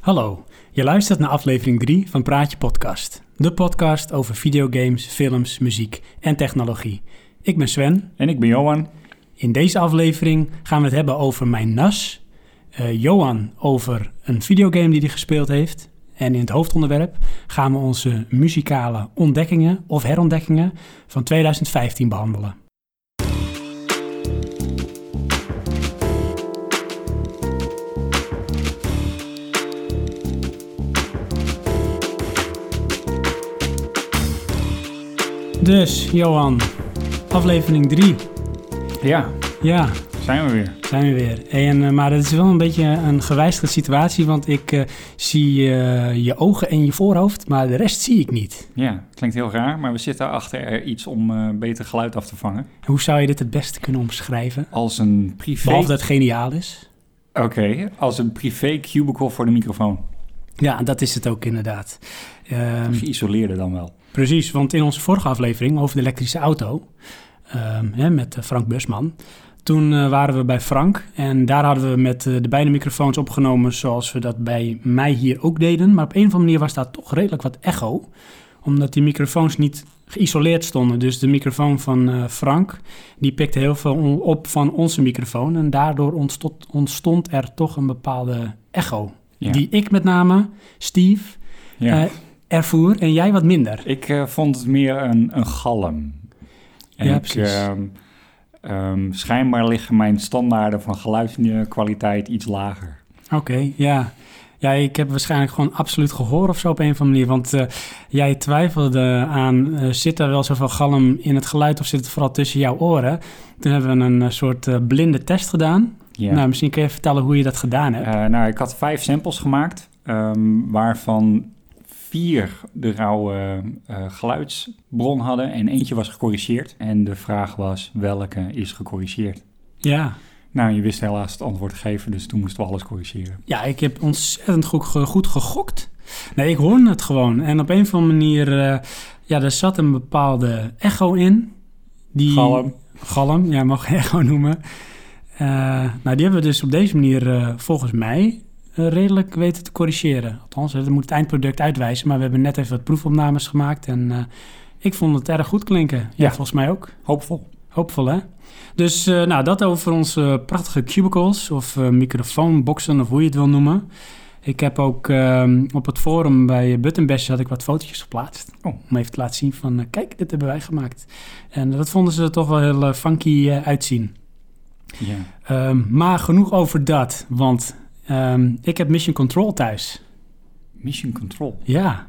Hallo, je luistert naar aflevering 3 van Praatje Podcast. De podcast over videogames, films, muziek en technologie. Ik ben Sven. En ik ben Johan. In deze aflevering gaan we het hebben over mijn NAS. eh, Johan over een videogame die hij gespeeld heeft. En in het hoofdonderwerp gaan we onze muzikale ontdekkingen of herontdekkingen van 2015 behandelen. Dus, Johan, aflevering 3. Ja, Ja, zijn we weer. zijn we weer. En, eh, maar het is wel een beetje een gewijzigde situatie, want ik eh, zie eh, je ogen en je voorhoofd, maar de rest zie ik niet. Ja, klinkt heel raar, maar we zitten achter er iets om eh, beter geluid af te vangen. Hoe zou je dit het beste kunnen omschrijven? Als een privé... Behalve dat het geniaal is. Oké, als een privé cubicle voor de microfoon. Ja, dat is het ook inderdaad. Ehm, Geïsoleerde dan wel. precies, want in onze vorige aflevering over de elektrische auto, ehm, hè, met eh, Frank Busman, toen eh, waren we bij Frank en daar hadden we met eh, de beide microfoons opgenomen zoals we dat bij mij hier ook deden. Maar op een of andere manier was daar toch redelijk wat echo, omdat die microfoons niet geïsoleerd stonden. Dus de microfoon van eh, Frank, die pikte heel veel on- op van onze microfoon en daardoor ontstond, ontstond er toch een bepaalde echo. Ja. Die ik met name, Steve, Ja. eh, ervoer en jij wat minder. ik eh, vond het meer een, een galm. En Ja, ik, precies. ehm, ehm, schijnbaar liggen mijn standaarden van geluidskwaliteit iets lager. Oké, ja. Ja, ik heb waarschijnlijk gewoon absoluut gehoor of zo op een of andere manier. Want eh, jij twijfelde aan, eh, zit er wel zoveel galm in het geluid of zit het vooral tussen jouw oren? Toen hebben we een eh, soort eh, blinde test gedaan. Ja. Nou, misschien kun je vertellen hoe je dat gedaan hebt. Eh, nou, ik had vijf samples gemaakt, ehm, waarvan vier de rauwe eh, geluidsbron hadden en eentje was gecorrigeerd. En de vraag was, welke is gecorrigeerd? Ja. Nou, je wist helaas het antwoord te geven, dus toen moesten we alles corrigeren. Ja, ik heb ontzettend goed, ge- goed gegokt. Nee, ik hoorde het gewoon. En op een of andere manier, eh, ja, er zat een bepaalde echo in. Die, Galm. Galm, ja, mag je echo noemen. Eh, nou, die hebben we dus op deze manier eh, volgens mij eh, redelijk weten te corrigeren. Althans, dat moet het eindproduct uitwijzen. Maar we hebben net even wat proefopnames gemaakt. En eh, ik vond het erg goed klinken. Ja, Ja. volgens mij ook. Hoopvol. Hoopvol, hè? Dus eh, nou, dat over onze prachtige cubicles of eh, microfoonboxen of hoe je het wil noemen. Ik heb ook ehm, op het forum bij Buttonbash had ik wat fotootjes geplaatst. Oh. Om even te laten zien van, eh, kijk, dit hebben wij gemaakt. En dat vonden ze er toch wel heel eh, funky eh, uitzien. Ja. Ehm, maar genoeg over dat, want ehm, ik heb Mission Control thuis. Mission Control. Ja.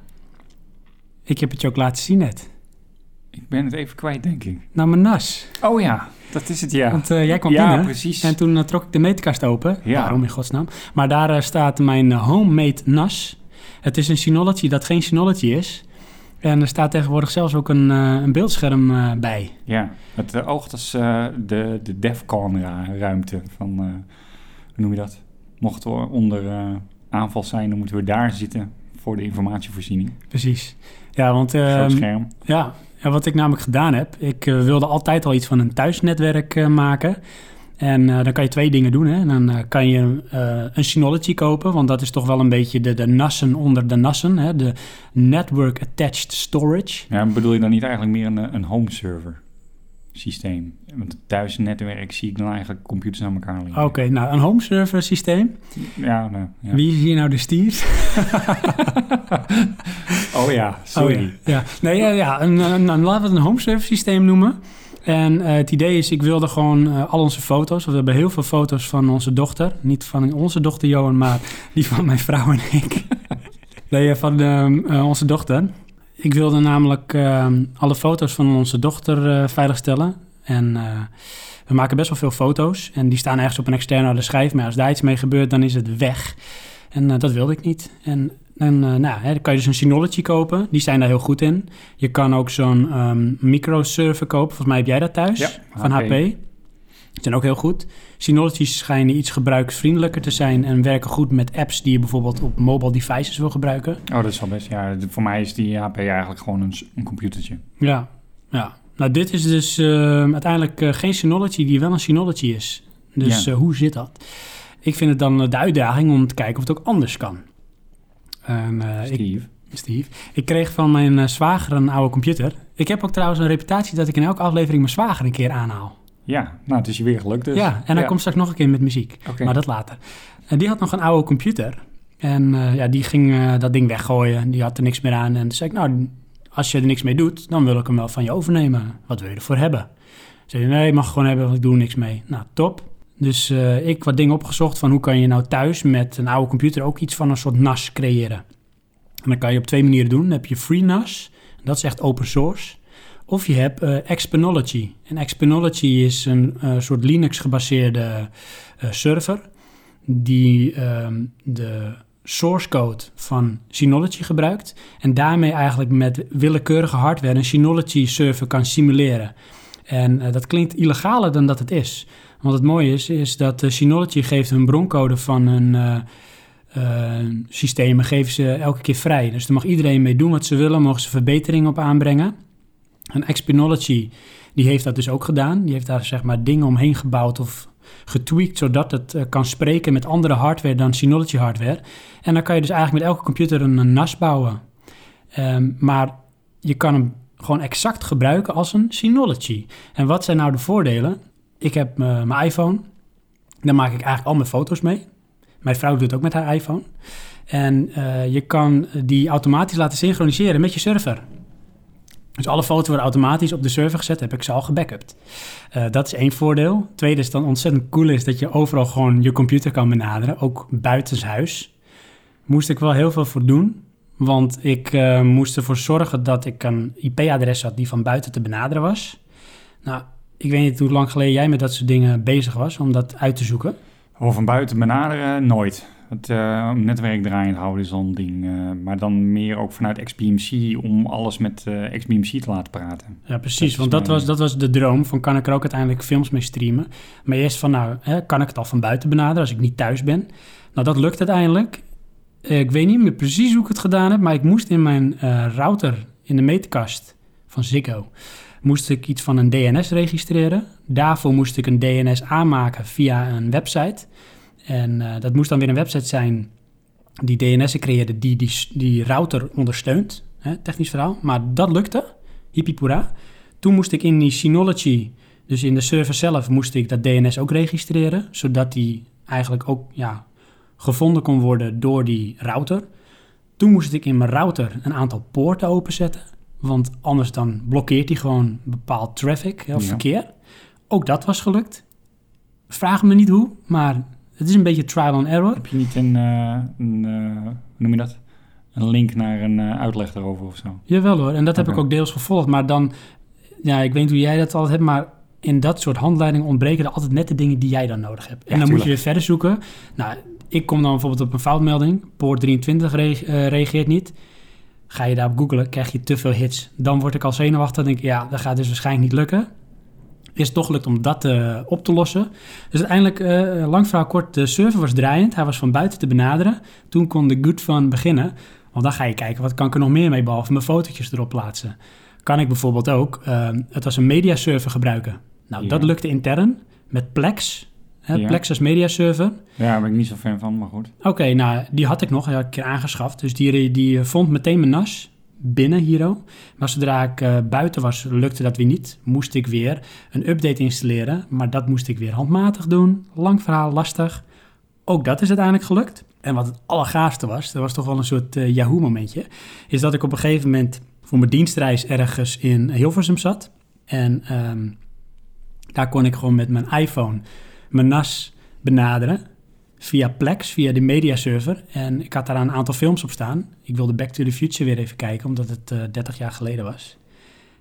Ik heb het je ook laten zien net. Ik ben het even kwijt, denk ik. Naar mijn nas. Oh ja, dat is het, ja. Want eh, jij kwam ja, binnen. precies. En toen eh, trok ik de meetkast open. Ja. Waarom in godsnaam? Maar daar eh, staat mijn eh, homemade NAS. Het is een Synology dat geen Synology is. En er staat tegenwoordig zelfs ook een, eh, een beeldscherm eh, bij. Ja, het eh, oogt als eh, de, de DEFCON-ruimte van, eh, hoe noem je dat? Mocht er onder eh, aanval zijn, dan moeten we daar zitten voor de informatievoorziening. Precies. Ja, want Groot ehm, scherm. ja, en wat ik namelijk gedaan heb, ik eh, wilde altijd al iets van een thuisnetwerk eh, maken. En eh, dan kan je twee dingen doen. Hè. Dan eh, kan je eh, een Synology kopen, want dat is toch wel een beetje de, de nassen onder de nassen. Hè. De Network Attached Storage. Ja, bedoel je dan niet eigenlijk meer een, eh, een home server systeem? Want het thuisnetwerk zie ik dan eigenlijk computers aan elkaar Oké, liggen. nou een home server systeem. Ja, nou, ja. Wie is hier nou de stier? Oh ja, sorry. Oh, ja. ja. Nee, ja, ja. Een, een, een- laten we het een home server systeem noemen. En eh, het idee is, ik wilde gewoon eh, al onze foto's. We hebben heel veel foto's van onze dochter. Niet van onze dochter Johan, maar die van mijn vrouw en ik. Nee, eh, van ehm, eh, onze dochter. Ik wilde namelijk ehm, alle foto's van onze dochter eh, veiligstellen. En eh, we maken best wel veel foto's. En die staan ergens op een externe harde schijf. Maar als daar iets mee gebeurt, dan is het weg. En eh, dat wilde ik niet. En, en eh, nou, hè, dan kan je dus een Synology kopen. Die zijn daar heel goed in. Je kan ook zo'n ehm microserver kopen. Volgens mij heb jij dat thuis. Ja, van HP. HP. Die zijn ook heel goed. Synologies schijnen iets gebruiksvriendelijker te zijn. En werken goed met apps die je bijvoorbeeld op mobile devices wil gebruiken. Oh, dat is wel best. Ja, de- voor mij is die HP eigenlijk gewoon een, s- een computertje. Ja, ja. Nou, dit is dus ehm, uiteindelijk eh, geen Synology die wel een Synology is. Dus Ja. eh, hoe zit dat? Ik vind het dan eh, de uitdaging om te kijken of het ook anders kan. En, eh, ik, Steve. Steve. Ik kreeg van mijn eh, zwager een oude computer. Ik heb ook trouwens een reputatie dat ik in elke aflevering mijn zwager een keer aanhaal. Ja, nou, het is je weer gelukt dus. ja, en hij komt straks nog een keer met muziek. Oké. Maar dat later. En die had nog een oude computer. En eh, ja, die ging eh, dat ding weggooien. Die had er niks meer aan. En toen zei ik, nou, als je er niks mee doet, dan wil ik hem wel van je overnemen. Wat wil je ervoor hebben? Zei hij, nee, je mag gewoon hebben, want ik doe er niks mee. Nou, top. Dus eh, ik wat dingen opgezocht van hoe kan je nou thuis met een oude computer ook iets van een soort NAS creëren. En dat kan je op twee manieren doen. Dan heb je free NAS, dat is echt open source. Of je hebt eh Exponology. En Exponology is een eh, soort Linux-gebaseerde eh, server die ehm, de source code van Synology gebruikt en daarmee eigenlijk met willekeurige hardware een Synology server kan simuleren. En eh, dat klinkt illegaler dan dat het is. Want het mooie is, is dat eh, Synology geeft hun broncode van hun eh, eh, systemen geven ze elke keer vrij. Dus daar mag iedereen mee doen wat ze willen, mogen ze verbeteringen op aanbrengen. En Expinology, die heeft dat dus ook gedaan. Die heeft daar zeg maar dingen omheen gebouwd of getweakt, zodat het eh, kan spreken met andere hardware dan Synology hardware. En dan kan je dus eigenlijk met elke computer een, een NAS bouwen. Ehm, maar je kan hem gewoon exact gebruiken als een Synology. En wat zijn nou de voordelen? Ik heb eh, mijn iPhone. Daar maak ik eigenlijk al mijn foto's mee. Mijn vrouw doet het ook met haar iPhone. En eh, je kan die automatisch laten synchroniseren met je server. Dus alle foto's worden automatisch op de server gezet. Heb ik ze al gebackupt. Eh, dat is één voordeel. Tweede is dan ontzettend cool is dat je overal gewoon je computer kan benaderen, ook buitenshuis. Moest ik wel heel veel voor doen, want ik eh, moest ervoor zorgen dat ik een IP-adres had die van buiten te benaderen was. Nou, ik weet niet hoe lang geleden jij met dat soort dingen bezig was om dat uit te zoeken. Of van buiten benaderen, nooit. Het eh, netwerk draaiend houden is al een ding. eh, maar dan meer ook vanuit XBMC om alles met eh, XBMC te laten praten. Ja, Dat precies. is want dat mijn- was, dat was de droom van kan ik er ook uiteindelijk films mee streamen. Maar eerst van nou, hè, kan ik het al van buiten benaderen als ik niet thuis ben? Nou, dat lukt uiteindelijk. Eh, Ik weet niet meer precies hoe ik het gedaan heb, maar ik moest in mijn eh, router in de meterkast van Ziggo moest ik iets van een DNS registreren. Daarvoor moest ik een DNS aanmaken via een website. En eh, dat moest dan weer een website zijn die DNS'en creëerde die, die die router ondersteunt. Hè, technisch verhaal. Maar dat lukte. Hippiepoera. Toen moest ik in die Synology, dus in de server zelf, moest ik dat DNS ook registreren. Zodat die eigenlijk ook ja, gevonden kon worden door die router. Toen moest ik in mijn router een aantal poorten openzetten. Want anders dan blokkeert hij gewoon bepaald traffic hè, of Ja. verkeer. Ook dat was gelukt. Vraag me niet hoe, maar het is een beetje trial and error. Heb je niet een, eh, een eh, hoe noem je dat? Een link naar een eh, uitleg daarover of zo? Jawel hoor, en dat heb Oké. ik ook deels gevolgd. Maar dan, ja, ik weet niet hoe jij dat altijd hebt, maar in dat soort handleidingen ontbreken er altijd net de dingen die jij dan nodig hebt. En dan Ja, moet je tuurlijk. weer verder zoeken. Nou, ik kom dan bijvoorbeeld op een foutmelding. Poort 23 re- eh, reageert niet. Ga je daarop googlen, krijg je te veel hits. Dan word ik al zenuwachtig. Dan denk ik, ja, dat gaat dus waarschijnlijk niet lukken. Is het toch gelukt om dat eh, op te lossen. Dus uiteindelijk, eh, lang verhaal kort, de server was draaiend. Hij was van buiten te benaderen. Toen kon de good fun beginnen. Want dan ga je kijken, wat kan ik er nog meer mee, behalve mijn fotootjes erop plaatsen. Kan ik bijvoorbeeld ook eh, het als een mediaserver gebruiken. Nou, Ja. dat lukte intern met Plex. Hè, Ja. Plex als mediaserver. Ja, daar ben ik niet zo fan van, maar goed. Oké, nou, die had ik nog, die had ik een keer aangeschaft. Dus die, die vond meteen mijn nas binnen hier ook. Maar zodra ik eh, buiten was, lukte dat weer niet. Moest ik weer een update installeren. Maar dat moest ik weer handmatig doen. Lang verhaal, lastig. Ook dat is uiteindelijk gelukt. En wat het allergaafste was, dat was toch wel een soort eh, Yahoo-momentje... is dat ik op een gegeven moment voor mijn dienstreis ergens in Hilversum zat. En ehm, daar kon ik gewoon met mijn iPhone mijn NAS benaderen via Plex, via de mediaserver. En ik had daar een aantal films op staan. Ik wilde Back to the Future weer even kijken, omdat het eh 30 jaar geleden was.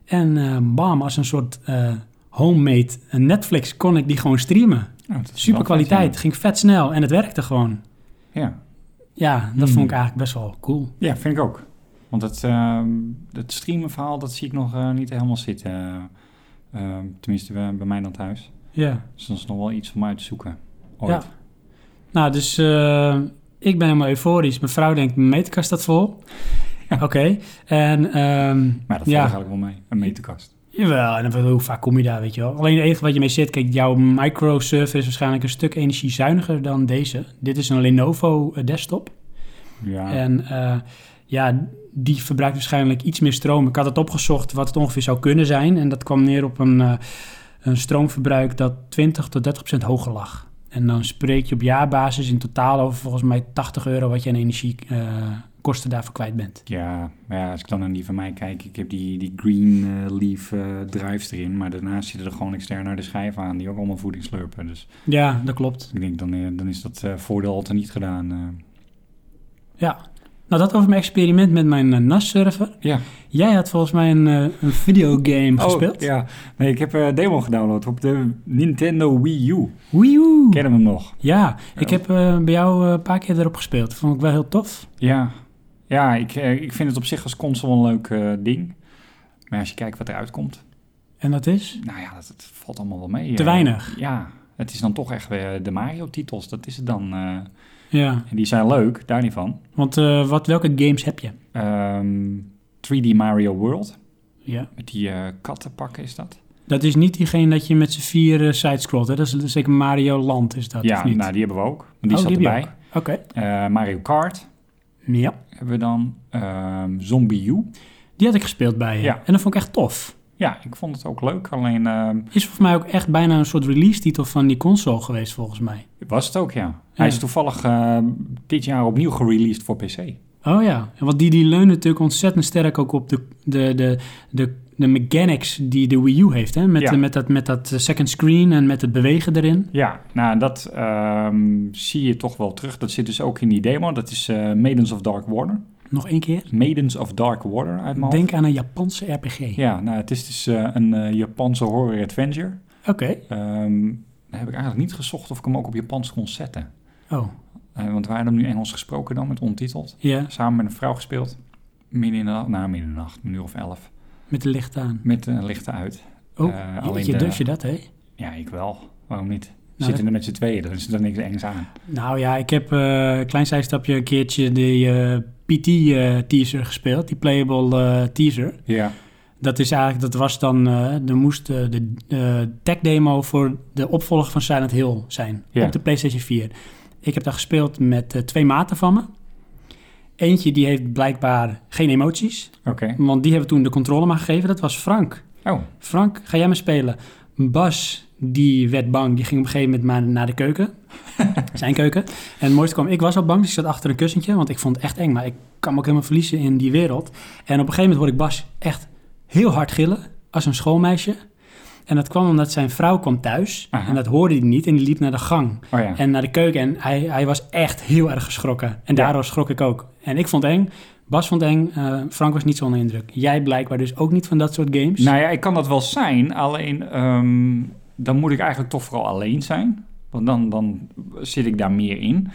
En eh, bam, als een soort eh, homemade Netflix kon ik die gewoon streamen. Nou, dat is Super wel kwaliteit, vet, ging vet snel en het werkte gewoon. Ja. ja. Ja, dat Hmm. vond ik eigenlijk best wel cool. Ja, vind ik ook. Want het, ehm het streamen verhaal, dat zie ik nog eh, niet helemaal zitten. Ehm, tenminste, bij, bij mij dan thuis. Ja. Dus dat is nog wel iets om uit te zoeken. Ja. Ooit. Nou, dus eh, ik ben helemaal euforisch. Mijn vrouw denkt, mijn meterkast staat vol. Oké. En ehm, Maar dat valt Ja. eigenlijk wel mee. Een meterkast. Jawel, en dan- hoe vaak kom je daar, weet je wel. Alleen het enige wat je mee zit, kijk, jouw microserver is waarschijnlijk een stuk energiezuiniger dan deze. Dit is een Lenovo eh, desktop. Ja. En eh, ja, die verbruikt waarschijnlijk iets meer stroom. Ik had het opgezocht wat het ongeveer zou kunnen zijn. En dat kwam neer op een, eh, een stroomverbruik dat 20 tot 30 procent hoger lag. En dan spreek je op jaarbasis in totaal over volgens mij 80 euro wat je aan energiekosten daarvoor kwijt bent. Ja, maar ja, als ik dan aan die van mij kijk, ik heb die, die Green eh, Leaf eh, drives erin, maar daarnaast zitten er gewoon extern naar de schijf aan, die ook allemaal voeding slurpen. Dus Ja, dat klopt. ik denk, dan, eh, dan is dat eh, voordeel al niet gedaan. eh. Ja. Nou, dat over mijn experiment met mijn eh, NAS-server. ja. Jij had volgens mij een, eh, een videogame gespeeld. Oh, ja. Nee, ik heb eh demo gedownload op de Nintendo Wii U. Wii U. Ken hem hem nog? Ja, ik heb eh, bij jou eh, een paar keer erop gespeeld. Vond ik wel heel tof. Ja. Ja, ik, eh, ik vind het op zich als console een leuk eh, ding. Maar als je kijkt wat eruit komt, En dat is? nou ja, dat, dat valt allemaal wel mee. Te eh. weinig. Ja, het is dan toch echt weer de Mario-titels. Dat is het dan. eh. Ja, En die zijn leuk, daar niet van. want eh, wat, welke games heb je? Ehm, 3D Mario World. Ja. Met die eh, kattenpakken is dat. Dat is niet diegene dat je met z'n vier eh, sidescrollt, hè? Dat is zeker Mario Land, is dat, ja, of niet? nou die hebben we ook. Die Oh, zat die heb je erbij. Oké. Eh, Mario Kart Ja, hebben we dan. Ehm, Zombie U. die had ik gespeeld bij je. Ja. En dat vond ik echt tof. Ja, ik vond het ook leuk. Alleen ehm, Is volgens mij ook echt bijna een soort release-titel van die console geweest, volgens mij. was het ook, ja. Hij Ja. is toevallig eh, dit jaar opnieuw gereleased voor PC. Oh ja, En want die, die leunt natuurlijk ontzettend sterk ook op de, de, de, de, de mechanics die de Wii U heeft. Hè? Met, Ja. de- met, dat, met dat eh, second screen en met het bewegen erin. Ja, nou dat ehm, zie je toch wel terug. Dat zit dus ook in die demo. Dat is eh, Maidens of Dark Water. Nog één keer. Maidens of Dark Water uit mijn hoofd. Denk aan een Japanse RPG. Ja, nou het is dus eh, een eh, Japanse horror adventure. Oké. Ehm, dan heb ik eigenlijk niet gezocht of ik hem ook op Japans kon zetten. Oh, Eh, want we hadden hem nu Engels gesproken dan, met ontiteld. ja. Samen met een vrouw gespeeld. Midden in de nacht, nou midden in de nacht, een uur of elf. Met de licht aan. Met eh, lichten uit. Oh, Eh, alleen jeetje, de- durf je dat, hè? Ja, ik wel. Waarom niet? We Nou, Zitten er met z'n tweeën, dus dan is er niks engs aan. Nou ja, ik heb eh, een klein zijstapje een keertje eh, de PT-teaser eh, gespeeld. Die playable eh, teaser. Ja. Dat is eigenlijk, dat was dan, eh er moest eh, de eh tech demo voor de opvolger van Silent Hill zijn. Ja. Op de PlayStation 4. Ik heb daar gespeeld met eh, twee maten van me. Eentje die heeft blijkbaar geen emoties. Oké. Want die hebben toen de controle maar gegeven. Dat was Frank. Oh, Frank, ga jij maar spelen? Bas, die werd bang. Die ging op een gegeven moment maar naar de keuken. Zijn keuken. En het mooiste kwam, ik was al bang. Dus ik zat achter een kussentje. Want ik vond het echt eng. Maar ik kan me ook helemaal verliezen in die wereld. En op een gegeven moment hoorde ik Bas echt heel hard gillen. Als een schoolmeisje. En dat kwam omdat zijn vrouw kwam thuis. Aha. En dat hoorde hij niet. En die liep naar de gang. oh ja. En naar de keuken. En hij, hij was echt heel erg geschrokken. En Ja. daardoor schrok ik ook. En ik vond het eng. Bas vond het eng. eh, Frank was niet zo onder indruk. Jij blijkbaar dus ook niet van dat soort games. Nou ja, ik kan dat wel zijn, alleen ehm, dan moet ik eigenlijk toch vooral alleen zijn. Want dan, dan zit ik daar meer in.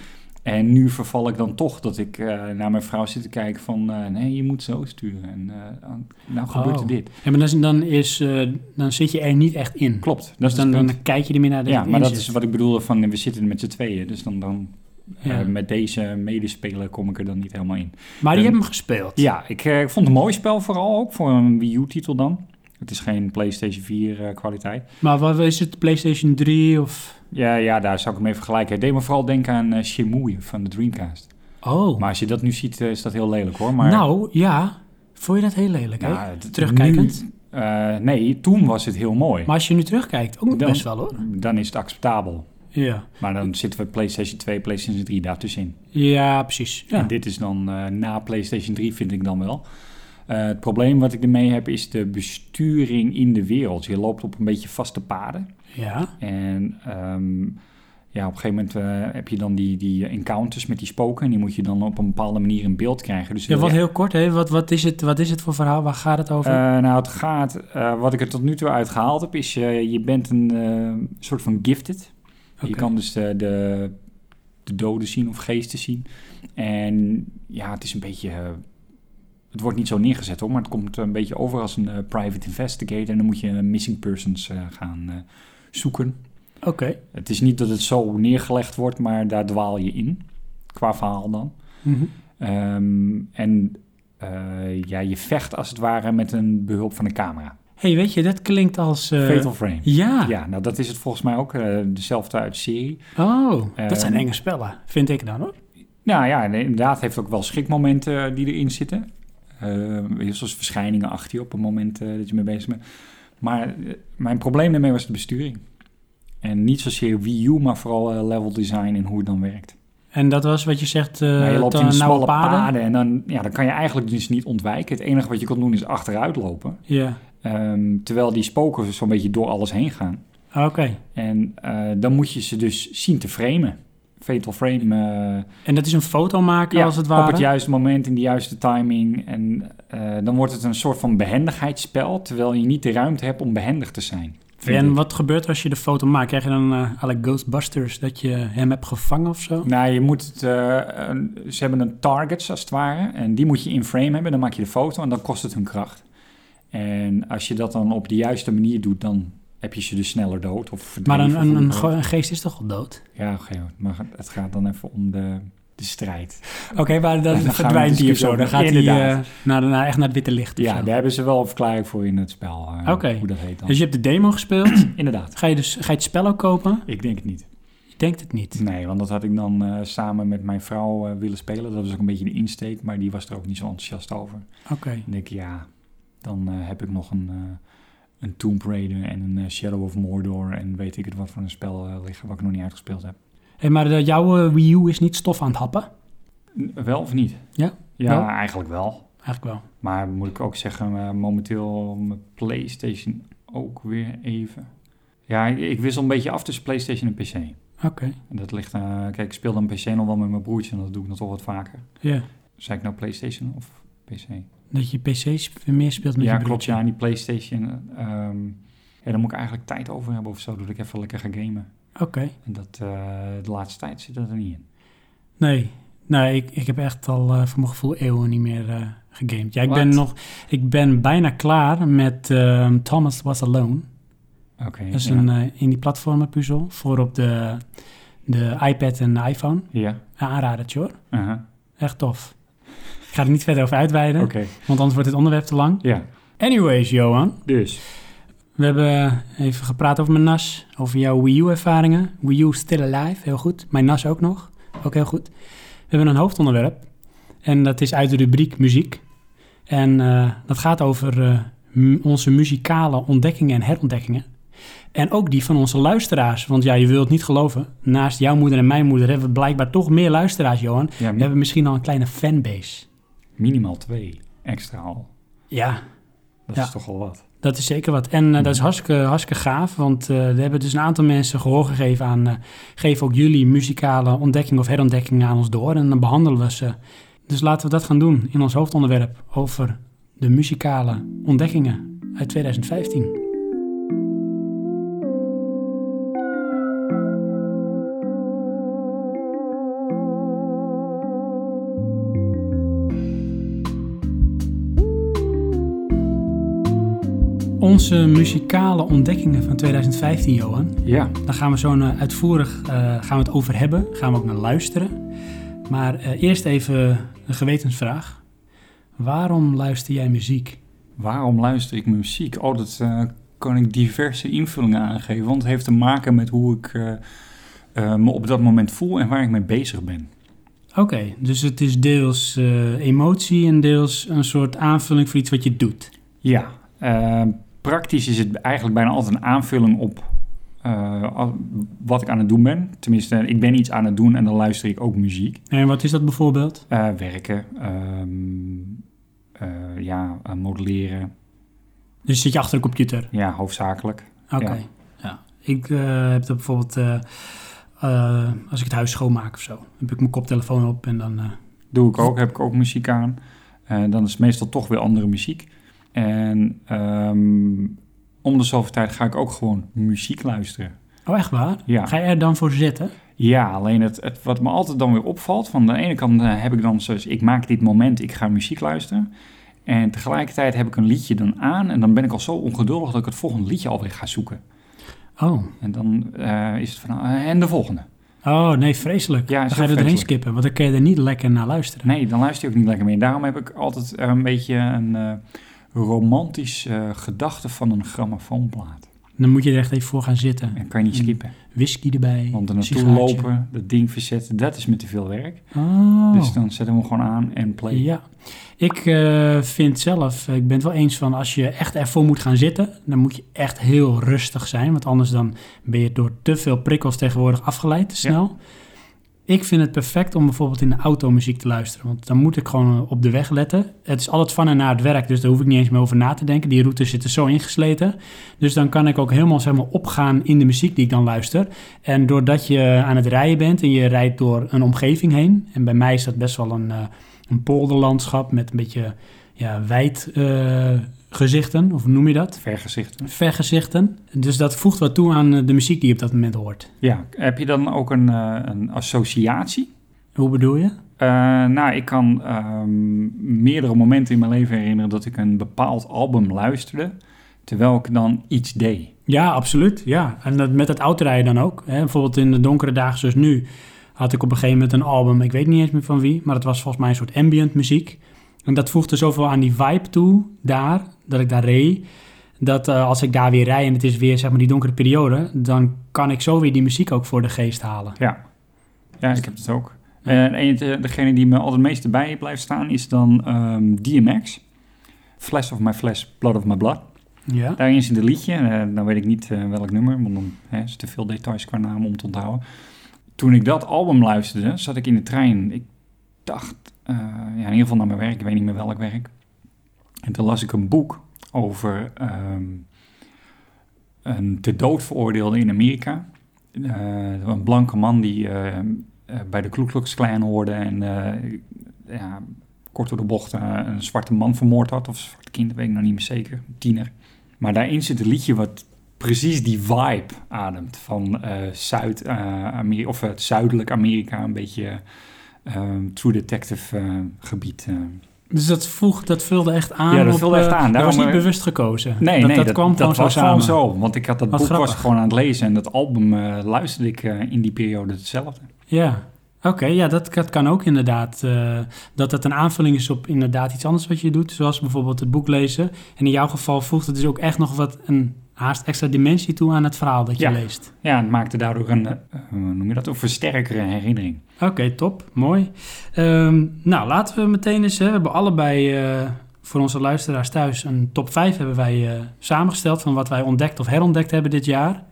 En nu verval ik dan toch dat ik eh, naar mijn vrouw zit te kijken van... eh, nee, je moet zo sturen en eh, nou gebeurt er Oh. dit. Ja, maar dan, is- dan, is, eh, dan zit je er niet echt in. Klopt, dat is Dus dan, het punt. dan kijk je er meer naar de Ja, maar dat is wat ik bedoelde van eh, we zitten met z'n tweeën. Dus dan, dan eh, Ja. met deze medespeler kom ik er dan niet helemaal in. maar die Ehm, hebben hem gespeeld. Ja, ik eh, ik vond het een mooi spel vooral ook, voor een Wii U-titel dan. Het is geen PlayStation 4 eh, kwaliteit. Maar wat is het, PlayStation 3 of... Ja, ja, daar zou ik hem mee vergelijken. Ik deed me vooral denken aan eh Shemui van de Dreamcast. Oh, Maar als je dat nu ziet, eh, is dat heel lelijk hoor. Maar, nou ja, vond je dat heel lelijk, hè? ja, het- Terugkijkend. nu, eh, nee, toen was het heel mooi. Maar als je nu terugkijkt, ook nog Dan- best wel hoor. Dan is het acceptabel. Ja, Maar dan zitten we PlayStation 2, PlayStation 3 daartussenin. ja precies. Ja. En dit is dan eh, na PlayStation 3, vind ik dan wel. Eh, het probleem wat ik ermee heb, is de besturing in de wereld. Je loopt op een beetje vaste paden. ja, En ehm, ja, op een gegeven moment eh, heb je dan die, die encounters met die spoken. En die moet je dan op een bepaalde manier in beeld krijgen. Dus Ja, wat eh, heel kort, hè? Wat, wat, is het, wat is het voor verhaal? Waar gaat het over? eh, nou, het gaat, eh, wat ik er tot nu toe uit gehaald heb, is eh, je bent een eh, soort van gifted. Je Oké. kan dus de, de, de doden zien of geesten zien. En ja, het is een beetje... eh, het wordt niet zo neergezet hoor, maar het komt een beetje over als een eh, private investigator. En dan moet je eh, missing persons eh, gaan eh, zoeken. Oké, Het is niet dat het zo neergelegd wordt, maar daar dwaal je in. Qua verhaal dan. Mhm. Ehm, en eh, ja, je vecht als het ware met een behulp van een camera. hey, weet je, dat klinkt als... eh, Fatal Frame. Ja, Ja, nou dat is het volgens mij ook. eh, dezelfde uit de serie. oh, Ehm, dat zijn enge spellen, vind ik dan hoor. Nou ja, en inderdaad heeft ook wel schrikmomenten die erin zitten. Eh, zoals verschijningen achter je op het moment eh, dat je mee bezig bent. Maar eh, mijn probleem daarmee was de besturing. En niet zozeer Wii U, maar vooral eh, level design en hoe het dan werkt. En dat was wat je zegt, eh nou, je loopt te- in nauwe smalle paden. en dan, ja, dan kan je eigenlijk dus niet ontwijken. Het enige wat je kon doen is achteruit lopen. Ja, Ehm, terwijl die spoken zo'n beetje door alles heen gaan. Ah, oké. En eh, dan moet je ze dus zien te framen. Fatal frame. eh, En dat is een foto maken ja, als het ware? Op het juiste moment, in de juiste timing. En eh, dan wordt het een soort van behendigheidsspel, terwijl je niet de ruimte hebt om behendig te zijn. vind En ik. wat gebeurt als je de foto maakt? Krijg je dan eh à la Ghostbusters dat je hem hebt gevangen of zo? Nou, je moet het, eh, een- ze hebben een targets als het ware. En die moet je in frame hebben. Dan maak je de foto en dan kost het hun kracht. En als je dat dan op de juiste manier doet, dan heb je ze dus sneller dood. Of Maar verdreven een, of een, een, hoe- ge- een geest is toch al dood? Ja, oké, hoor. maar het gaat dan even om de, de strijd. Oké, maar dan, gaan we verdwijnt hij of discussiëren. zo. Dan gaat hij eh, Inderdaad. naar, naar, echt naar het witte licht of Ja, zo. daar hebben ze wel een verklaring voor in het spel. eh, Oké. Hoe dat heet dan. Dus je hebt de demo gespeeld. Inderdaad. Ga je, dus, ga je het spel ook kopen? Ik denk het niet. Ik denk het niet. Nee, want dat had ik dan eh, samen met mijn vrouw eh, willen spelen. Dat was ook een beetje de insteek, maar die was er ook niet zo enthousiast over. Oké. Dan denk ik, ja, dan eh, heb ik nog een, eh, een Tomb Raider en een eh, Shadow of Mordor en weet ik het wat voor een spel eh, liggen wat ik nog niet uitgespeeld heb. Hey, maar eh, jouw eh, Wii U is niet stof aan het happen? N- wel of niet? Ja, Ja, wel. eigenlijk wel. Eigenlijk wel. Maar moet ik ook zeggen, eh, momenteel mijn PlayStation ook weer even. Ja, ik, ik wissel een beetje af tussen PlayStation en PC. Oké. En dat ligt, eh, kijk, ik speel dan PC nog wel met mijn broertje en dat doe ik nog toch wat vaker. Ja. Zeg ik nou PlayStation of PC? Dat je PC's meer speelt met ja, je klopt. broertje. Ja, en die PlayStation. ehm ja, daar moet ik eigenlijk tijd over hebben of zo, doordat ik even lekker ga gamen. Oké. En dat, eh, de laatste tijd zit dat er niet in. Nee, nee ik, ik heb echt al eh, voor mijn gevoel eeuwen niet meer eh, gegamed. Ja, ik Wat? ben, nog, ik ben bijna klaar met ehm, Thomas Was Alone. Oké. Dat is ja. een eh, indie platformer puzzel voor op de, de iPad en de iPhone. Ja. Een aanradertje hoor. aha, Echt tof. Ik ga er niet verder over uitweiden, Oké. want anders wordt dit onderwerp te lang. Ja. Anyways, Johan. Dus. We hebben even gepraat over mijn NAS, over jouw Wii U-ervaringen. Wii U still alive, heel goed. Mijn NAS ook nog, ook heel goed. We hebben een hoofdonderwerp en dat is uit de rubriek muziek. En eh, dat gaat over eh, m- onze muzikale ontdekkingen en herontdekkingen. En ook die van onze luisteraars, want ja, je wilt het niet geloven. Naast jouw moeder en mijn moeder hebben we blijkbaar toch meer luisteraars, Johan. Ja, We mi- hebben misschien al een kleine fanbase. minimaal twee extra al. Ja, Dat Ja. is toch al wat. Dat is zeker wat. En eh, dat is hartstikke, hartstikke gaaf, want eh, we hebben dus een aantal mensen gehoor gegeven aan... eh, geef ook jullie muzikale ontdekkingen of herontdekkingen aan ons door en dan behandelen we ze. Dus laten we dat gaan doen in ons hoofdonderwerp over de muzikale ontdekkingen uit 2015. Onze muzikale ontdekkingen van 2015, Johan. Ja. Daar gaan we zo eh, uitvoerig eh, gaan we het over hebben. Gaan we ook naar luisteren. Maar eh, eerst even een gewetensvraag. Waarom luister jij muziek? Waarom luister ik muziek? Oh, dat eh, kan ik diverse invullingen aangeven. Want het heeft te maken met hoe ik eh, eh, me op dat moment voel en waar ik mee bezig ben. Oké, dus het is deels eh, emotie en deels een soort aanvulling voor iets wat je doet. Ja, eh, praktisch is het eigenlijk bijna altijd een aanvulling op eh, al- wat ik aan het doen ben. Tenminste, ik ben iets aan het doen en dan luister ik ook muziek. En wat is dat bijvoorbeeld? Eh, werken, ehm, eh, ja, eh, modelleren, Dus zit je achter de computer? ja, hoofdzakelijk. Oké. Ja. Ik eh, heb dat bijvoorbeeld eh, eh, als ik het huis schoonmaak of zo. Heb ik mijn koptelefoon op en dan... eh, Doe ik ook, heb ik ook muziek aan. Eh, dan is het meestal toch weer andere muziek. En ehm, om de zoveel tijd ga ik ook gewoon muziek luisteren. Oh, echt waar? Ja. Ga je er dan voor zitten? Ja, alleen het, het, wat me altijd dan weer opvalt, van de ene kant eh, heb ik dan zoals, ik maak dit moment, ik ga muziek luisteren. En tegelijkertijd heb ik een liedje dan aan en dan ben ik al zo ongeduldig dat ik het volgende liedje alweer ga zoeken. Oh, En dan eh, is het van, eh, en de volgende. Oh, nee, vreselijk. Ja, dan is ga je er ook doorheen vreselijk. skippen, want dan kun je er niet lekker naar luisteren. Nee, dan luister je ook niet lekker meer. Daarom heb ik altijd eh, een beetje een eh, romantisch eh, gedachte van een grammofoonplaat. Dan moet je er echt even voor gaan zitten. En kan je niet Mm. skippen. Whisky erbij. Want er een naartoe sigaartje. lopen, dat ding verzetten, dat is me te veel werk. Oh. Dus dan zetten we hem gewoon aan en play. Ja, ik eh, vind zelf, eh, ik ben het wel eens van als je echt ervoor moet gaan zitten, dan moet je echt heel rustig zijn. Want anders dan ben je door te veel prikkels tegenwoordig afgeleid te Ja. snel. Ik vind het perfect om bijvoorbeeld in de auto muziek te luisteren. Want dan moet ik gewoon eh, op de weg letten. Het is altijd van en naar het werk, dus daar hoef ik niet eens meer over na te denken. Die routes zitten zo ingesleten. Dus dan kan ik ook helemaal zeg maar, opgaan in de muziek die ik dan luister. En doordat je aan het rijden bent en je rijdt door een omgeving heen. En bij mij is dat best wel een, eh, een polderlandschap met een beetje ja, wijd eh, gezichten, of hoe noem je dat? Vergezichten. Vergezichten. Dus dat voegt wat toe aan eh, de muziek die je op dat moment hoort. Ja, heb je dan ook een, eh, een associatie? Hoe bedoel je? Eh, nou, ik kan ehm, meerdere momenten in mijn leven herinneren dat ik een bepaald album luisterde, terwijl ik dan iets deed. Ja, absoluut. Ja. En dat, met het autorijden dan ook. Hè? Bijvoorbeeld in de donkere dagen zoals nu had ik op een gegeven moment een album, ik weet niet eens meer van wie, maar het was volgens mij een soort ambient muziek. En dat voegde zoveel aan die vibe toe, daar, dat ik daar reed. Dat eh, als ik daar weer rij en het is weer zeg maar die donkere periode, dan kan ik zo weer die muziek ook voor de geest halen. Ja, ja ik heb het ook. Eh, En een- degene die me altijd het meeste bij blijft staan is dan ehm, DMX. Flash of my flesh, blood of my blood. Ja. Daarin zit een liedje, eh dan weet ik niet eh, welk nummer, want dan hè, is te veel details qua naam om te onthouden. Toen ik dat album luisterde, zat ik in de trein. Ik dacht, eh, ja, in ieder geval naar mijn werk, ik weet niet meer welk werk. En toen las ik een boek over ehm, een te dood veroordeelde in Amerika. Eh, een blanke man die eh, eh, bij de Ku Klux Klan hoorde en eh, ja, kort door de bocht eh, een zwarte man vermoord had. Of een zwart kind, weet ik nog niet meer zeker, een tiener. Maar daarin zit een liedje wat precies die vibe ademt van eh, Zuid, eh, Ameri- of, eh, het Zuidelijk Amerika, een beetje eh, True Detective eh, gebied. eh. Dus dat voeg, dat vulde echt aan. Ja, dat op, vulde echt eh, aan. Dat was Daarom, niet eh, bewust gekozen. Nee, dat, nee, dat kwam gewoon zo was samen. gewoon zo. Want ik had dat Wat boek was grappig. ik gewoon aan het lezen en dat album eh, luisterde ik eh, in die periode hetzelfde. Ja, oké. ja, dat, dat kan ook inderdaad. eh, dat dat een aanvulling is op inderdaad iets anders wat je doet. Zoals bijvoorbeeld het boek lezen. En in jouw geval voegt het dus ook echt nog wat een haast extra dimensie toe aan het verhaal dat je Ja. leest. Ja, het maakte daardoor een, eh, hoe noem je dat, een versterkere herinnering. Oké, top. Mooi. Ehm, nou, laten we meteen eens... Hè, we hebben allebei eh, voor onze luisteraars thuis een top 5 hebben wij eh, samengesteld... van wat wij ontdekt of herontdekt hebben dit jaar.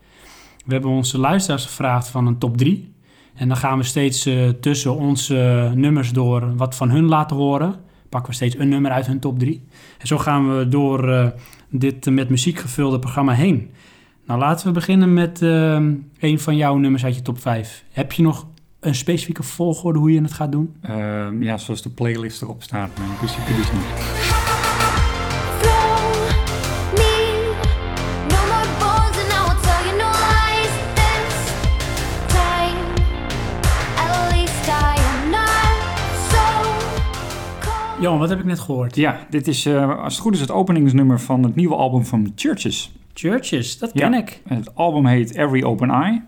We hebben onze luisteraars gevraagd van een top 3. En dan gaan we steeds eh, tussen onze eh, nummers door wat van hun laten horen. Pakken we steeds een nummer uit hun top 3. En zo gaan we door eh, dit eh, met muziek gevulde programma heen. Nou, laten we beginnen met ehm, een van jouw nummers uit je top 5. Heb je nog een specifieke volgorde hoe je het gaat doen? Eh, ja, zoals de playlist erop staat, maar in principe dus niet. Johan, wat heb ik net gehoord? Ja, dit is eh, als het goed is het openingsnummer van het nieuwe album van Churches. Churches, dat ken Ja. ik. Het album heet Every Open Eye.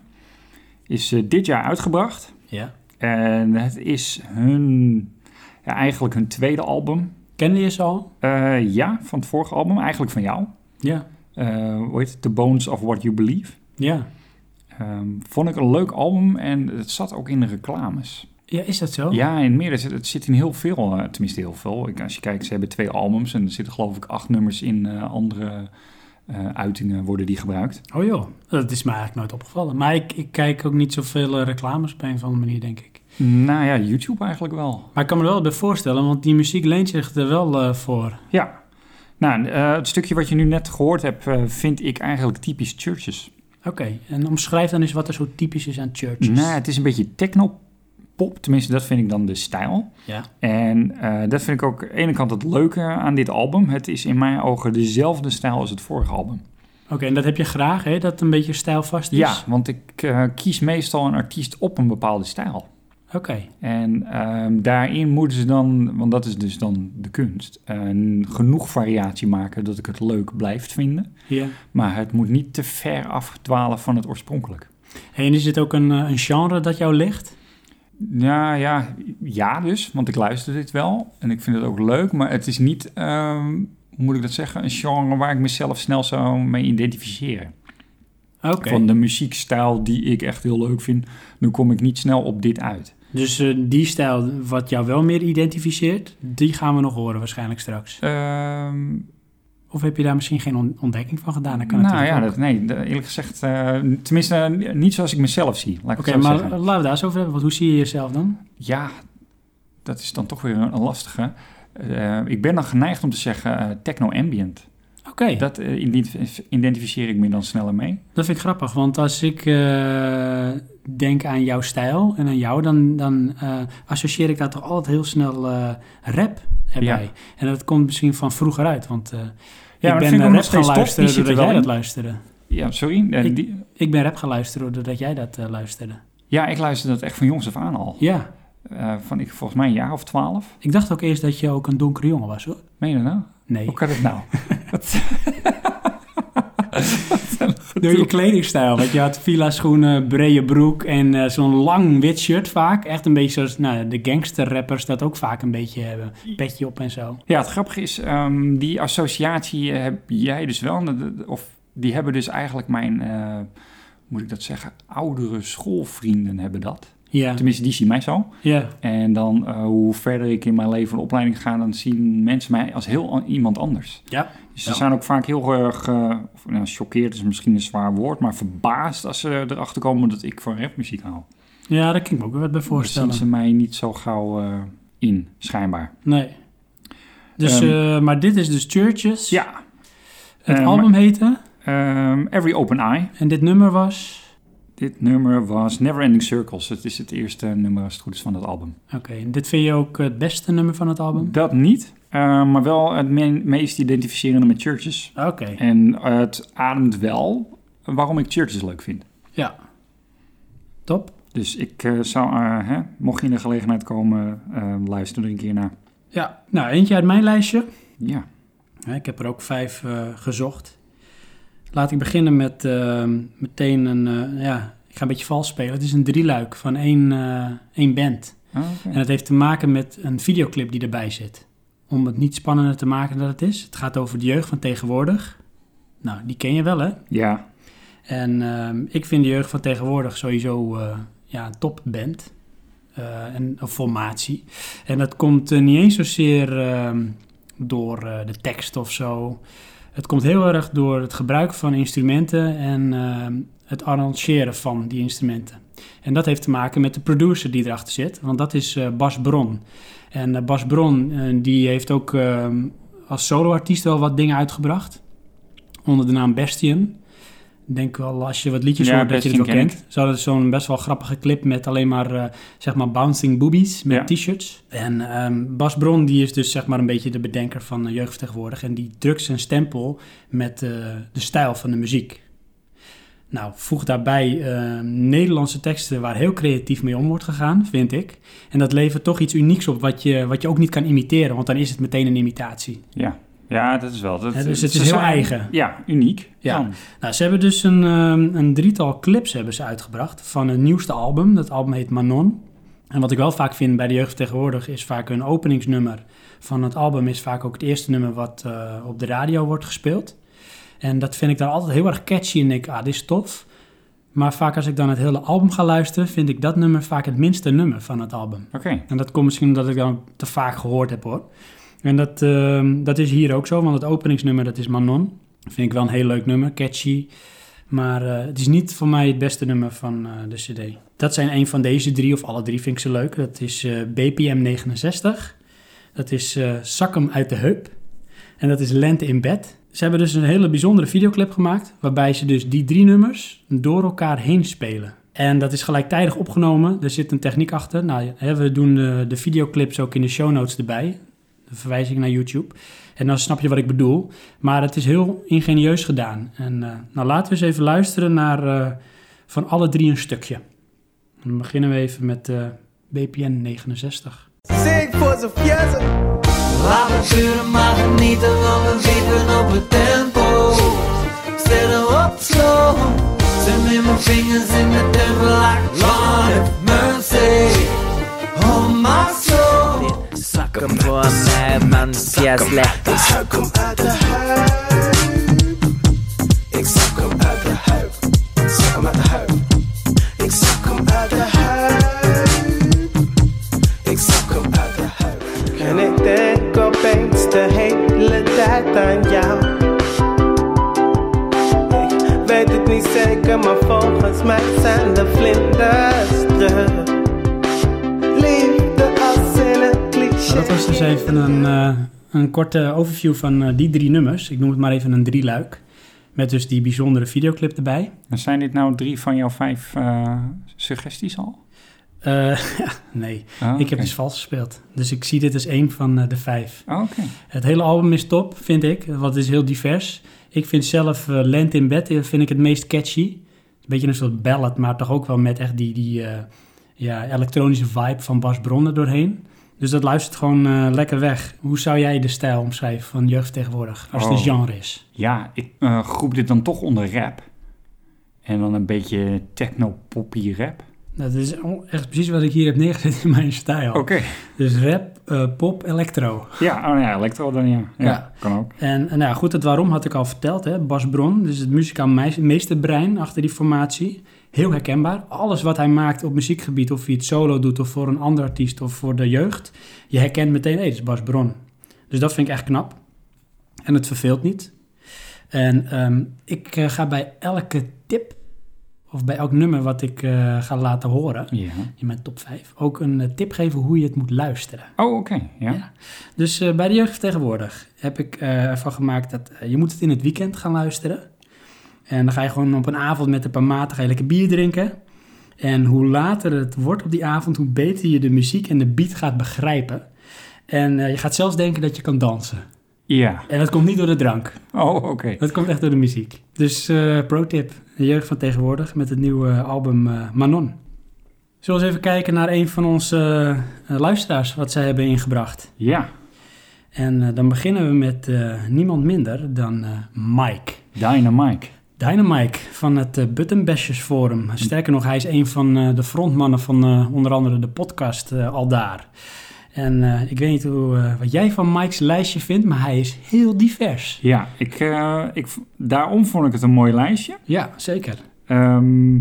Is eh, dit jaar uitgebracht. Ja. En het is hun, ja, eigenlijk hun tweede album. Kende je ze al? Eh, ja, van het vorige album. Eigenlijk van jou. Ja. Eh, hoe heet het? The Bones of What You Believe. Ja. Ehm, vond ik een leuk album en het zat ook in de reclames. Ja, is dat zo? Ja, en meer. Het, zit- het zit in heel veel, eh, tenminste heel veel. Ik, als je kijkt, ze hebben twee albums en er zitten geloof ik acht nummers in eh, andere eh, uitingen worden die gebruikt. Oh joh, dat is me eigenlijk nooit opgevallen. Maar ik, ik kijk ook niet zoveel eh, reclames op een of andere manier, denk ik. Nou ja, YouTube eigenlijk wel. Maar ik kan me er wel bij voorstellen, want die muziek leent zich er wel eh, voor. Ja. Nou, eh, het stukje wat je nu net gehoord hebt, eh, vind ik eigenlijk typisch Churches. Oké, en omschrijf dan eens wat er zo typisch is aan Churches. Nou, het is een beetje technopop, tenminste dat vind ik dan de stijl. Ja. En eh, dat vind ik ook aan de ene kant het leuke aan dit album. Het is in mijn ogen dezelfde stijl als het vorige album. Oké, en dat heb je graag, hè? Dat het een beetje stijlvast is? Ja, want ik eh, kies meestal een artiest op een bepaalde stijl. Oké. En ehm, daarin moeten ze dan, want dat is dus dan de kunst, een genoeg variatie maken dat ik het leuk blijf vinden. Ja. Maar het moet niet te ver afdwalen van het oorspronkelijk. Hey, en is dit ook een, eh, een genre dat jou ligt? Nou ja, ja dus, want ik luister dit wel en ik vind het ook leuk, maar het is niet, ehm, hoe moet ik dat zeggen, een genre waar ik mezelf snel zou mee identificeren. Oké. Van de muziekstijl die ik echt heel leuk vind, dan kom ik niet snel op dit uit. Dus eh, die stijl wat jou wel meer identificeert, die gaan we nog horen waarschijnlijk straks. Ehm, Of heb je daar misschien geen on- ontdekking van gedaan? Dan kan nou natuurlijk ja, ook. dat, nee, dat- eerlijk gezegd, eh, tenminste eh, niet zoals ik mezelf zie. Laat ik Oké, het zo maar zeggen. laten we daar eens over hebben. Want hoe zie je jezelf dan? Ja, dat is dan toch weer een een lastige. Eh, ik ben dan geneigd om te zeggen eh, techno-ambient. Oké, dat... Dat eh, identif- identificeer ik me dan sneller mee. vind ik grappig. Want als ik eh, denk aan jouw stijl en aan jou, dan, dan eh, associeer ik daar toch altijd heel snel eh, rap erbij. En dat komt misschien van vroeger uit. Want eh, maar dat ik vind ik ben ook nog rap steeds gaan tof. Die luisteren zit er doordat wel jij dat in. luisterde. Ja, sorry. eh, Ik- die- Ik ben rap gaan luisteren doordat jij dat eh, luisterde. ja, ik luister dat echt van jongs af aan al. Ja, Eh, van ik volgens mij een jaar of twaalf. ik dacht ook eerst dat je ook een donkere jongen was hoor. Meen je dat nou? Nee. Hoe kan dat nou? Door je kledingstijl. Want je had villa schoenen, brede broek en eh, zo'n lang wit shirt vaak. Echt een beetje zoals nou, de gangster rappers dat ook vaak een beetje hebben. Petje op en zo. Ja, het grappige is, ehm, die associatie heb jij dus wel. Dat- dat- Of die hebben dus eigenlijk mijn, eh, moet ik dat zeggen, oudere schoolvrienden hebben dat. Ja, Tenminste, die zien mij zo. ja. En dan eh, hoe verder ik in mijn leven een opleiding ga, dan zien mensen mij als heel an- iemand anders. Ja. Dus ze Ja. zijn ook vaak heel erg, eh, of, nou, choqueerd is misschien een zwaar woord, maar verbaasd als ze erachter komen dat ik van rapmuziek hou. Dus ja, daar kan ik me ook wel wat bij Dan voorstellen. zien ze mij niet zo gauw eh, in, schijnbaar. Nee. Dus, eh, maar dit is dus Churches. Ehm, Ja, Het eh, album heette. ehm, Every Open Eye. En dit nummer was... Dit nummer was Never Ending Circles. Het is het eerste nummer, als het goed is, van dat album. Oké, en dit vind je ook het beste nummer van het album? Dat niet, eh, maar wel het me- meest identificerende met Churches. Oké. En eh, het ademt wel waarom ik Churches leuk vind. Ja. Top. Dus ik eh, zou, eh, hè, mocht je in de gelegenheid komen, eh, luister er een keer naar. Ja, nou eentje uit mijn lijstje. Ja, Ja, Ik heb er ook vijf eh, gezocht. Laat ik beginnen met eh, meteen een... eh, ja, ik ga een beetje vals spelen. Het is een drieluik van één, eh, één band. Ah, En oké. het heeft te maken met een videoclip die erbij zit. Om het niet spannender te maken dan het is. Het gaat over de jeugd van tegenwoordig. Nou, die ken je wel, hè? ja. En ehm, ik vind de jeugd van tegenwoordig sowieso eh, ja, een topband. eh en een formatie. En dat komt eh, niet eens zozeer ehm, door eh, de tekst of zo. Het komt heel erg door het gebruik van instrumenten en ehm, het arrangeren van die instrumenten. En dat heeft te maken met de producer die erachter zit, want dat is eh, Bas Bron. En eh, Bas Bron eh, die heeft ook ehm, als soloartiest wel wat dingen uitgebracht. Onder de naam Bastion. Ik denk wel als je wat liedjes Ja, hoort dat je het wel Bastion ken kent. Ze hadden zo'n best wel grappige clip met alleen maar, eh, zeg maar bouncing boobies met Ja. t-shirts. En ehm, Bas Bron die is dus zeg maar een beetje de bedenker van de jeugdvertegenwoordig. En die drukt zijn stempel met eh, de stijl van de muziek. Nou, voeg daarbij eh, Nederlandse teksten waar heel creatief mee om wordt gegaan, vind ik. En dat levert toch iets unieks op wat je, wat je ook niet kan imiteren, want dan is het meteen een imitatie. ja. Ja, dat is wel. Dat, Hè, dus het ze is heel zijn- eigen. Ja, uniek. Ja. Dan. Nou, ze hebben dus een, ehm, een drietal clips hebben ze uitgebracht van hun nieuwste album. Dat album heet Manon. En wat ik wel vaak vind bij de jeugd tegenwoordig is vaak hun openingsnummer van het album is vaak ook het eerste nummer wat eh, op de radio wordt gespeeld. En dat vind ik dan altijd heel erg catchy en denk, ah, dit is tof. Maar vaak als ik dan het hele album ga luisteren, vind ik dat nummer vaak het minste nummer van het album. Oké. En dat komt misschien omdat ik dan te vaak gehoord heb hoor. En dat, ehm, dat is hier ook zo, want het openingsnummer dat is Manon. Vind ik wel een heel leuk nummer, catchy. Maar eh, het is niet voor mij het beste nummer van eh, de CD. Dat zijn een van deze drie, of alle drie vind ik ze leuk. Dat is eh, BPM 69. Dat is eh Zak hem uit de heup. En dat is Lente in bed. Ze hebben dus een hele bijzondere videoclip gemaakt. Waarbij ze dus die drie nummers door elkaar heen spelen. En dat is gelijktijdig opgenomen. Er zit een techniek achter. Nou, hè, we doen de, de videoclips ook in de show notes erbij. De verwijzing naar YouTube. En dan snap je wat ik bedoel. Maar het is heel ingenieus gedaan. En eh, nou, laten we eens even luisteren naar eh, van alle drie een stukje. Dan beginnen we even met eh, BPN 69. Zing voor zijn fiesta. Laat het zuren maar genieten van we zitten op het tempo. Stil op slow. Zet met mijn vingers in de tempo like Lord have mercy. On my soul. Zak hem voor mij, man, fiesta. Zak hem uit de huid. Ik zak hem uit de huid. dus even een, eh, een korte overview van eh, die drie nummers. Ik noem het maar even een drieluik. Met dus die bijzondere videoclip erbij. En Zijn dit nou drie van jouw vijf eh, suggesties al? Eh, nee, Ah, ik heb oké. dus vals gespeeld. Dus ik zie dit als één van eh, de vijf. Ah, Oké. Het hele album is top, vind ik. Want het is heel divers. Ik vind zelf eh, Land in Bed eh, vind ik het meest catchy. Een beetje een soort ballad, maar toch ook wel met echt die, die eh, ja, elektronische vibe van Bas Bronnen doorheen. Dus dat luistert gewoon eh, lekker weg. Hoe zou jij de stijl omschrijven van jeugd tegenwoordig, als het Oh. een genre is? Ja, ik eh, groep dit dan toch onder rap. En dan een beetje techno-poppy rap. Dat is o- echt precies wat ik hier heb neergezet in mijn stijl. Oké. Dus rap, eh, pop, electro. Ja, oh ja, electro dan ja. ja. Ja. kan ook. En, en nou ja, goed, het waarom had ik al verteld. Hè? Bas Bron, dus het muzikaal meis- meesterbrein achter die formatie. Heel herkenbaar. Alles wat hij maakt op muziekgebied, of hij het solo doet of voor een ander artiest of voor de jeugd. Je herkent meteen, hé, dit is Bas Bron. Dus dat vind ik echt knap. En het verveelt niet. En ehm, ik eh, ga bij elke tip, of bij elk nummer wat ik eh, ga laten horen, Ja. in mijn top 5, ook een eh, tip geven hoe je het moet luisteren. Oh, oké. Ja. Ja. Dus eh, bij de jeugd tegenwoordig heb ik eh, ervan gemaakt dat eh, je moet het in het weekend gaan luisteren. En dan ga je gewoon op een avond met een paar maten ga je lekker bier drinken. En hoe later het wordt op die avond, hoe beter je de muziek en de beat gaat begrijpen. En eh, je gaat zelfs denken dat je kan dansen. Ja. En dat komt niet door de drank. Oh, oké. Dat komt echt door de muziek. Dus eh, pro tip, de jeugd van tegenwoordig met het nieuwe album eh, Manon. Zullen we eens even kijken naar een van onze eh, luisteraars, wat zij hebben ingebracht. Ja. En eh, dan beginnen we met eh, niemand minder dan eh, Mike. Dynamite. Dynamike van het eh, Buttonbashers Forum. Sterker nog, hij is een van eh, de frontmannen van eh, onder andere de podcast eh, Al Daar. En eh, ik weet niet hoe, eh, wat jij van Mike's lijstje vindt, maar hij is heel divers. Ja, ik, eh, ik, v- daarom vond ik het een mooi lijstje. Ja, zeker. Ehm,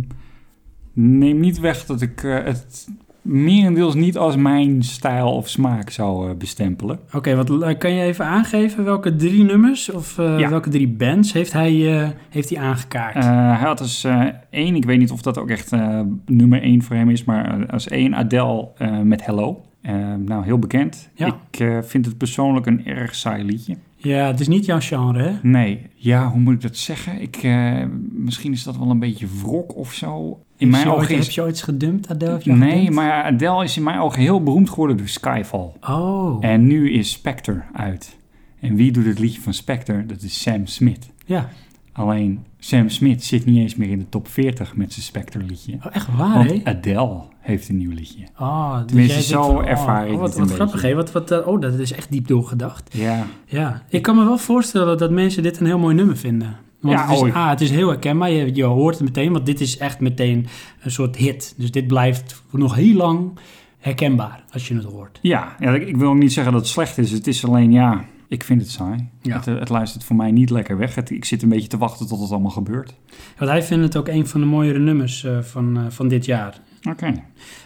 neem niet weg dat ik eh, het merendeels niet als mijn stijl of smaak zou eh, bestempelen. Oké, wat eh, kan je even aangeven welke drie nummers of eh, Ja. welke drie bands heeft hij, eh, heeft hij aangekaart? Eh, hij had als eh, één, ik weet niet of dat ook echt eh, nummer één voor hem is, maar eh, als één Adele eh, met Hello. Eh, nou, heel bekend. Ja. Ik eh, vind het persoonlijk een erg saai liedje. ja, het is niet jouw genre, hè? Nee, ja, hoe moet ik dat zeggen? Ik, eh, misschien is dat wel een beetje wrok of zo. In Heb mijn je ooit- ogen Heb is... je ooit iets gedumpt, Adele? Heb je ooit Nee, gedumpt? maar Adele is in mijn ogen heel beroemd geworden door Skyfall. Oh, En nu is Spectre uit. En wie doet het liedje van Spectre? Dat is Sam Smith. ja. Alleen Sam Smith zit niet eens meer in de top 40 met zijn Spectre liedje. Oh, echt waar, hè? Want Adele heeft een nieuw liedje. Ah, dus Tenminste, jij zo denkt oh, ervaar ik oh, wat, het wat een grappig, beetje. hè? Wat, wat, eh, oh, dat is echt diep doorgedacht. Ja, Ja, ik kan me wel voorstellen dat mensen dit een heel mooi nummer vinden. Want Ja, het is, oh, ik- ah, het is heel herkenbaar, je, je hoort het meteen, want dit is echt meteen een soort hit. Dus dit blijft nog heel lang herkenbaar als je het hoort. ja, ja ik, ik wil ook niet zeggen dat het slecht is. Het is alleen, ja, ik vind het saai. Ja. Het, eh, het luistert voor mij niet lekker weg. Het- ik zit een beetje te wachten tot het allemaal gebeurt. Want hij vindt het ook een van de mooiere nummers eh, van, eh, van dit jaar. Oké.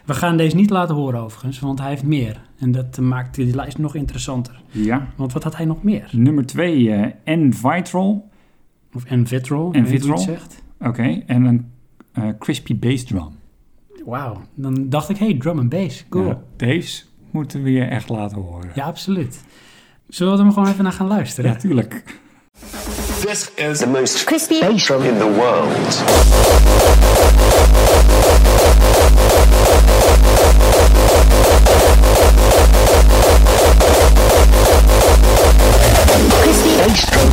We gaan deze niet laten horen overigens, want hij heeft meer. En dat eh, maakt die lijst nog interessanter. Ja. Want wat had hij nog meer? Nummer 2, eh N Vitral. Of Envitrol, En Vitrol. Vitrol zegt. Oké. En een eh, crispy bass drum. Wauw, dan dacht ik, hey, drum and bass, cool. Ja, deze moeten we je echt laten horen. Ja, absoluut. Zullen we er maar gewoon even naar gaan luisteren? natuurlijk. This is the most crispy bass drum in the world. Bass drum.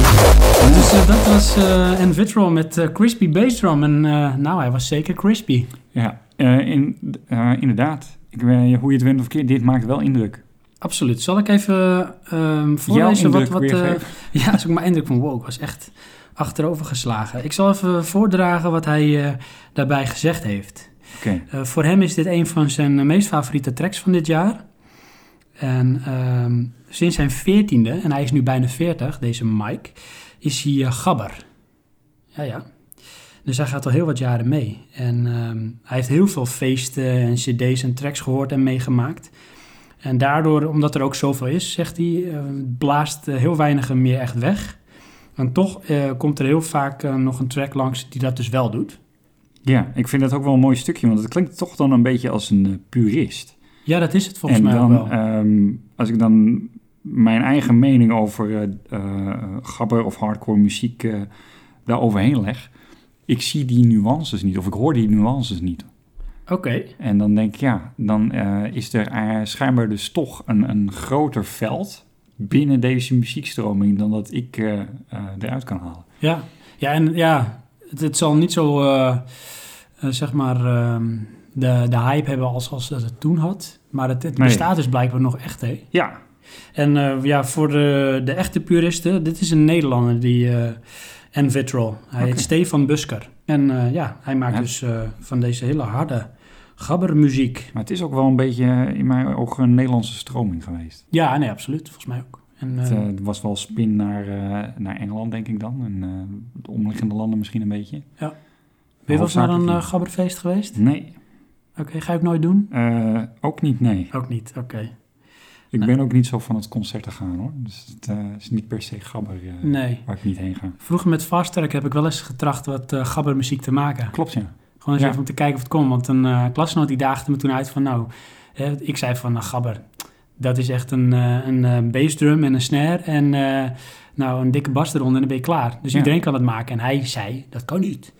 Dus eh, dat was eh Envitrol met eh, Crispy Bass Drum. En eh, nou, hij was zeker crispy. Ja, eh, in, eh, inderdaad. Ik weet, hoe je het went of keer, dit maakt wel indruk. Absoluut. Zal ik even ehm Jouw voorlezen indruk wat... wat eh, weergeven. ja, dat is ook mijn indruk van wow, ik was echt achterover geslagen. Ik zal even voordragen wat hij eh, daarbij gezegd heeft. Oké. Eh, voor hem is dit een van zijn eh, meest favoriete tracks van dit jaar. En ehm, sinds zijn veertiende, en hij is nu bijna veertig, deze Mike, is hij eh, gabber. Ja, ja. Dus hij gaat al heel wat jaren mee. En ehm, hij heeft heel veel feesten en cd's en tracks gehoord en meegemaakt. En daardoor, omdat er ook zoveel is, zegt hij, eh, blaast eh, heel weinig hem meer echt weg. En toch eh, komt er heel vaak eh, nog een track langs die dat dus wel doet. Ja, ik vind dat ook wel een mooi stukje, want het klinkt toch dan een beetje als een eh, purist. Ja, dat is het volgens en eh, mij ook dan, wel. ehm, als ik dan mijn eigen mening over eh, eh, gabber of hardcore muziek eh, daar overheen leg, ik zie die nuances niet of ik hoor die nuances niet. Oké. En dan denk ik, ja, dan eh, is er eh, schijnbaar dus toch een, een groter veld binnen deze muziekstroming dan dat ik eh, eh, eruit kan halen. Ja. ja, en ja, het, het zal niet zo, eh, eh, zeg maar, ehm, de, de hype hebben als, als dat het toen had. Maar het, het Nee. bestaat dus blijkbaar nog echt, hè? Ja, En eh, ja, voor de, de echte puristen, dit is een Nederlander die eh en vitrol. Hij heet Oké. Stefan Busker. En eh, ja, hij maakt Ja. dus eh, van deze hele harde gabbermuziek. maar het is ook wel een beetje eh, in mijn ogen een Nederlandse stroming geweest. Ja, nee, absoluut. Volgens mij ook. En, Het eh, eh, was wel spin naar, eh, naar Engeland, denk ik dan. En eh, de omliggende landen misschien een beetje. ben je wel eens naar een hoofdzakelijk eh, niet. gabberfeest geweest? Nee, Oké, ga ik nooit doen? eh, ook niet, nee. Ook niet, oké. Ik ben ook niet zo van het concerten gaan, hoor. Dus het eh, is niet per se gabber eh, Nee. waar ik niet heen ga. Vroeger met Fast Track heb ik wel eens getracht wat eh, gabbermuziek te maken. Klopt, ja. Gewoon eens Ja. even om te kijken of het kon. Want een eh klasgenoot die daagde me toen uit van... Nou, eh, ik zei van, nou, gabber, dat is echt een, eh een eh, bassdrum en een snare... en eh, nou, een dikke bas eronder en dan ben je klaar. Dus Ja. iedereen kan het maken. En hij zei, dat kan niet.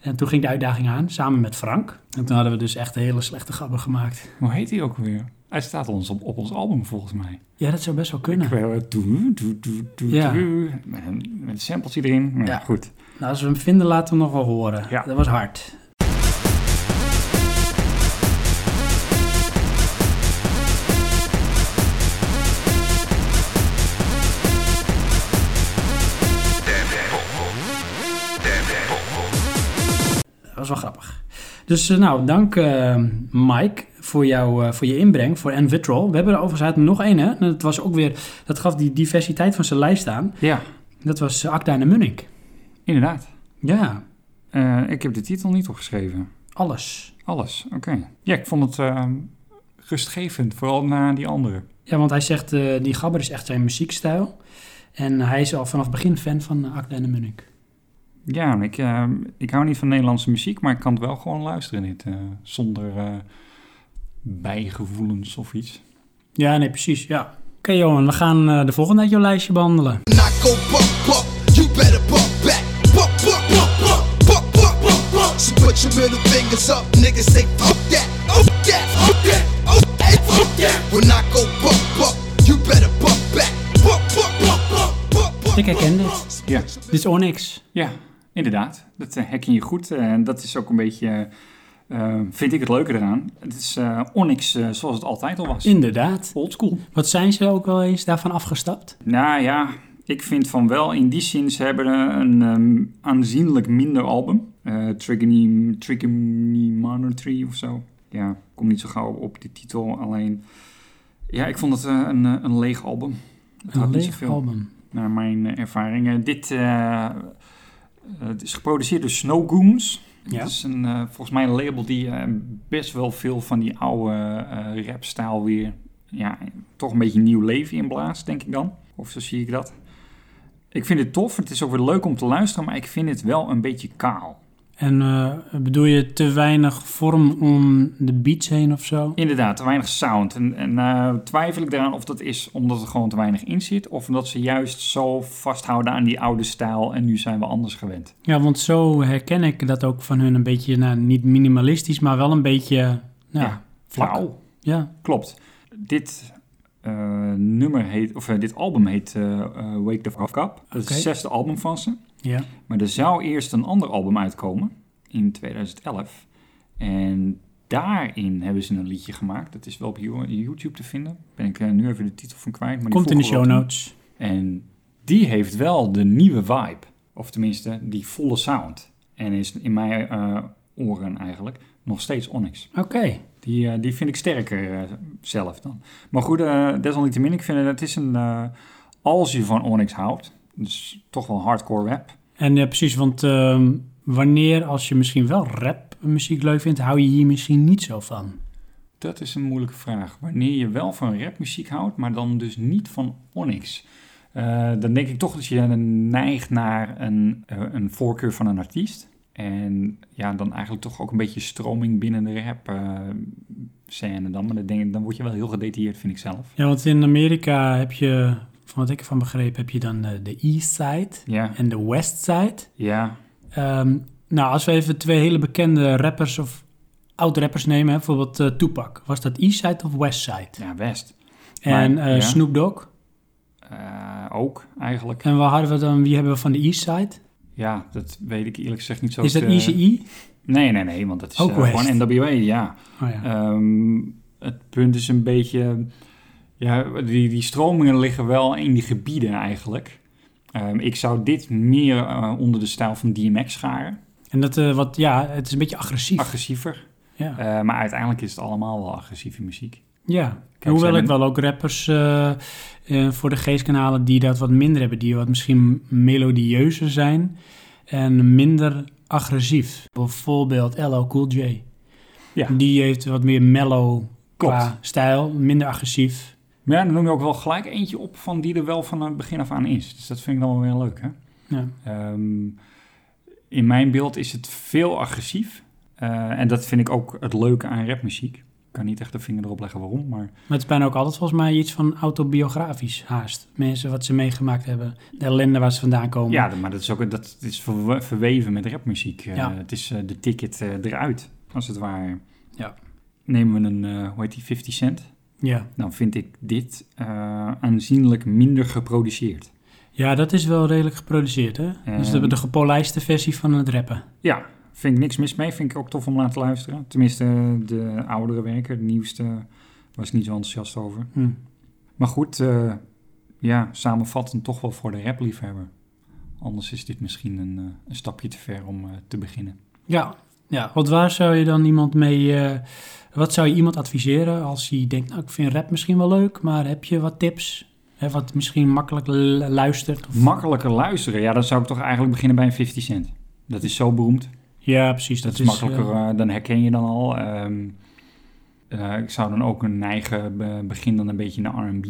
En toen ging de uitdaging aan, samen met Frank. En toen hadden we dus echt een hele slechte gabber gemaakt. Hoe heet hij ook weer? Hij staat ons op, op ons album, volgens mij. Ja, dat zou best wel kunnen. Terwijl het doe, doe, doe, doe, Ja. doe, Met, een- met een sampletje erin. Nou, Ja. goed. Nou, als we hem vinden, laten we hem nog wel horen. Ja. Dat was hard. Dat was wel grappig. Dus eh, nou, dank eh, Mike voor, jou, eh, voor je inbreng, voor Envitrol. We hebben er overigens uit nog één, hè? En Dat, was ook weer, dat gaf die diversiteit van zijn lijst aan. Ja, Dat was eh, Akda en de Munnik. inderdaad. Ja, Eh, ik heb de titel niet opgeschreven. alles. Alles, oké. Ja, ik vond het eh, rustgevend, vooral na die andere. Ja, want hij zegt, eh, die gabber is echt zijn muziekstijl. En hij is al vanaf het begin fan van uh, Akda en de Munnik. Ja, en ik, eh, ik hou niet van Nederlandse muziek, maar ik kan het wel gewoon luisteren dit, eh, zonder eh, bijgevoelens of iets. Ja, nee, precies, ja. Oké Johan, we gaan eh, de volgende uit jouw lijstje behandelen. I go bump, bump, you better bump back. Bump, bump, bump, bump, bump, bump, bump, bump. So put your middle fingers up, niggas say fuck that, fuck that, fuck that, fuck that, fuck that. When I go bump, bump, you better bump back. Bump, bump, bump, bump, bump, bump, Ik herken bump, dit. bump. Ja, Dit is Onyx. ja inderdaad. Dat eh, herken je goed eh, en dat is ook een beetje, eh, vind ik het leuke eraan. Het is eh Onyx eh, zoals het altijd al was. Inderdaad. Oldschool. Wat zijn ze ook wel eens daarvan afgestapt? Nou ja, ik vind van wel. In die zin, ze hebben een ehm, aanzienlijk minder album. eh Trigony, Trigony Monetary of zo. Ja, ik kom niet zo gauw op die titel. Alleen, ja, ik vond het eh, een, eh, een leeg album. Het had Een niet leeg zoveel, album. naar mijn eh, ervaringen. Dit eh, eh, het is geproduceerd door Snow Goons. Ja. Dat is een, eh, volgens mij een label die eh, best wel veel van die oude eh rapstijl weer... Ja, toch een beetje nieuw leven inblaast, denk ik dan. Of zo zie ik dat. Ik vind het tof. Het is ook weer leuk om te luisteren, maar ik vind het wel een beetje kaal. En eh, bedoel je te weinig vorm om de beats heen of zo? Inderdaad, te weinig sound. En, en eh, twijfel ik eraan of dat is omdat er gewoon te weinig in zit... of omdat ze juist zo vasthouden aan die oude stijl en nu zijn we anders gewend. Ja, want zo herken ik dat ook van hun een beetje, nou, niet minimalistisch, maar wel een beetje, nou, Ja, vlak. Flauw. Ja, Klopt. Dit eh, nummer heet, of eh, dit album heet eh, eh, Wake the Fuck Up. Dat is Oké. het zesde album van ze. ja. Maar er zou eerst een ander album uitkomen in 2011. En daarin hebben ze een liedje gemaakt. Dat is wel op You- YouTube te vinden. Ben ik eh, nu even de titel van kwijt. Maar die Komt in de voegen show we wel notes. toe. En die heeft wel de nieuwe vibe. Of tenminste, die volle sound. En is in mijn eh, oren eigenlijk nog steeds Onyx. Oké. Die, eh, die vind ik sterker eh, zelf dan. Maar goed, eh, desalniettemin, ik vind het, het is een... eh, als je van Onyx houdt, dus toch wel hardcore rap. En ja, precies, want ehm, wanneer, als je misschien wel rap muziek leuk vindt, hou je hier misschien niet zo van. Dat is een moeilijke vraag. Wanneer je wel van rapmuziek houdt, maar dan dus niet van Onyx. eh, dan denk ik toch dat je dan neigt naar een, eh, een voorkeur van een artiest. En ja, dan eigenlijk toch ook een beetje stroming binnen de rap eh, scène dan. Maar dan, denk ik, dan word je wel heel gedetailleerd, vind ik zelf. Ja, want in Amerika heb je, van wat ik ervan begreep, heb je dan eh, de East Side Ja, en de West Side. ja. Ehm, nou, als we even twee hele bekende rappers of oud-rappers nemen, hè, bijvoorbeeld eh, Tupac. Was dat East Side of West Side? ja West. en maar- eh, ja. Snoop Dogg. Eh, ook, eigenlijk. En waar hadden we dan, wie hebben we van de East Side? Ja, dat weet ik eerlijk gezegd niet zo. Is dat te- Easy E? Nee, nee, nee, want dat is Ook eh, West. gewoon NWA, ja. Oh ja. Ehm, het punt is een beetje... Ja, die, die stromingen liggen wel in die gebieden eigenlijk. Ehm, ik zou dit meer eh, onder de stijl van DMX scharen. En dat, eh, wat, ja, het is een beetje agressief. Agressiever. ja. Eh, maar uiteindelijk is het allemaal wel agressieve muziek. ja. Kijk, Hoewel zijn ik men- wel ook rappers eh, eh, voor de geestkanalen die dat wat minder hebben, die wat misschien melodieuzer zijn en minder agressief. Bijvoorbeeld LL Cool J. Ja. Die heeft wat meer mellow Klopt. qua stijl, minder agressief. Maar ja, dan noem je ook wel gelijk eentje op van die er wel van het begin af aan is. Dus dat vind ik dan wel weer leuk, hè? Ja. Ehm, in mijn beeld is het veel agressief. Eh, en dat vind ik ook het leuke aan rapmuziek. Ik kan niet echt de vinger erop leggen waarom, maar... Maar het is bijna ook altijd volgens mij iets van autobiografisch haast. Mensen wat ze meegemaakt hebben, de ellende waar ze vandaan komen. Ja, maar dat is ook dat is verwe- verweven met rapmuziek. Eh, Ja. Het is eh, de ticket eh, eruit, als het ware. Ja. Nemen we een, eh hoe heet die, 50 cent? ja. Dan vind ik dit eh, aanzienlijk minder geproduceerd. Ja, dat is wel redelijk geproduceerd, hè? Dus de, Ehm. de gepolijste versie van het rappen. Ja, vind ik niks mis mee. Vind ik ook tof om laten luisteren. Tenminste, de oudere werken, de nieuwste, was ik niet zo enthousiast over. Hm. Maar goed, eh, ja, samenvattend toch wel voor de rapliefhebber. Anders is dit misschien een, eh, een stapje te ver om eh, te beginnen. Ja. ja. Want waar zou je dan iemand mee... eh, wat zou je iemand adviseren als hij denkt... Nou, ik vind rap misschien wel leuk, maar heb je wat tips? Hè, wat misschien makkelijk l- luistert? Of... Makkelijker luisteren, ja, dan zou ik toch eigenlijk beginnen bij een 50 cent. Dat is zo beroemd. ja, precies. Dat, Dat, is, makkelijker, eh, eh, dan herken je dan al. Ehm, eh, ik zou dan ook een neigen, be- begin dan een beetje naar R&B.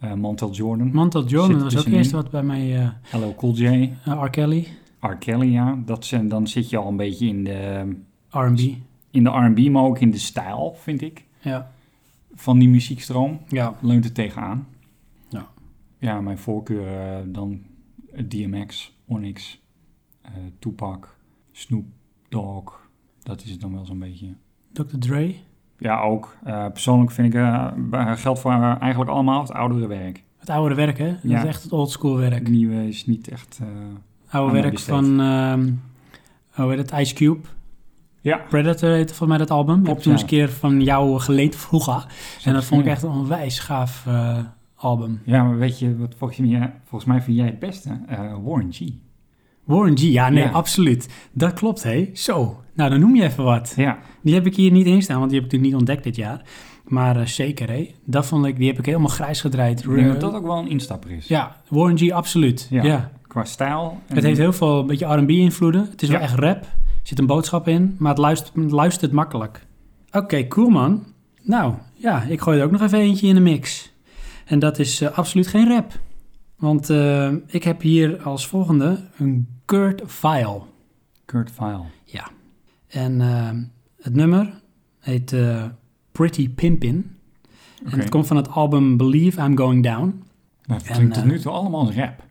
Eh Mantel Jordan, Mantel Zit Jordan er was ook tussenin. eerst wat bij mij... eh, LL Cool J, eh, R. Kelly, R. Kelly, ja. Dat zijn, dan zit je al een beetje in de, R&B. in de R&B, maar ook in de stijl, vind ik, Ja. van die muziekstroom. ja. Leunt het tegenaan. Ja. Ja, mijn voorkeur eh, dan DMX, Onyx, eh, Tupac, Snoop Dogg. Dat is het dan wel zo'n beetje. Dr. Dre. Ja, ook. Eh, persoonlijk vind ik, eh, b- geldt voor eh, eigenlijk allemaal het oudere werk. Het oude werk, hè? Dat Ja. is echt het oldschool werk. Het nieuwe is niet echt... eh, Oude Aan mij werk besteed. van... ehm hoe heet het? Ice Cube. Ja. Predator heette volgens mij dat album. Ik heb Klopt, toen ja. eens een keer van jou geleend vroeger. En dat vond ik ja. echt een onwijs gaaf eh, album. Ja, maar weet je, wat volgens mij, eh, volgens mij vind jij het beste? Eh, Warren G. Warren G, ja, nee, Ja. absoluut. Dat klopt, hé. Zo, nou dan noem je even wat. Ja, Die heb ik hier niet in staan, want die heb ik natuurlijk niet ontdekt dit jaar. Maar eh, zeker, hé. Dat vond ik, die heb ik helemaal grijs gedraaid. Eh, ik denk dat dat ook wel een instapper is. Ja, Warren G, absoluut. Ja. Ja. Qua stijl. en- Het heeft heel veel, een beetje R&B-invloeden. Het is wel Mhm. Ja. echt rap. Er zit een boodschap in, maar het luistert, het luistert makkelijk. Oké, cool man. Nou, ja, ik gooi er ook nog even eentje in de mix. En dat is eh, absoluut geen rap. Want eh, ik heb hier als volgende een Kurt Vile. Kurt Vile. En eh, het nummer heet eh, Pretty Pimpin. Oké. En het komt van het album Believe I'm Going Down. Nou, dat en, klinkt tot eh, nu toe allemaal als rap.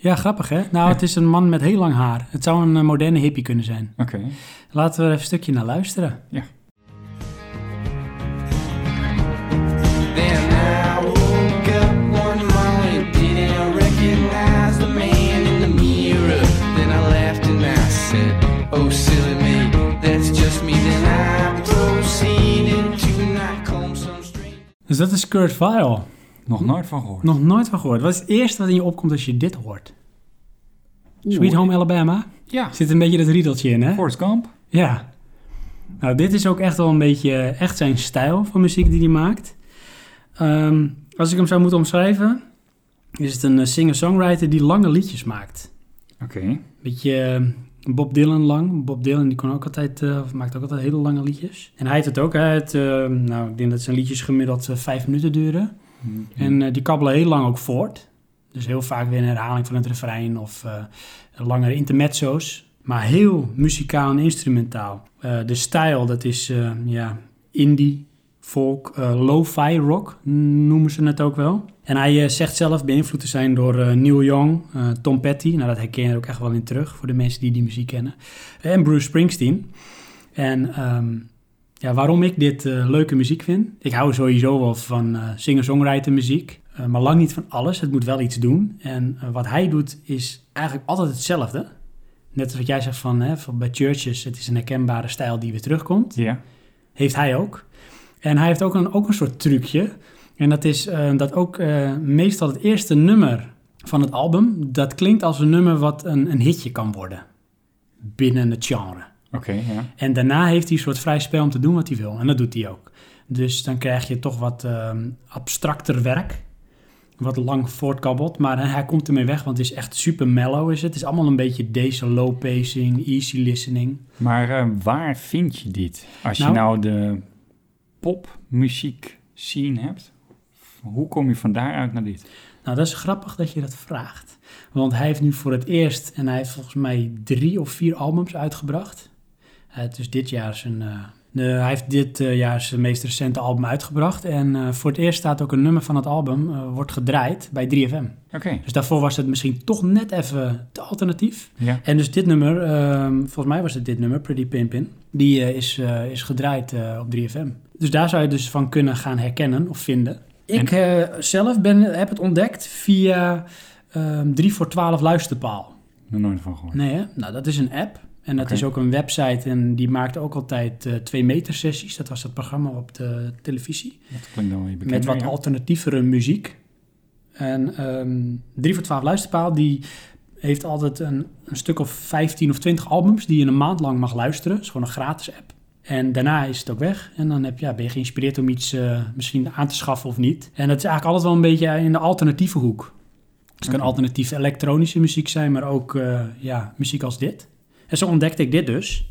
Ja, grappig hè? Nou, het is een man met heel lang haar. Het zou een eh, moderne hippie kunnen zijn. Oké. Laten we er even een stukje naar luisteren. Then I woke up one morning, didn't recognize the man in the mirror. Then I laughed and I said, Oh, silly me, that's just me. Then I proceeded to knock home some strange. Dus dat is Kurt Vile. Nog nooit van gehoord. Hm? Nog nooit van gehoord. Wat is het eerste wat in je opkomt als je dit hoort? Sweet Home Alabama. Ja. Zit een beetje dat riedeltje in, hè? Forrest Gump. Ja. Nou, dit is ook echt wel een beetje eh, echt zijn stijl van muziek die hij maakt. Ehm, als ik hem zou moeten omschrijven, is het een eh, singer-songwriter die lange liedjes maakt. Oké. Beetje eh, Bob Dylan lang. Bob Dylan die kon ook altijd, eh, of maakt ook altijd hele lange liedjes. En hij heeft het ook. Hij heeft, eh, nou, ik denk dat zijn liedjes gemiddeld eh, vijf minuten duren. Mm. En eh, die kabbelen heel lang ook voort. Dus heel vaak weer een herhaling van het refrein of eh, langere intermezzo's. Maar heel muzikaal en instrumentaal. Eh, de stijl, dat is eh, ja, indie, folk, eh, lo-fi rock noemen ze het ook wel. En hij eh, zegt zelf beïnvloed te zijn door eh, Neil Young, eh, Tom Petty. Nou, dat herken je er ook echt wel in terug voor de mensen die die muziek kennen. En Bruce Springsteen. En ehm, ja, waarom ik dit eh, leuke muziek vind? Ik hou sowieso wel van eh singer-songwriter muziek. eh, maar lang niet van alles. Het moet wel iets doen. En eh, wat hij doet is eigenlijk altijd hetzelfde. Net als wat jij zegt van, hè, van bij churches, het is een herkenbare stijl die weer terugkomt. Ja. Heeft hij ook. En hij heeft ook een, ook een soort trucje. En dat is eh, dat ook eh, meestal het eerste nummer van het album, dat klinkt als een nummer wat een, een hitje kan worden. Binnen het genre. Oké, ja. En daarna heeft hij een soort vrij spel om te doen wat hij wil. En dat doet hij ook. Dus dan krijg je toch wat ehm, abstracter werk. Wat lang voortkabbelt. Maar eh, hij komt ermee weg, want het is echt super mellow. Is het. het is allemaal een beetje deze low pacing, easy listening. Maar eh, waar vind je dit? Als Nou- je nou de popmuziek scene hebt, hoe kom je van daaruit naar dit? Nou, dat is grappig dat je dat vraagt. Want hij heeft nu voor het eerst, en hij heeft volgens mij drie of vier albums uitgebracht. Het dus dit jaar zijn. eh, de, hij heeft dit eh, jaar zijn meest recente album uitgebracht. En eh, voor het eerst staat ook een nummer van het album, eh, wordt gedraaid bij 3FM. Oké, Dus daarvoor was het misschien toch net even te alternatief. ja. En dus dit nummer, ehm, volgens mij was het dit nummer, Pretty Pimpin, die eh, is, eh, is gedraaid eh, op 3FM. Dus daar zou je dus van kunnen gaan herkennen of vinden. Ik eh, zelf ben, heb het ontdekt via ehm 3 voor 12 Luisterpaal. Nog nooit van gehoord. Nee, hè? Nou, dat is een app. En dat Oké. is ook een website en die maakt ook altijd eh twee meter sessies. Dat was dat programma op de televisie Dat klinkt dan wel weer bekend. met wat ja. alternatievere muziek. En ehm 3 voor 12 Luisterpaal, die heeft altijd een, een stuk of 15 of 20 albums die je een maand lang mag luisteren. Het is gewoon een gratis app. En daarna is het ook weg. En dan heb, ja, ben je geïnspireerd om iets eh, misschien aan te schaffen of niet. En dat is eigenlijk altijd wel een beetje in de alternatieve hoek. Dus het kan alternatieve elektronische muziek zijn, maar ook eh, ja, muziek als dit. En zo ontdekte ik dit dus.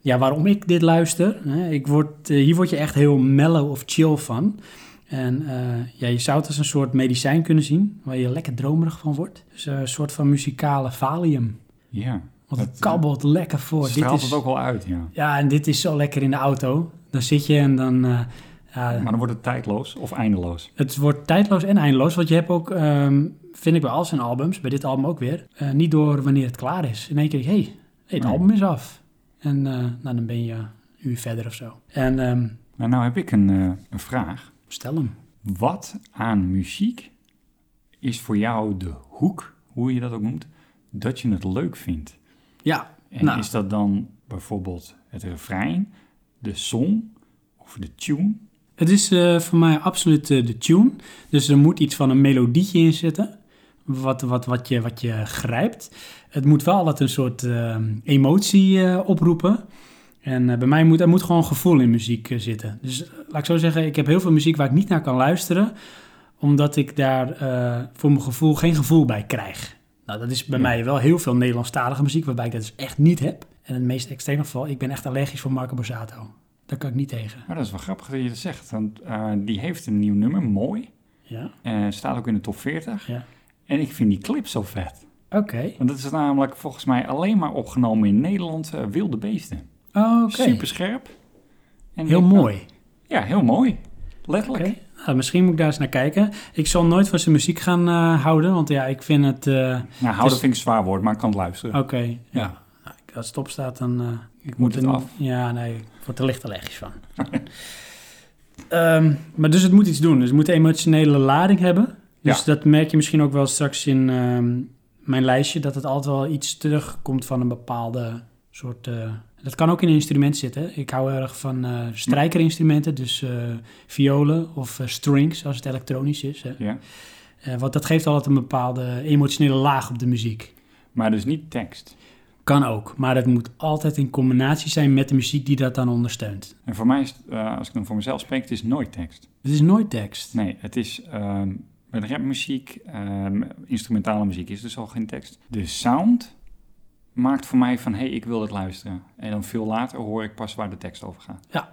Ja, waarom ik dit luister? Hè, ik word, eh, hier word je echt heel mellow of chill van. En eh, ja, je zou het als een soort medicijn kunnen zien, waar je lekker dromerig van wordt. Dus eh, een soort van muzikale valium. Ja. Want het Dat, eh, kabbelt lekker voor. straalt Oh, dit is, het ook wel uit, ja. Ja, en dit is zo lekker in de auto. Dan zit je en dan... eh, ja, Maar dan wordt het tijdloos of eindeloos. het wordt tijdloos en eindeloos, want je hebt ook, ehm, vind ik bij al zijn albums, bij dit album ook weer, eh, niet door wanneer het klaar is. In één keer, hé, hey, het Nee. album is af. En eh, nou, dan ben je een uur verder of zo. En ehm, Maar nou heb ik een, eh, een vraag. stel hem. Wat aan muziek is voor jou de hoek, hoe je dat ook noemt, dat je het leuk vindt? Ja, En nou, is dat dan bijvoorbeeld het refrein, de song of de tune? het is eh, voor mij absoluut eh, de tune. Dus er moet iets van een melodietje in zitten, wat, wat, wat, je, wat je grijpt. Het moet wel altijd een soort ehm, emotie eh, oproepen. En eh, bij mij moet er moet gewoon gevoel in muziek eh, zitten. Dus eh, laat ik zo zeggen, ik heb heel veel muziek waar ik niet naar kan luisteren, omdat ik daar eh, voor mijn gevoel geen gevoel bij krijg. Nou, dat is bij mij wel heel veel Nederlandstalige muziek, waarbij ik dat dus echt niet heb. En in het meest extreme geval, ik ben echt allergisch voor Marco Borsato. Daar kan ik niet tegen. Nou, dat is wel grappig dat je dat zegt, want eh, die heeft een nieuw nummer, mooi. Ja, Eh, staat ook in de top 40. ja. En ik vind die clip zo vet. Oké. Want dat is namelijk volgens mij alleen maar opgenomen in Nederland, eh, wilde beesten. Oh, Oké. Super scherp. Heel mooi. Ja, heel mooi. Letterlijk. eh, Oké. Nou, misschien moet ik daar eens naar kijken. Ik zal nooit van zijn muziek gaan eh, houden, want ja, ik vind het... eh, Nou, houden Dus- vind ik een zwaar woord, maar ik kan het luisteren. Oké, ja. Nou, Als het op staat, dan... eh, ik word moet het er- af. Ja, nee, ik word er licht allergisch van. Ehm, maar dus het moet iets doen. Dus het moet een emotionele lading hebben. Dus Ja. dat merk je misschien ook wel straks in ehm, mijn lijstje... dat het altijd wel iets terugkomt van een bepaalde soort... eh, dat kan ook in een instrument zitten. hè. Ik hou erg van eh, strijkerinstrumenten, dus eh, violen of eh, strings als het elektronisch is. Hè. Ja. Eh, want dat geeft altijd een bepaalde emotionele laag op de muziek. Maar dus niet tekst. Kan ook, maar het moet altijd in combinatie zijn met de muziek die dat dan ondersteunt. En voor mij is, het, eh, als ik dan voor mezelf spreek, het is nooit tekst. Het is nooit tekst. Nee, het is ehm, met rapmuziek, ehm, instrumentale muziek is dus al geen tekst. De sound maakt voor mij van, hé, hey, ik wil het luisteren. En dan veel later hoor ik pas waar de tekst over gaat.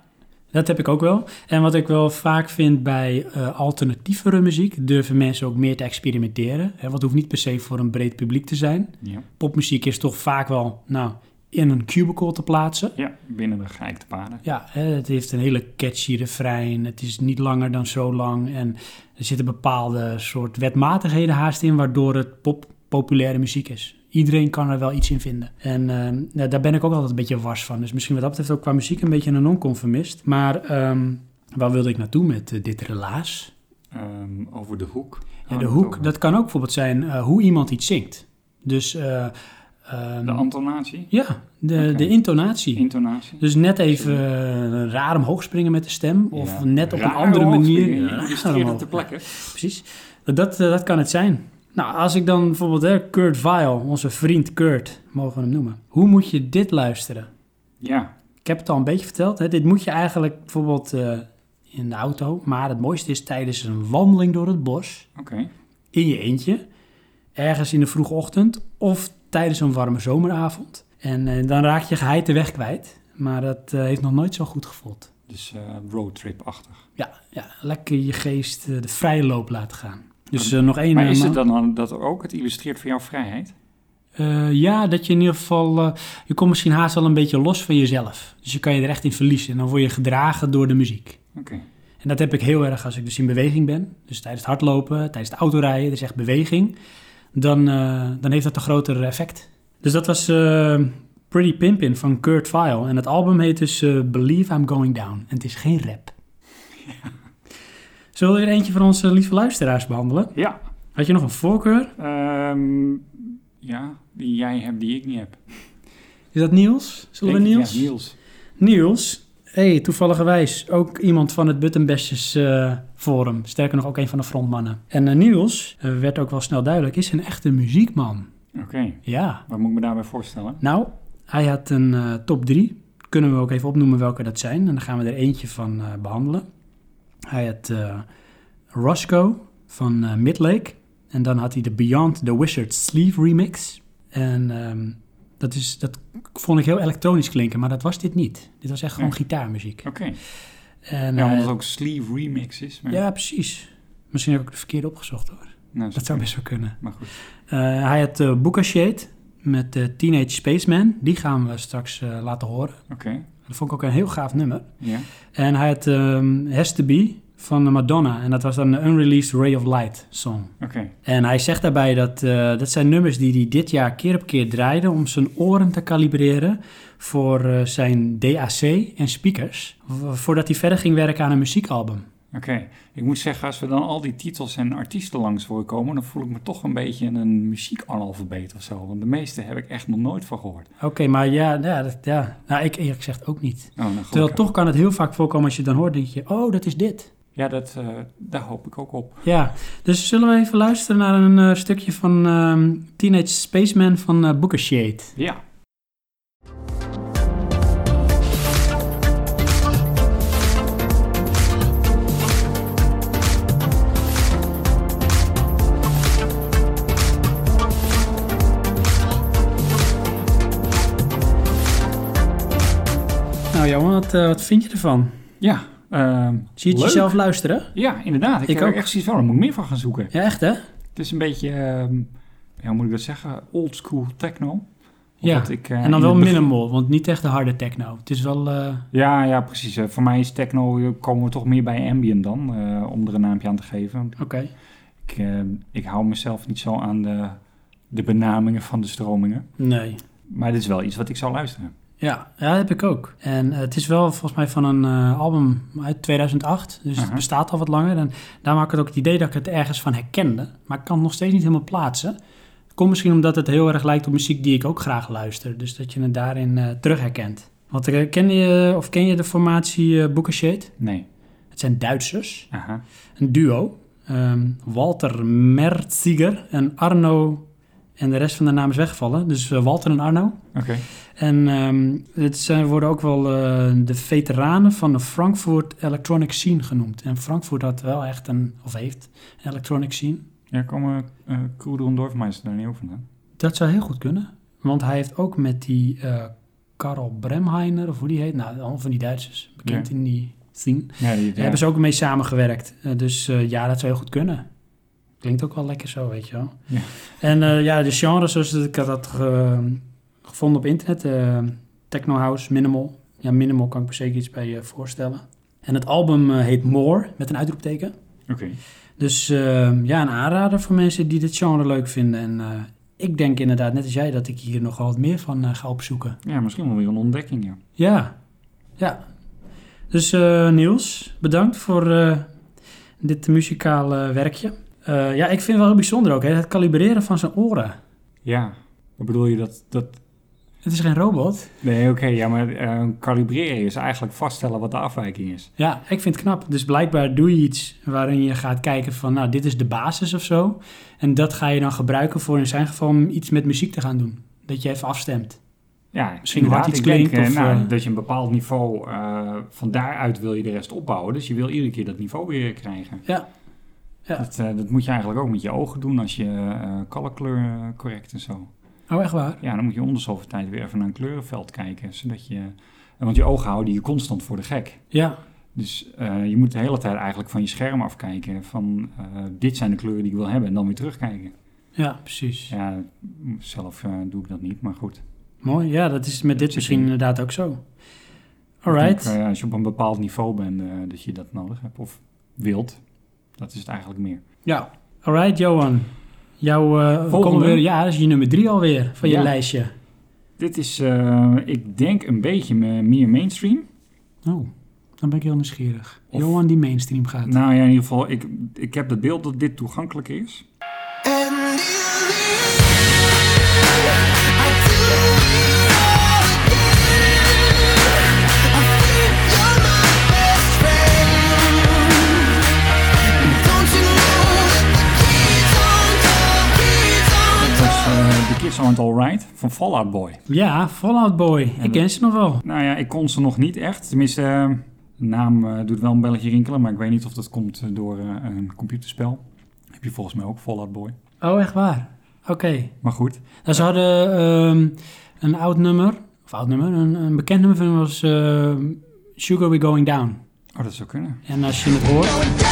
Dat heb ik ook wel. En wat ik wel vaak vind bij eh alternatievere muziek, durven mensen ook meer te experimenteren. Hè, want het hoeft niet per se voor een breed publiek te zijn. Ja. Popmuziek is toch vaak wel, nou, in een cubicle te plaatsen. Ja, binnen de geëikte paden. Ja, hè, het heeft een hele catchy refrein. Het is niet langer dan zo lang. En er zitten bepaalde soort wetmatigheden haast in, waardoor het pop populaire muziek is. Iedereen kan er wel iets in vinden. En ehm, ja, daar ben ik ook altijd een beetje wars van. Dus misschien wat dat betreft ook qua muziek een beetje een nonconformist. Maar ehm, waar wilde ik naartoe met eh, dit relaas? Ehm, over de hoek. Ja, Had de het hoek, over. dat kan ook bijvoorbeeld zijn eh, hoe iemand iets zingt. Dus eh, ehm, De antonatie, ja, de, Oké. de intonatie. intonatie. Dus net even eh, raar omhoog springen met de stem. Of Ja. net op Raar een andere omhoog manier. springen, Raar illustreert het omhoog. ter plekke. Precies. Dat, eh, dat kan het zijn. Nou, als ik dan bijvoorbeeld hè, Kurt Vile, onze vriend Kurt, mogen we hem noemen. Hoe moet je dit luisteren? Ja, Ik heb het al een beetje verteld. Hè? Dit moet je eigenlijk bijvoorbeeld eh, in de auto. Maar het mooiste is tijdens een wandeling door het bos. oké. In je eentje. Ergens in de vroege ochtend. Of tijdens een warme zomeravond. En eh, dan raak je geheid de weg kwijt. Maar dat eh, heeft nog nooit zo goed gevoeld. Dus eh, roadtrip-achtig. Ja, ja, lekker je geest eh, de vrije loop laten gaan. Dus eh, nog één... Maar eh, is man- het dan al- dat ook? Het illustreert voor jouw vrijheid? Eh, ja, dat je in ieder geval... eh, je komt misschien haast wel een beetje los van jezelf. Dus je kan je er echt in verliezen. En dan word je gedragen door de muziek. Oké. En dat heb ik heel erg als ik dus in beweging ben. Dus tijdens het hardlopen, tijdens het autorijden, er is echt beweging. Dan, eh, dan heeft dat een groter effect. Dus dat was eh, Pretty Pimpin van Kurt Vile. En het album heet dus eh, Believe I'm Going Down. En het is geen rap. Zullen we er eentje van onze lieve luisteraars behandelen? Ja, Had je nog een voorkeur? ehm, ja, die jij hebt, die ik niet heb. Is dat Niels? Zullen we Denk ik, Niels? Ja, Niels. Niels, hey, toevalligerwijs ook iemand van het Buttonbestjes eh, Forum. Sterker nog, ook een van de frontmannen. En eh, Niels, eh, werd ook wel snel duidelijk, is een echte muziekman. Oké, Ja. wat moet ik me daarbij voorstellen? Nou, hij had een eh, top 3. Kunnen we ook even opnoemen welke dat zijn. En dan gaan we er eentje van eh, behandelen. Hij had eh, Roscoe van eh, Midlake. En dan had hij de Beyond the Wizard Sleeve remix. En ehm, dat, is, dat vond ik heel elektronisch klinken, maar dat was dit niet. Dit was echt gewoon Nee. gitaarmuziek. Oké, En, ja, omdat eh, het ook sleeve remix is. Maar, ja, precies. Misschien heb ik het verkeerd opgezocht hoor. nou, Dat zou best wel kunnen. Maar goed, Eh, hij had eh Booker Shade met eh, Teenage Spaceman. Die gaan we straks eh, laten horen. oké. Dat vond ik ook een heel gaaf nummer. Ja, En hij had ehm Has to Be van Madonna. En dat was dan een unreleased Ray of Light song. oké. En hij zegt daarbij dat eh, dat zijn nummers die hij dit jaar keer op keer draaide om zijn oren te kalibreren voor eh, zijn DAC en speakers. v- Voordat hij verder ging werken aan een muziekalbum. Oké, ik moet zeggen, als we dan al die titels en artiesten langs horen komen, dan voel ik me toch een beetje een muziekanalfabeet of zo. Want de meeste heb ik echt nog nooit van gehoord. Oké, maar ja, ja, dat, ja. Nou, ik eerlijk gezegd ook niet. Oh, nou, Terwijl gelukkig. toch kan het heel vaak voorkomen als je het dan hoort, denk je, oh, dat is dit. Ja, dat, eh, daar hoop ik ook op. Ja, dus zullen we even luisteren naar een eh, stukje van ehm, Teenage Spaceman van eh, Booker Shade. Ja. Nou Johan, wat, eh, wat vind je ervan? Ja, ehm, Zie je het leuk. jezelf luisteren? Ja, inderdaad. Ik, Ik heb ook. er echt zoiets van, daar moet ik meer van gaan zoeken. Ja, echt hè? Het is een beetje, ehm, ja, hoe moet ik dat zeggen, old school techno. Ja, Omdat ik, eh, en dan in wel het begin- minimal, want niet echt de harde techno. Het is wel... eh, Ja, ja, precies. Eh, Voor mij is techno, eh, komen we toch meer bij ambient dan, eh, om er een naampje aan te geven. Oké. Ik, eh, ik hou mezelf niet zo aan de, de benamingen van de stromingen. Nee. Maar dit is wel iets wat ik zou luisteren. Ja, ja, dat heb ik ook. En eh, het is wel volgens mij van een eh, album uit 2008. Dus het Aha. bestaat al wat langer. En daar maak ik het ook het idee dat ik het ergens van herkende. Maar ik kan het nog steeds niet helemaal plaatsen. Het komt misschien omdat het heel erg lijkt op muziek die ik ook graag luister. Dus dat je het daarin eh terug herkent. Want eh, ken je, of ken je de formatie eh Booker Shade? Nee. Het zijn Duitsers. Aha. een duo. Ehm, Walter Merziger en Arno. En de rest van de naam is weggevallen. Dus eh, Walter en Arno. Oké. En ehm het zijn, worden ook wel eh, de veteranen van de Frankfurt electronic scene genoemd. En Frankfurt had wel echt een, of heeft, een electronic scene. Ja, komen eh Koedel en Dorfmeister daar niet over vandaan? Dat zou heel goed kunnen. Want hij heeft ook met die eh Karl Bremheiner, of hoe die heet. Nou, allemaal van die Duitsers. Bekend Ja. in die scene. Daar Ja, die, ja. hebben ze ook mee samengewerkt. Eh, dus eh, ja, dat zou heel goed kunnen. Klinkt ook wel lekker zo, weet je wel. Ja. En eh, ja, de genres zoals ik had dat ge- gevonden op internet. eh, Techno House, Minimal. Ja, Minimal kan ik me zeker iets bij eh, voorstellen. En het album eh, heet More, met een uitroepteken. Oké. Dus eh, ja, een aanrader voor mensen die dit genre leuk vinden. En eh, ik denk inderdaad, net als jij, dat ik hier nog wel wat meer van eh, ga opzoeken. Ja, misschien wel weer een ontdekking, ja. Ja, ja. Dus eh, Niels, bedankt voor eh, dit muzikale werkje. Eh, ja, ik vind het wel heel bijzonder ook, hè, het kalibreren van zijn oren. Ja. Wat bedoel je dat... dat... Het is geen robot. Nee, oké, ja, maar eh, kalibreren is eigenlijk vaststellen wat de afwijking is. Ja, ik vind het knap. Dus blijkbaar doe je iets waarin je gaat kijken van, nou, dit is de basis of zo. En dat ga je dan gebruiken voor in zijn geval iets met muziek te gaan doen. Dat je even afstemt. Ja, Misschien misschien wat wat iets iets klinkt. klinkt of, nou, eh, dat je een bepaald niveau, eh, van daaruit wil je de rest opbouwen. Dus je wil iedere keer dat niveau weer krijgen. Ja. Ja. Dat, eh, dat moet je eigenlijk ook met je ogen doen als je eh colorkleur eh, correct en zo. Oh, echt waar? Ja, dan moet je om de zoveel tijd weer even naar een kleurenveld kijken. Zodat je, eh, want je ogen houden je constant voor de gek. Ja. Dus eh, je moet de hele tijd eigenlijk van je scherm afkijken. Van eh, dit zijn de kleuren die ik wil hebben en dan weer terugkijken. Ja, precies. Ja, zelf eh, doe ik dat niet, maar goed. Mooi. Ja, dat is met dit zit misschien in. inderdaad ook zo. Ik Alright. denk, eh, als je op een bepaald niveau bent, eh, dat je dat nodig hebt. Of wilt. Dat is het eigenlijk meer. Ja. Alright, Johan. Jouw eh, we Volgende. komen weer, ja, dat is je nummer drie alweer van je Ja. lijstje. Dit is, eh, ik denk, een beetje me- meer mainstream. Oh, dan ben ik heel nieuwsgierig. Of- Johan die mainstream gaat. Nou ja, in ieder geval, ik, ik heb het beeld dat dit toegankelijk is. Dat is eh The Kids Aren't Alright van Fallout Boy. ja, Fallout Boy. ik ken ze nog wel. Nou ja, ik kon ze nog niet echt. Tenminste, eh, de naam eh, doet wel een belletje rinkelen, maar ik weet niet of dat komt eh, door eh, een computerspel. Heb je volgens mij ook Fallout Boy. Oh, echt waar? Oké. Maar goed, Nou, ze hadden ehm, een oud nummer, of oud nummer, een, een bekend nummer van hen was ehm, Sugar We Going Down. oh, dat zou kunnen. En als je het hoort...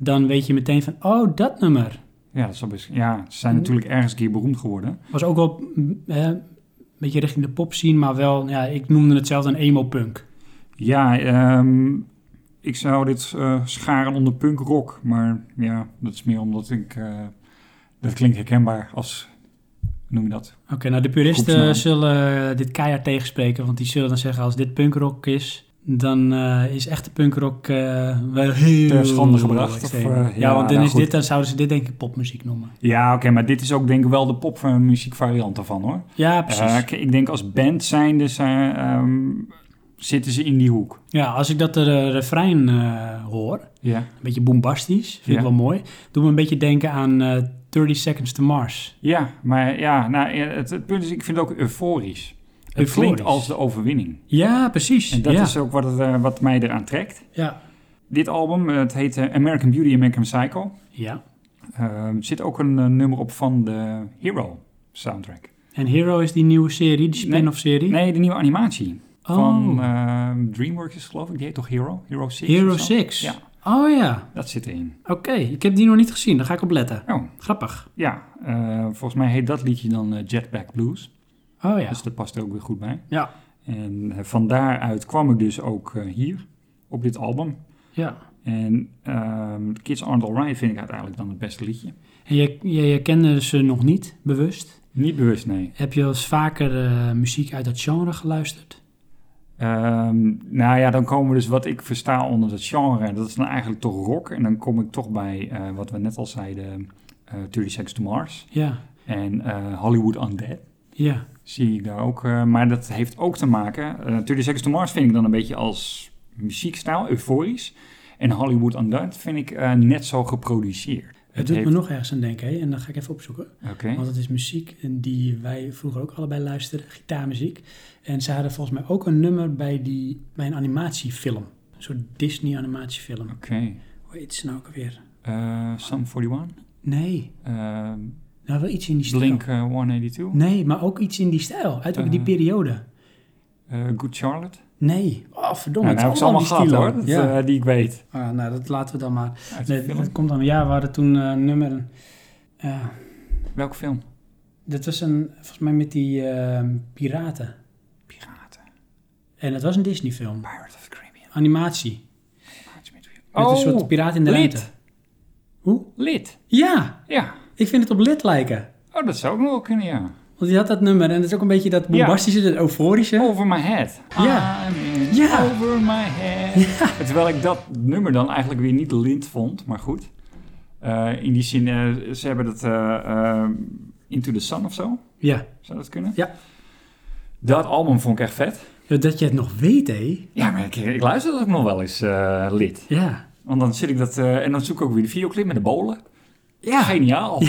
dan weet je meteen van, oh, dat nummer. Ja, dat zou best, ja ze Mhm. zijn natuurlijk ergens een keer beroemd geworden. Was ook wel mm, eh, een beetje richting de pop scene, maar wel, ja, ik noemde het zelf een emo-punk. Ja, ehm, ik zou dit eh, scharen onder punk rock, maar ja, dat is meer omdat ik... eh, dat klinkt herkenbaar als... Noem je dat? Oké, nou, de puristen Groepsnaam. zullen dit keihard tegenspreken, want die zullen dan zeggen, als dit punkrock is, dan eh, is echte punkrock eh, wel heel... Ter schande gebracht, extreem. of, eh, ja, ja, want dan, nou is goed. dit, dan zouden ze dit denk ik popmuziek noemen. Ja, oké, maar dit is ook denk ik wel de popmuziekvariant daarvan, hoor. Ja, precies. Eh, ik- ik denk als band zijnde ze, ehm, zitten ze in die hoek. ja, als ik dat eh, refrein eh, hoor, Ja. een beetje bombastisch, vind Ja. ik wel mooi, doet me een beetje denken aan eh 30 Seconds to Mars. Ja, maar ja, nou, ja, het, het punt is, ik vind het ook euforisch. Het Euforisch. klinkt als de overwinning. Ja, precies. En dat ja. is ook wat, het, eh, wat mij eraan trekt. Ja. Dit album, eh, het heet eh, American Beauty, American Psycho. ja. Eh, zit ook een eh, nummer op van de Hero soundtrack. En Hero is die nieuwe serie, die spin-off serie? Nee, de nieuwe animatie Oh. van eh, DreamWorks is het, geloof ik. Die heet toch Hero? Hero 6? Hero of zo? 6? Ja, Oh ja, dat zit erin. oké. Ik heb die nog niet gezien, daar ga ik op letten. Oh, Grappig. ja. eh, volgens mij heet dat liedje dan eh, Jetpack Blues. Oh ja. Dus dat past er ook weer goed bij. Ja, En eh, van daaruit kwam ik dus ook eh, hier, op dit album. ja. En ehm, Kids Aren't Alright vind ik uiteindelijk dan het beste liedje. En je, je, je kende ze nog niet, bewust. Niet bewust, nee. Heb je wel eens vaker eh, muziek uit dat genre geluisterd? Ehm, nou ja, dan komen we dus wat ik versta onder dat genre. Dat is dan eigenlijk toch rock. En dan kom ik toch bij eh, wat we net al zeiden: eh 30 Seconds to Mars Ja, en eh, Hollywood Undead. ja. Zie ik daar ook. eh, maar dat heeft ook te maken. eh 30 Seconds to Mars vind ik dan een beetje als muziekstijl, euforisch. En Hollywood Undead vind ik eh, net zo geproduceerd. Het doet heeft- me nog ergens aan denken, hè? en dan ga ik even opzoeken. Oké. Want het is muziek die wij vroeger ook allebei luisterden, gitaarmuziek. En ze hadden volgens mij ook een nummer bij, die, bij een animatiefilm. Een soort Disney-animatiefilm. Oké. Hoe heet ze nou ook alweer? Eh, Sum 41. Nee, eh, nou wel iets in die stijl. Blink eh, 182. Nee, maar ook iets in die stijl, uit ook die Eh. periode. Eh, Good Charlotte. Nee. Oh, verdomme. nou, het dat heb ik is ze allemaal die gehad stilo. hoor, dat, ja. eh, die ik weet. Ah, nou, dat laten we dan maar. Uit die Nee, film. dat komt dan. Ja, we hadden toen eh nummer. Ja, Welke film? dat was een. Volgens mij met die eh, piraten. Piraten. En het was een Disney-film. Pirates of the Caribbean. Animatie. Met Oh, een soort piraat in de Lid. ruimte. Hoe? Lid. Ja, Ja. ik vind het op lid lijken. Oh, dat zou ook nog wel kunnen, ja. Want die had dat nummer en het is ook een beetje dat bombastische, dat euforische. Over my head. Ja. I'm in Ja. Over my head. Terwijl ik dat nummer dan eigenlijk weer niet lint vond, maar goed. Eh, in die zin, eh, ze hebben dat eh, eh, Into the Sun of zo. Ja. Zou dat kunnen? Ja. Dat album vond ik echt vet. Ja, Dat je het nog weet, hé. Ja, maar ik, ik luister dat ook nog wel eens eh, lid. Ja. Want dan zit ik dat... eh, en dan zoek ik ook weer de videoclip met de bolen. Ja. Geniaal.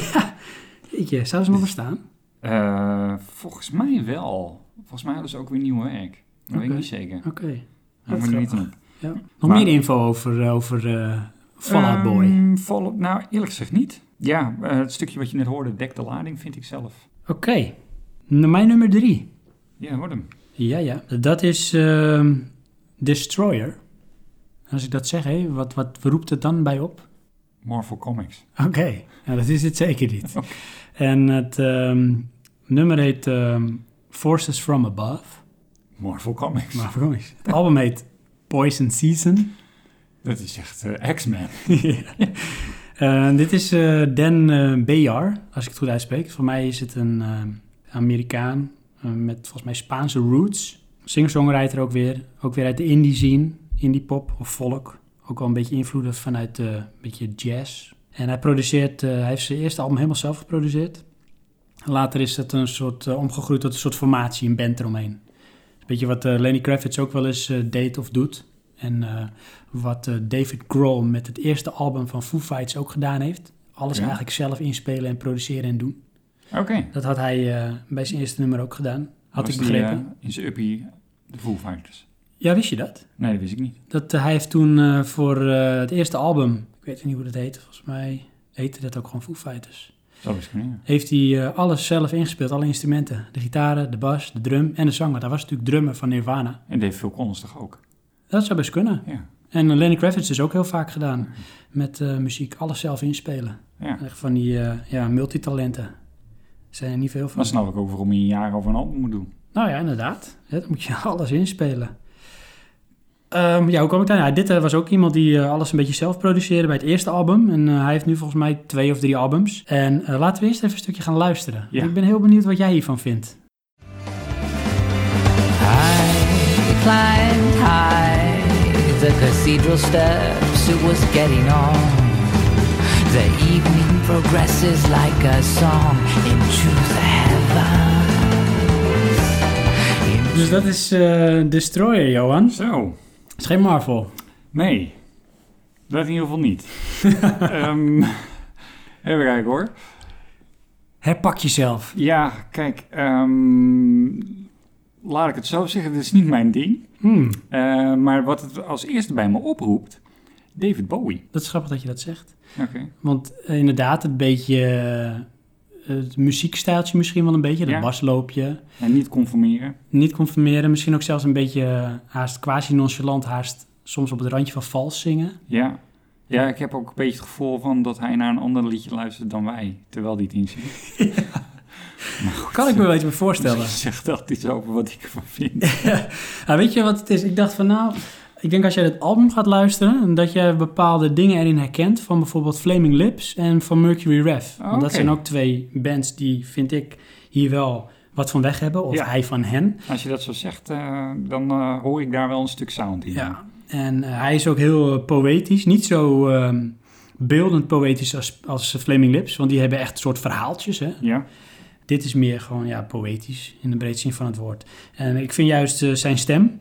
Jeetje, zou ze nog bestaan? Eh, volgens mij wel. Volgens mij hadden ze ook weer nieuw werk. Dat weet ik Oké. niet zeker. Oké. Maar Dat moet is ik niet grappig. doen. Ja. Nog Maar- meer info over, eh, over eh, Fallout Boy. Ehm, Fall Out- nou, eerlijk gezegd niet. Ja, eh, het stukje wat je net hoorde, dekt de lading, vind ik zelf. Oké. Nou, Mijn nummer drie. Ja, hoor hem. Ja, ja. Dat is ehm, Destroyer. Als ik dat zeg, hé, wat, wat roept het dan bij op? Marvel Comics. Oké, ja, dat is het zeker niet. En het ehm, nummer heet ehm, Forces from Above. Marvel Comics. Maar waarom is het? album heet Poison Season. Dat is echt eh, X-Men. Eh, dit is eh, Dan eh Bayar, als ik het goed uitspreek. Voor mij is het een eh, Amerikaan eh, met volgens mij Spaanse roots. Singer-songwriter ook weer. Ook weer uit de indie scene, indie pop of folk. Ook wel een beetje invloeden vanuit eh, een beetje jazz. En hij produceert, eh, hij heeft zijn eerste album helemaal zelf geproduceerd. Later is dat een soort eh, omgegroeid tot een soort formatie, een band eromheen. Een beetje wat eh, Lenny Kravitz ook wel eens eh, deed of doet. En eh, wat eh, David Grohl met het eerste album van Foo Fighters ook gedaan heeft. Alles Ja. eigenlijk zelf inspelen en produceren en doen. Oké. Dat had hij eh, bij zijn eerste nummer ook gedaan. Had Was ik die, begrepen. eh, in zijn uppie de Foo Fighters. Ja, wist je dat? Nee, dat wist ik niet. Dat eh, hij heeft toen eh, voor eh, het eerste album, ik weet niet hoe dat heet, volgens mij heette dat ook gewoon Foo Fighters. Zou best kunnen, ja. Heeft hij eh, alles zelf ingespeeld, alle instrumenten. De gitaren, de bas, de drum en de zang. Want hij was natuurlijk drummer van Nirvana. En Dave Phil Collins toch ook? Dat zou best kunnen. Ja. En eh, Lenny Kravitz is ook heel vaak gedaan met eh, muziek, alles zelf inspelen. Ja. Echt van die eh, ja, multitalenten. Zijn er niet veel van. Dan snap ik ook waarom je een jaar over een album moet doen. Nou ja, inderdaad. Ja, dan moet je alles inspelen. Ehm, ja, hoe kwam ik daar? Ja, dit eh, was ook iemand die eh, alles een beetje zelf produceerde bij het eerste album. En eh, hij heeft nu volgens mij twee of drie albums. En eh, laten we eerst even een stukje gaan luisteren. Ja. Ik ben heel benieuwd wat jij hiervan vindt. climbed high the cathedral steps. It was getting on. The evening progresses like a song into the heavens. Dus dat is eh, Destroyer, Johan. Het Zo. is geen Marvel. Nee, dat in ieder geval niet. Ehm even kijken hoor. Herpak jezelf. Ja, kijk, ehm, laat ik het zo zeggen, dit is niet mijn ding. Hmm, Eh, maar wat het als eerste bij me oproept, David Bowie. dat is grappig dat je dat zegt. Oké. Want eh, inderdaad, het beetje... eh, het muziekstijltje misschien wel een beetje. Dat Ja. basloopje. En niet conformeren. niet conformeren. Misschien ook zelfs een beetje eh, haast quasi-nonchalant, haast soms op het randje van vals zingen. Ja. Ja, ik heb ook een beetje het gevoel van dat hij naar een ander liedje luistert dan wij, terwijl die het inzingt. Kan ik me wel iets bij voorstellen. Misschien zegt dat iets over wat ik ervan vind. Nou, weet je wat het is? Ik dacht van nou, ik denk als jij het album gaat luisteren... en dat jij bepaalde dingen erin herkent... van bijvoorbeeld Flaming Lips en van Mercury Rev. Want Oh, Oké. dat zijn ook twee bands die, vind ik, hier wel wat van weg hebben. Of Ja. hij van hen. Als je dat zo zegt, eh, dan eh, hoor ik daar wel een stuk sound in. Ja, en eh, hij is ook heel eh, poëtisch. Niet zo ehm, beeldend poëtisch als, als Flaming Lips... want die hebben echt een soort verhaaltjes, hè? Ja. Dit is meer gewoon ja, poëtisch in de breedste zin van het woord. En ik vind juist eh, zijn stem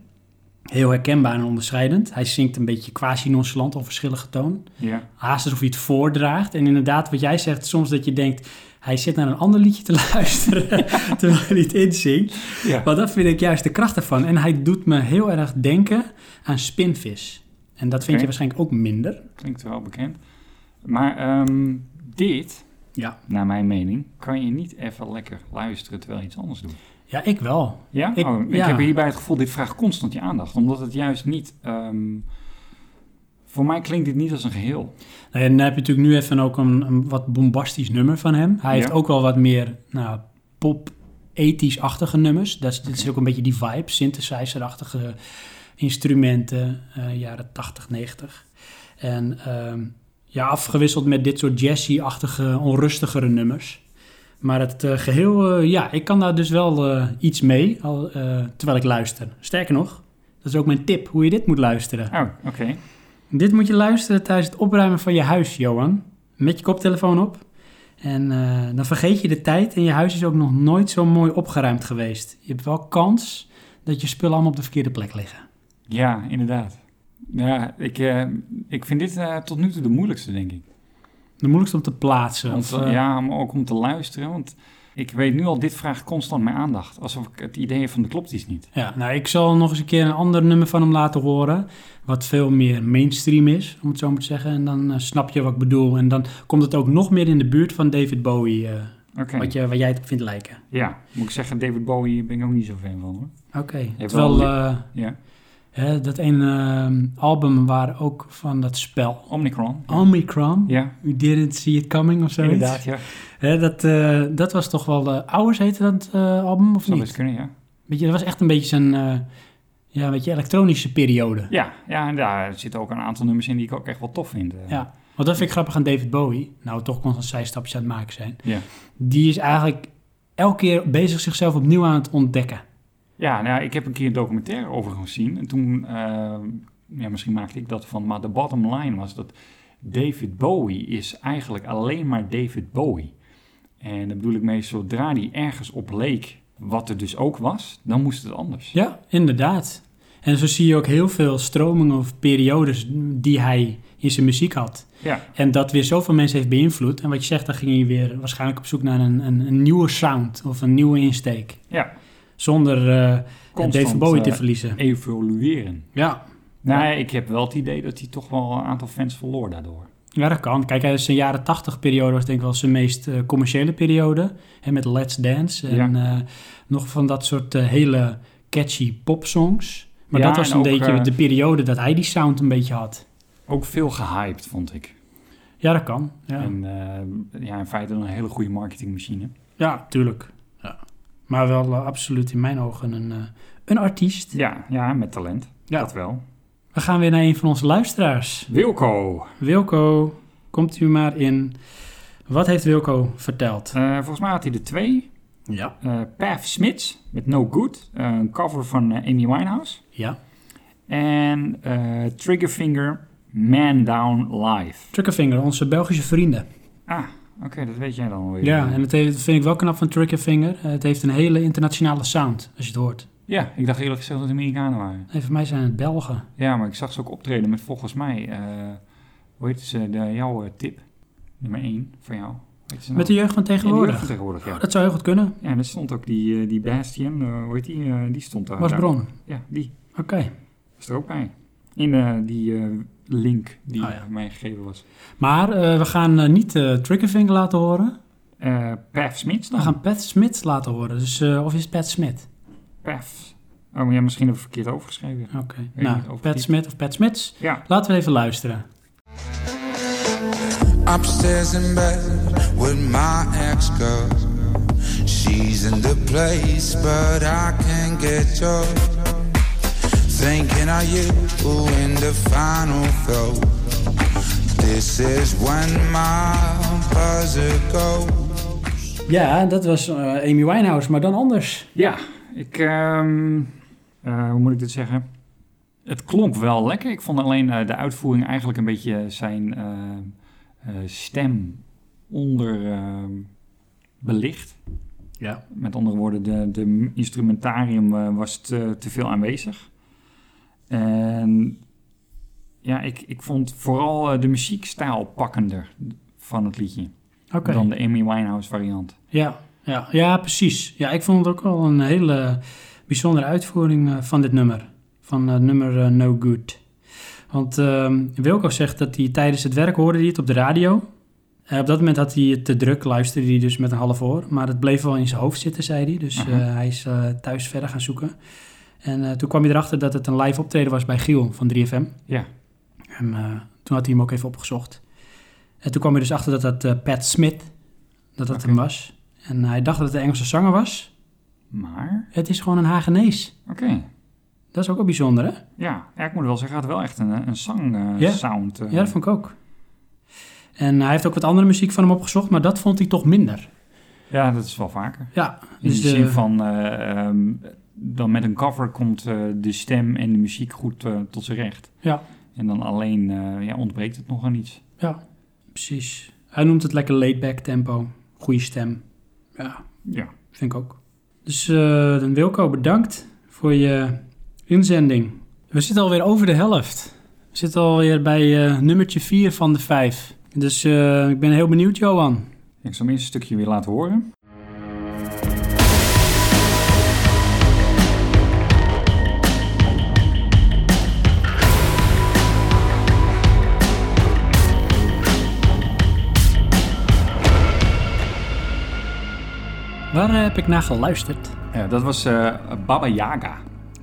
heel herkenbaar en onderscheidend. Hij zingt een beetje quasi-nonchalant, onverschillige toon. Ja. Haast alsof hij het voordraagt. En inderdaad, wat jij zegt, soms dat je denkt... hij zit naar een ander liedje te luisteren terwijl hij het inzingt. Ja. Maar dat vind ik juist de kracht ervan. En hij doet me heel erg denken aan Spinvis. En dat vind Oké. je waarschijnlijk ook minder. Klinkt wel bekend. Maar ehm, dit, Ja. naar mijn mening, kan je niet even lekker luisteren terwijl je iets anders doet. Ja, ik wel. Ja? Ik- Ik, oh, ik ja. heb hierbij het gevoel, dit vraagt constant je aandacht. Omdat het juist niet... ehm, voor mij klinkt dit niet als een geheel. Nou ja, dan heb je natuurlijk nu even ook een, een wat bombastisch nummer van hem. Hij heeft Ja. ook wel wat meer nou, pop ethisch-achtige nummers. Dat is, dit is ook een beetje die vibe, synthesizer-achtige instrumenten, eh, jaren 80, 90. En ehm, ja, afgewisseld met dit soort jazzy-achtige, onrustigere nummers. Maar het eh, geheel, eh, ja, ik kan daar dus wel eh, iets mee, al, eh, terwijl ik luister. Sterker nog, dat is ook mijn tip, hoe je dit moet luisteren. Oh, oké. Dit moet je luisteren tijdens het opruimen van je huis, Johan. Met je koptelefoon op. En eh, dan vergeet je de tijd en je huis is ook nog nooit zo mooi opgeruimd geweest. Je hebt wel kans dat je spullen allemaal op de verkeerde plek liggen. Ja, inderdaad. Ja, ik, eh, ik vind dit eh, tot nu toe de moeilijkste, denk ik. De moeilijkste om te plaatsen. Want, of, eh, ja, maar ook om te luisteren. Want ik weet nu al, dit vraagt constant mijn aandacht. Alsof ik het idee heb van, dat klopt iets niet. ja, nou, ik zal nog eens een keer een ander nummer van hem laten horen. Wat veel meer mainstream is, om het zo maar te zeggen. En dan eh, snap je wat ik bedoel. En dan komt het ook nog meer in de buurt van David Bowie. eh, Oké. wat, je, wat jij het vindt lijken. Ja, moet ik zeggen, David Bowie ben ik ook niet zo fan van, hoor. Oké. hebt wel Terwijl. een eh, Ja. Hè, dat ene ehm, album waar ook van dat spel Omnicron. Oh, Omicron, Ja, You Didn't See It Coming of zoiets. inderdaad, ja. Hè, dat, eh, dat was toch wel, eh Ours heette dat eh, album of Zou niet? best kunnen, ja. Weet je, dat was echt een beetje zijn, eh, ja, een beetje elektronische periode. Ja, ja, en daar zitten ook een aantal nummers in die ik ook echt wel tof vind. eh. Ja. Want dat vind ik grappig aan David Bowie, nou we toch constant zijstapjes aan het maken zijn. Ja. Die is eigenlijk elke keer bezig zichzelf opnieuw aan het ontdekken. Ja, nou, ik heb een keer een documentaire over hem gezien. En toen, eh, ja, misschien maakte ik dat van, maar de bottom line was dat David Bowie is eigenlijk alleen maar David Bowie. En daar bedoel ik mee, zodra die ergens op leek, wat er dus ook was, dan moest het anders. Ja, inderdaad. En zo zie je ook heel veel stromingen of periodes die hij in zijn muziek had. Ja, En dat weer zoveel mensen heeft beïnvloed. En wat je zegt, dan ging je weer waarschijnlijk op zoek naar een, een, een nieuwe sound of een nieuwe insteek. ja. Zonder eh Constant, David Bowie te eh, verliezen. evolueren. Ja. Nou, ja, ik heb wel het idee dat hij toch wel een aantal fans verloor daardoor. ja, dat kan. Kijk, hij is zijn jaren tachtig periode was denk ik wel zijn meest eh, commerciële periode. En met Let's Dance en eh, nog van dat soort eh, hele catchy popsongs. Maar Ja, dat was en een ook, beetje eh, de periode dat hij die sound een beetje had. Ook veel gehyped, vond ik. Ja, dat kan. Ja, En eh, ja, in feite een hele goede marketingmachine. ja tuurlijk. Ja. Maar wel eh, absoluut in mijn ogen een, eh, een artiest. Ja, ja met talent. Ja. Dat wel. We gaan weer naar een van onze luisteraars. Wilco. Wilco, komt u maar in. Wat heeft Wilco verteld? Eh, volgens mij had hij er twee. Ja. Eh Pav Smits met No Good, eh, een cover van eh, Amy Winehouse. Ja. En eh, Triggerfinger, Man Down Live. Triggerfinger, onze Belgische vrienden. Ah, oké, dat weet jij dan alweer. Ja, en het heeft, dat vind ik wel knap van Triggerfinger. Eh, Het heeft een hele internationale sound, als je het hoort. ja, ik dacht eerlijk gezegd dat het Amerikanen waren. En voor mij zijn het Belgen. Ja, maar ik zag ze ook optreden met volgens mij, eh, hoe heet ze, de, jouw eh, tip, nummer één voor jou. Hoe heet ze nou? Met de jeugd van Ja, de jeugd tegenwoordig. Oh, van tegenwoordig, ja. Dat zou heel goed kunnen. Ja, en daar stond ook die, eh, die Bastian, eh, hoe heet die, eh, die stond daar. Bas daar. Bron. Ja, die. Oké. is er ook bij. In eh, die eh, link die Ah, ja. mij gegeven was. Maar eh, we gaan eh, niet eh, Triggerfinger laten horen. Eh Paf Smits We dan? gaan Pat Smith laten horen. Dus, eh, of is Pat Smith? Paf. Oh ja, misschien heb ik het verkeerd overgeschreven. Oké. niet of Nou, die- Pat Smith of Pat Smits. Ja. Laten we even luisteren. upstairs in bed with my ex girl. She's in the place, but I can't get yours. Thinking of you in the final throw. This is when my buzzer goes. Ja, dat was eh, Amy Winehouse, maar dan anders. Ja, ik... ehm, eh, hoe moet ik dit zeggen? Het klonk wel lekker. Ik vond alleen eh, de uitvoering eigenlijk een beetje zijn eh, eh, stem onder ehm, belicht. Ja. Met andere woorden, de, de instrumentarium eh, was te, te veel aanwezig. En ja, ik, ik vond vooral eh, de muziekstijl pakkender van het liedje Oké. dan de Amy Winehouse variant. Ja, ja, ja, precies. Ja, ik vond het ook wel een hele bijzondere uitvoering eh, van dit nummer. Van eh, nummer eh, No Good. Want ehm Wilco zegt dat hij tijdens het werk hoorde hij het op de radio. Eh, op dat moment had hij het te druk, luisterde hij dus met een half oor. Maar het bleef wel in zijn hoofd zitten, zei hij. Dus eh, hij is eh, thuis verder gaan zoeken. En eh, toen kwam hij erachter dat het een live optreden was bij Giel van 3FM. Ja. En eh, toen had hij hem ook even opgezocht. En toen kwam hij dus achter dat dat eh, Pat Smith, dat dat hem was. En hij dacht dat het een Engelse zanger was. Maar, Het is gewoon een Hagenees. oké. Dat is ook wel bijzonder, hè? Ja, ja, ik moet wel zeggen, hij had wel echt een, eh, een song eh, Ja. sound. eh. Ja, dat vond ik ook. En hij heeft ook wat andere muziek van hem opgezocht, maar dat vond hij toch minder. ja, dat is wel vaker. Ja, In dus de de- zin van, eh, ehm, dan met een cover komt eh, de stem en de muziek goed eh, tot zijn recht. Ja. En dan alleen eh, ja, ontbreekt het nog aan iets. Ja, precies. Hij noemt het lekker laid-back tempo. Goede stem. Ja, Ja. vind ik ook. Dus eh, dan Wilco, bedankt voor je inzending. We zitten alweer over de helft. We zitten alweer bij eh, nummertje 4 van de 5. Dus eh, ik ben heel benieuwd, Johan. Ik zal hem eerst een stukje weer laten horen. Waar eh, heb ik naar geluisterd? Ja, dat was eh, Baba Yaga.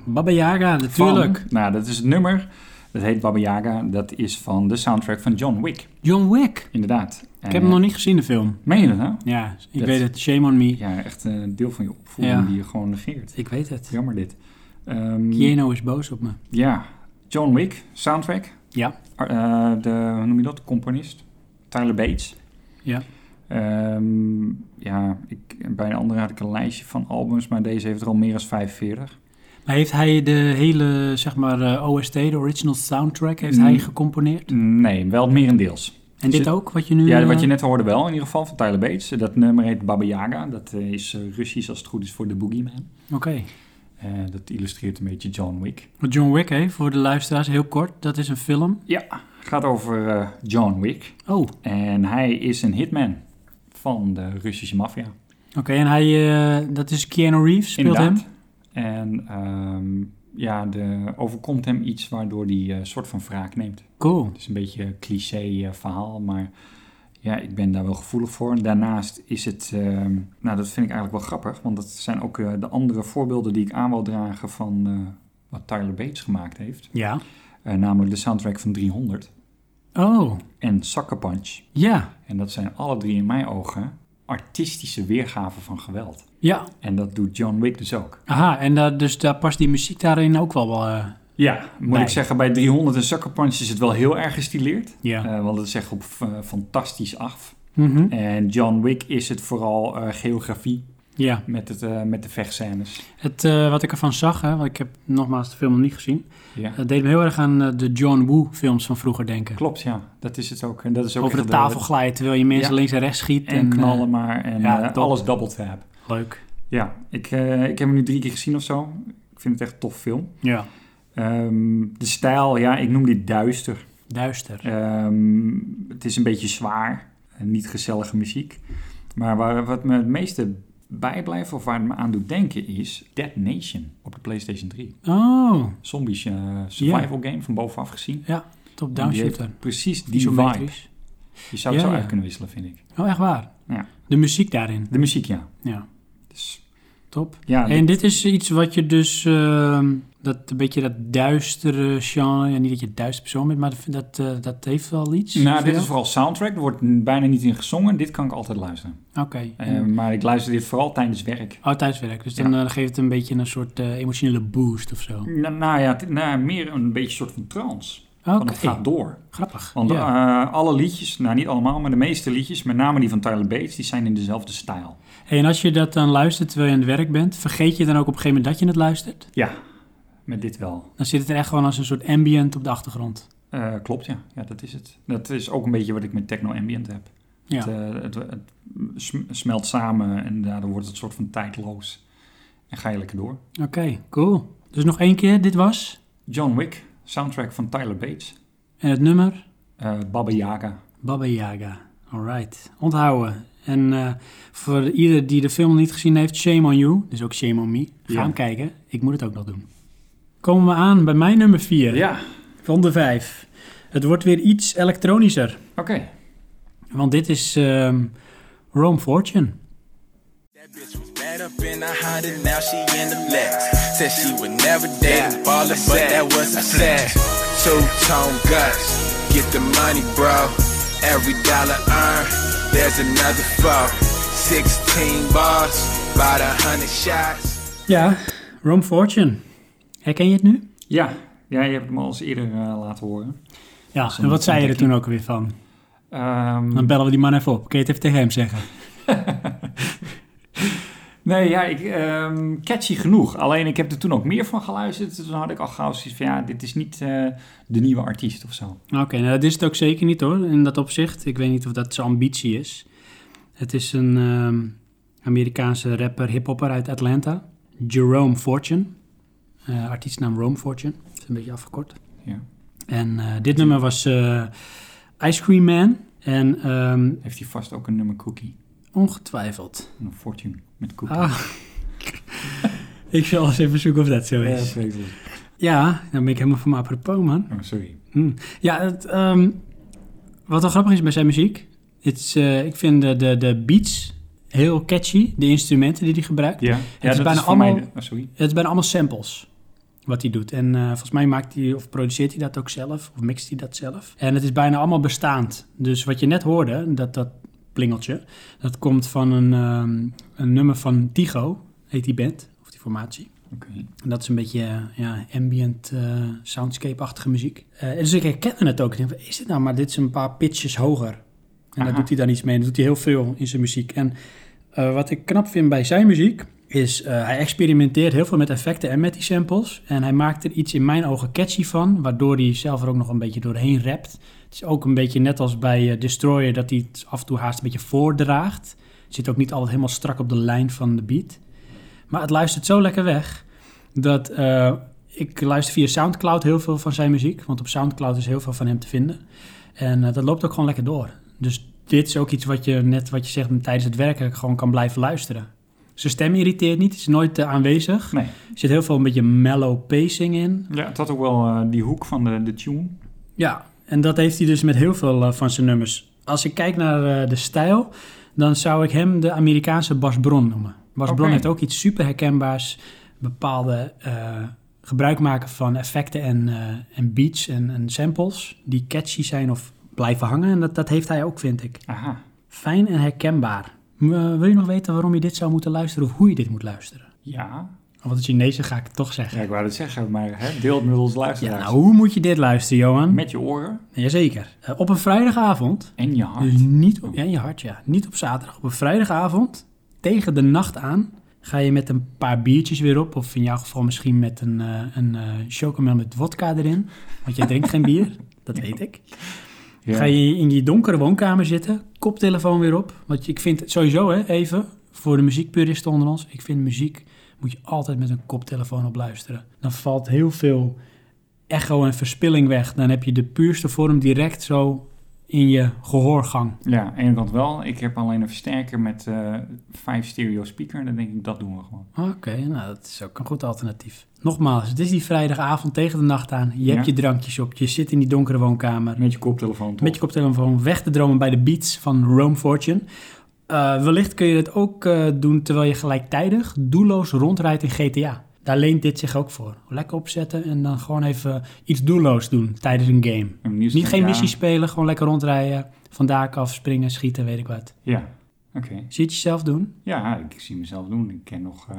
Baba Yaga, Van- natuurlijk. nou, dat is het nummer. Dat heet Baba Yaga. Dat is van de soundtrack van John Wick. John Wick. Ik Inderdaad. Eh, heb hem nog niet gezien, de film. Meen je dat nou? Ja, ik Dat- weet het. Shame on me. Ja, echt een deel van je opvoeding Ja. die je gewoon negeert. Ik weet het. Jammer dit. Ehm, Jeno is boos op me. ja, John Wick, soundtrack. Ja. Eh, de, hoe noem je dat? Componist. Tyler Bates. Ja. Ehm, ja, ik, bij een andere had ik een lijstje van albums, maar deze heeft er al meer dan 45. Maar heeft hij de hele, zeg maar, eh, OST, de original soundtrack, heeft Mm. hij gecomponeerd? Nee, wel merendeels. En dit Zit- ook, wat je nu... Ja, wat eh, je net hoorde wel in ieder geval van Tyler Bates. Dat nummer heet Baba Yaga. Dat eh, is eh, Russisch als het goed is voor de Boogeyman. Oké. Eh dat illustreert een beetje John Wick. Wat John Wick, hè, voor de luisteraars, heel kort, dat is een film. Ja, gaat over eh, John Wick. Oh, oké. En hij is een hitman van de Russische maffia. en hij, eh, dat is Keanu Reeves, speelt Inderdaad. hem. En ehm, ja, de, overkomt hem iets waardoor hij eh, een soort van wraak neemt. Cool. Het is een beetje een cliché eh, verhaal, maar ja, ik ben daar wel gevoelig voor. En daarnaast is het, ehm, nou dat vind ik eigenlijk wel grappig, want dat zijn ook eh, de andere voorbeelden die ik aan wil dragen van eh, wat Tyler Bates gemaakt heeft. Ja. Eh, namelijk de soundtrack van 300 Oh, en Sucker Punch. ja. En dat zijn alle drie in mijn ogen artistische weergaven van geweld. Ja. En dat doet John Wick dus ook. Aha, en daar, dus daar past die muziek daarin ook wel wel... eh, Ja, moet bij. ik zeggen, bij 300 en Sucker Punch is het wel heel erg gestileerd. Ja. Eh, want het is echt op, eh, fantastisch af. mhm. En John Wick is het vooral eh, geografie Ja. met, het, eh, met de vechtscènes. Het, eh, wat ik ervan zag, hè, want ik heb nogmaals de film nog niet gezien, Ja. het deed me heel erg aan eh, de John Woo films van vroeger denken. Klopt, ja. Dat is het ook. En dat is ook Over de echt wel- tafel glijden terwijl je mensen Ja. links en rechts schiet. En knallen maar. En ja, eh, top. alles double tap. eh, leuk. Ja, ik, eh, ik heb hem nu drie keer gezien of zo. Ik vind het echt een tof film. Ja. Ehm, de stijl, ja, ik noem dit duister. Duister. Ehm, het is een beetje zwaar. en Niet gezellige muziek. Maar waar, wat me het meeste bijblijft of waar het me aan doet denken is Dead Nation op de PlayStation 3. Oh, zombies eh, survival game van bovenaf gezien. ja. Top-down En die heeft shooter. Precies die vibe. Isometrisch. Je zou het Ja, zo ja. uit kunnen wisselen, vind ik. Oh, echt waar. Ja. De muziek daarin. De muziek, ja. Ja, Dus, top. ja, En dit is iets wat je dus... ehm, dat een beetje dat duistere genre... Ja, niet dat je een duister persoon bent, maar dat, eh, dat heeft wel iets. nou, voor dit is jou? vooral soundtrack. Er wordt n- bijna niet in gezongen. Dit kan ik altijd luisteren. Oké. Eh, Maar ik luister dit vooral tijdens werk. Oh, thuiswerk. Dus dan Ja. eh, geeft het een beetje een soort eh, emotionele boost of zo. Nou, nou ja, het- nou, meer een beetje een soort van trance. Oké, Want het gaat door. grappig. Want ja. eh, alle liedjes, nou niet allemaal, maar de meeste liedjes, met name die van Tyler Bates, die zijn in dezelfde stijl. Hey, en als je dat dan luistert terwijl je aan het werk bent... vergeet je dan ook op een gegeven moment dat je het luistert? Ja, met dit wel. Dan zit het er echt gewoon als een soort ambient op de achtergrond. Eh, klopt, ja. Ja, dat is het. Dat is ook een beetje wat ik met Techno Ambient heb. Ja. Het, eh, het, het sm- smelt samen en daardoor wordt het een soort van tijdloos. En ga je lekker door. Oké, cool. Dus nog één keer, dit was. John Wick, soundtrack van Tyler Bates. En het nummer? Eh Baba Yaga. Baba Yaga. Alright, onthouden. En eh, voor ieder die de film niet gezien heeft, shame on you. Dus ook shame on me. Ga Ja. hem kijken, ik moet het ook nog doen. Komen we aan bij mijn nummer 4 Ja, van de 5. Het wordt weer iets elektronischer. oké. Want dit is ehm, Rome Fortune. Bitch was bad up in the Honda, now she in the Lex. Said she would never date a baller, but that was a flex. Two-tone guts, get the money, bro. Every dollar earned, there's another foe. 16 bars, about a hundred shots. Ja, Rome Fortune. Herken je het nu? Ja, ja je hebt hem al eens eerder eh, laten horen. Ja, en wat zei je er toen ook weer van? Ehm, Dan bellen we die man even op. Kun je het even tegen hem zeggen? nee, ja, ik, ehm, catchy genoeg. Alleen ik heb er toen ook meer van geluisterd. Dus toen had ik al gauw zoiets van, ja, dit is niet eh, de nieuwe artiest of zo. Oké, nou, dat is het ook zeker niet hoor, in dat opzicht. Ik weet niet of dat zijn ambitie is. Het is een ehm, Amerikaanse rapper, hiphopper uit Atlanta. Jerome Fortune. Eh artiestnaam Rome Fortune. Dat is een beetje afgekort. Ja. En eh, dit nummer was eh, Ice Cream Man. En ehm, Heeft hij vast ook een nummer Cookie. ongetwijfeld. Een fortune met Cookie. Ah. ik zal eens even zoeken of dat zo Ja, is. Ja, vreselijk. dan ben ik helemaal van mijn apropos man. Oh, sorry. Ja, het, ehm, wat wel grappig is bij zijn muziek. Het is, eh, ik vind de, de, de beats heel catchy, de instrumenten die hij gebruikt. Ja, ja is dat bijna is voor mij... allemaal- de- oh, sorry. Het zijn allemaal samples wat hij doet. En eh, volgens mij maakt hij of produceert hij dat ook zelf, of mixt hij dat zelf. En het is bijna allemaal bestaand. Dus wat je net hoorde, dat, dat plingeltje, dat komt van een, ehm, een nummer van Tigo, heet die band, of die formatie. Oké. En dat is een beetje eh, ja, ambient eh, soundscape-achtige muziek. Eh, dus ik herkende het ook. Ik denk, van, is dit nou? Maar dit is een paar pitches hoger. En daar Aha. doet hij dan iets mee. Dat doet hij heel veel in zijn muziek. En eh, wat ik knap vind bij zijn muziek... is eh, hij experimenteert heel veel met effecten en met die samples. En hij maakt er iets in mijn ogen catchy van... waardoor hij zelf er ook nog een beetje doorheen rapt. Het is ook een beetje net als bij eh, Destroyer... dat hij het af en toe haast een beetje voordraagt. Zit ook niet altijd helemaal strak op de lijn van de beat. Maar het luistert zo lekker weg dat eh, ik luister via Soundcloud heel veel van zijn muziek. Want op Soundcloud is heel veel van hem te vinden. En eh, dat loopt ook gewoon lekker door. Dus dit is ook iets wat je net wat je zegt tijdens het werken gewoon kan blijven luisteren. Zijn stem irriteert niet, is nooit te aanwezig. Nee. Er zit heel veel een beetje mellow pacing in. Ja, het had ook wel eh, die hoek van de, de tune. Ja, en dat heeft hij dus met heel veel eh, van zijn nummers. Als ik kijk naar eh, de stijl, dan zou ik hem de Amerikaanse Bas Bron noemen. Bas Oké. Bron heeft ook iets super herkenbaars. Bepaalde eh, gebruik maken van effecten en, eh, en beats en, en samples die catchy zijn of blijven hangen. En dat, dat heeft hij ook, vind ik. Aha. Fijn en herkenbaar. M- eh, wil je nog weten waarom je dit zou moeten luisteren of hoe je dit moet luisteren? Ja. Want het Chinezen ga ik het toch zeggen. Ja, ik wou dat zeggen, maar hè, deel het met ons Ja, luisteraars. nou, hoe moet je dit luisteren, Johan? Met je oren Jazeker. Eh, op een vrijdagavond en je hart. Dus niet op, ja, in je hart, ja. Niet op zaterdag. Op een vrijdagavond, tegen de nacht aan, ga je met een paar biertjes weer op. Of in jouw geval misschien met een, eh, een eh, chocomel met wodka erin. Want jij drinkt geen bier, dat weet ik. Ja. Ga je in je donkere woonkamer zitten, koptelefoon weer op. Want ik vind sowieso, hè, even, voor de muziekpuristen onder ons. Ik vind muziek, moet je altijd met een koptelefoon op luisteren. Dan valt heel veel echo en verspilling weg. Dan heb je de puurste vorm direct zo in je gehoorgang. Ja, aan de ene kant wel. Ik heb alleen een versterker met eh, vijf stereo speaker. Dan denk ik, dat doen we gewoon. Oké, nou dat is ook een goed alternatief. Nogmaals, het is die vrijdagavond tegen de nacht aan. Je hebt Ja. je drankjes op, je zit in die donkere woonkamer. Met je koptelefoon toch? Met je koptelefoon weg te dromen bij de beats van Rome Fortune. Eh, wellicht kun je dat ook eh, doen terwijl je gelijktijdig doelloos rondrijdt in GTA. Daar leent dit zich ook voor. Lekker opzetten en dan gewoon even iets doelloos doen tijdens een game. Een nieuws- Niet geen ja. missie spelen, gewoon lekker rondrijden. Van daken af springen, schieten, weet ik wat. Ja, oké. Zie je het jezelf doen? Ja, ik zie mezelf doen. Ik ken nog eh,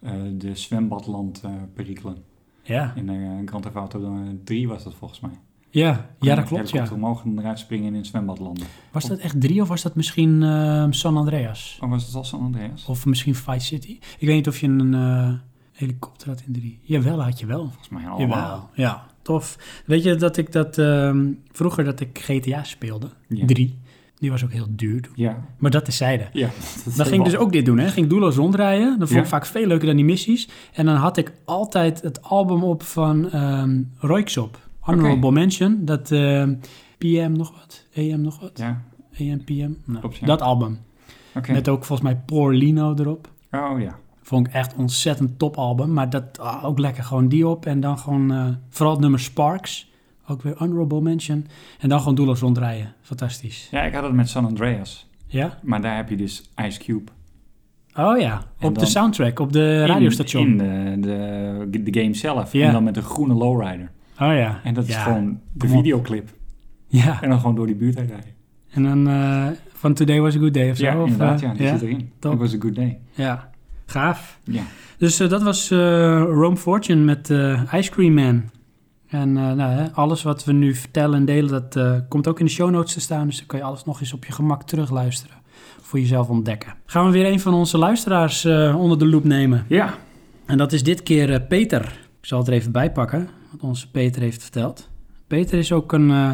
eh, de zwembadland eh perikelen. Ja. In eh Grand Theft Auto 3 was dat volgens mij. Ja, ja dat klopt, ja. Helikopter omhoog en eruit springen in een zwembadland. Was dat echt drie of was dat misschien ehm, San Andreas? Oh, was het al San Andreas? Of misschien Vice City? Ik weet niet of je een eh, helikopter had in drie. Jawel, had je wel. Volgens mij allemaal. Jawel, ja. Tof. Weet je dat ik dat... ehm, vroeger dat ik GTA speelde, Ja. drie. Die was ook heel duur toen. Ja. Maar dat tezijde. ja. Dan ging ik dus ook dit doen, hè. Ging ik doelloos rondrijden. Dat vond ik Ja. vaak veel leuker dan die missies. En dan had ik altijd het album op van ehm Royksop. Honorable Mention. Dat ehm, PM nog wat, EM nog wat. Ja, AMPM. Nou, Klopt, ja. Dat album. oké. Met ook volgens mij Poor Lino erop. Oh ja. Vond ik echt ontzettend top album. Maar dat ah, ook lekker. Gewoon die op. En dan gewoon eh, vooral het nummer Sparks. Ook weer honorable mention. En dan gewoon doelloos rondrijden. Fantastisch. Ja, ik had het met San Andreas. Ja? Maar daar heb je dus Ice Cube. Oh ja, En op de dan- soundtrack, op de radiostation. In, in de, de, de game zelf. Ja. En dan met een groene lowrider. Oh ja. En dat Ja, is gewoon de kom op. videoclip. Ja, En dan nou gewoon door die buurt heen rijden. en dan eh, van Today Was A Good Day of zo. Ja, of, inderdaad. eh, Ja, die zit erin. top. Dat was a good day. Ja, gaaf. Ja. Dus eh, dat was eh, Rome Fortune met eh Ice Cream Man. En eh, nou, hè, alles wat we nu vertellen en delen, dat eh, komt ook in de show notes te staan. Dus dan kan je alles nog eens op je gemak terugluisteren. Voor jezelf ontdekken. Gaan we weer een van onze luisteraars eh, onder de loep nemen. Ja. En dat is dit keer eh, Peter. Ik zal het er even bij pakken, wat onze Peter heeft verteld. Peter is ook een, eh,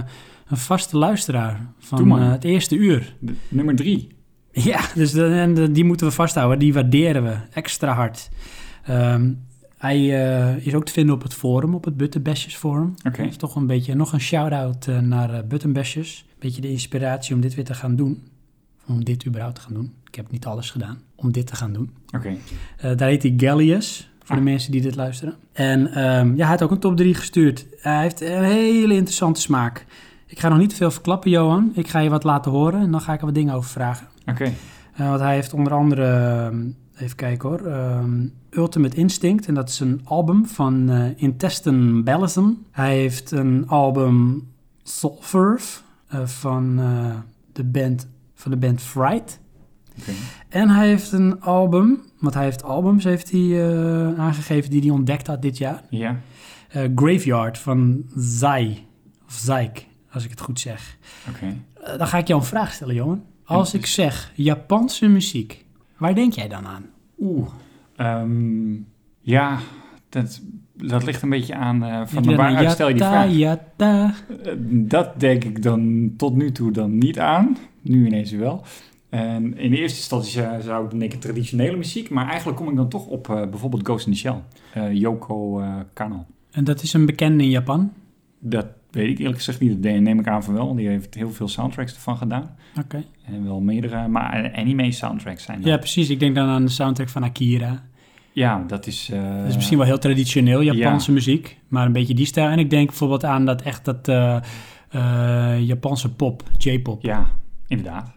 een vaste luisteraar Doe van maar. eh, het eerste uur. De- nummer drie. Ja, dus de- en de- die moeten we vasthouden. Die waarderen we extra hard. Ehm, hij eh, is ook te vinden op het forum, op het Buttenbesjes forum. Oké. Dat is toch een beetje nog een shout-out eh, naar eh Buttenbesjes. Een beetje de inspiratie om dit weer te gaan doen. Om dit überhaupt te gaan doen. Ik heb niet alles gedaan om dit te gaan doen. Oké. Eh, daar heet hij Gallius, voor de mensen die dit luisteren. En ehm, ja, hij had ook een top 3 gestuurd. hij heeft een hele interessante smaak. Ik ga nog niet te veel verklappen, Johan. Ik ga je wat laten horen en dan ga ik er wat dingen over vragen. Oké. Eh, want hij heeft onder andere, ehm, even kijken hoor, ehm, Ultimate Instinct. En dat is een album van eh Intestine Ballasm. Hij heeft een album Solverve eh, van, eh, de band, van de band Fright. Oké. En hij heeft een album, want hij heeft albums heeft hij, eh, aangegeven die hij ontdekt had dit jaar. Ja. Eh, Graveyard van Zai, of Zaik, als ik het goed zeg. Oké. Eh, dan ga ik jou een vraag stellen, jongen. Als dus- ik zeg Japanse muziek, waar denk jij dan aan? Oeh. Ehm, ja, dat, dat ligt een beetje aan eh, van Ik ben waaruit een stel je die jatta, vraag. jatta. Eh, Dat denk ik dan tot nu toe dan niet aan. Nu ineens wel. En in de eerste instantie eh, zou ik denken traditionele muziek. Maar eigenlijk kom ik dan toch op eh, bijvoorbeeld Ghost in the Shell. Eh, Yoko eh, Kano. En dat is een bekende in Japan. Dat weet ik eerlijk gezegd niet. Dat neem ik aan van wel. Want die heeft heel veel soundtracks ervan gedaan. Oké. En wel meerdere. Maar eh, anime soundtracks zijn dat. Ja, precies. Ik denk dan aan de soundtrack van Akira. Ja, dat is... eh, Dat is misschien wel heel traditioneel, Japanse ja. muziek. Maar een beetje die stijl. En ik denk bijvoorbeeld aan dat echt dat eh, eh, Japanse pop, J-pop. Ja, inderdaad.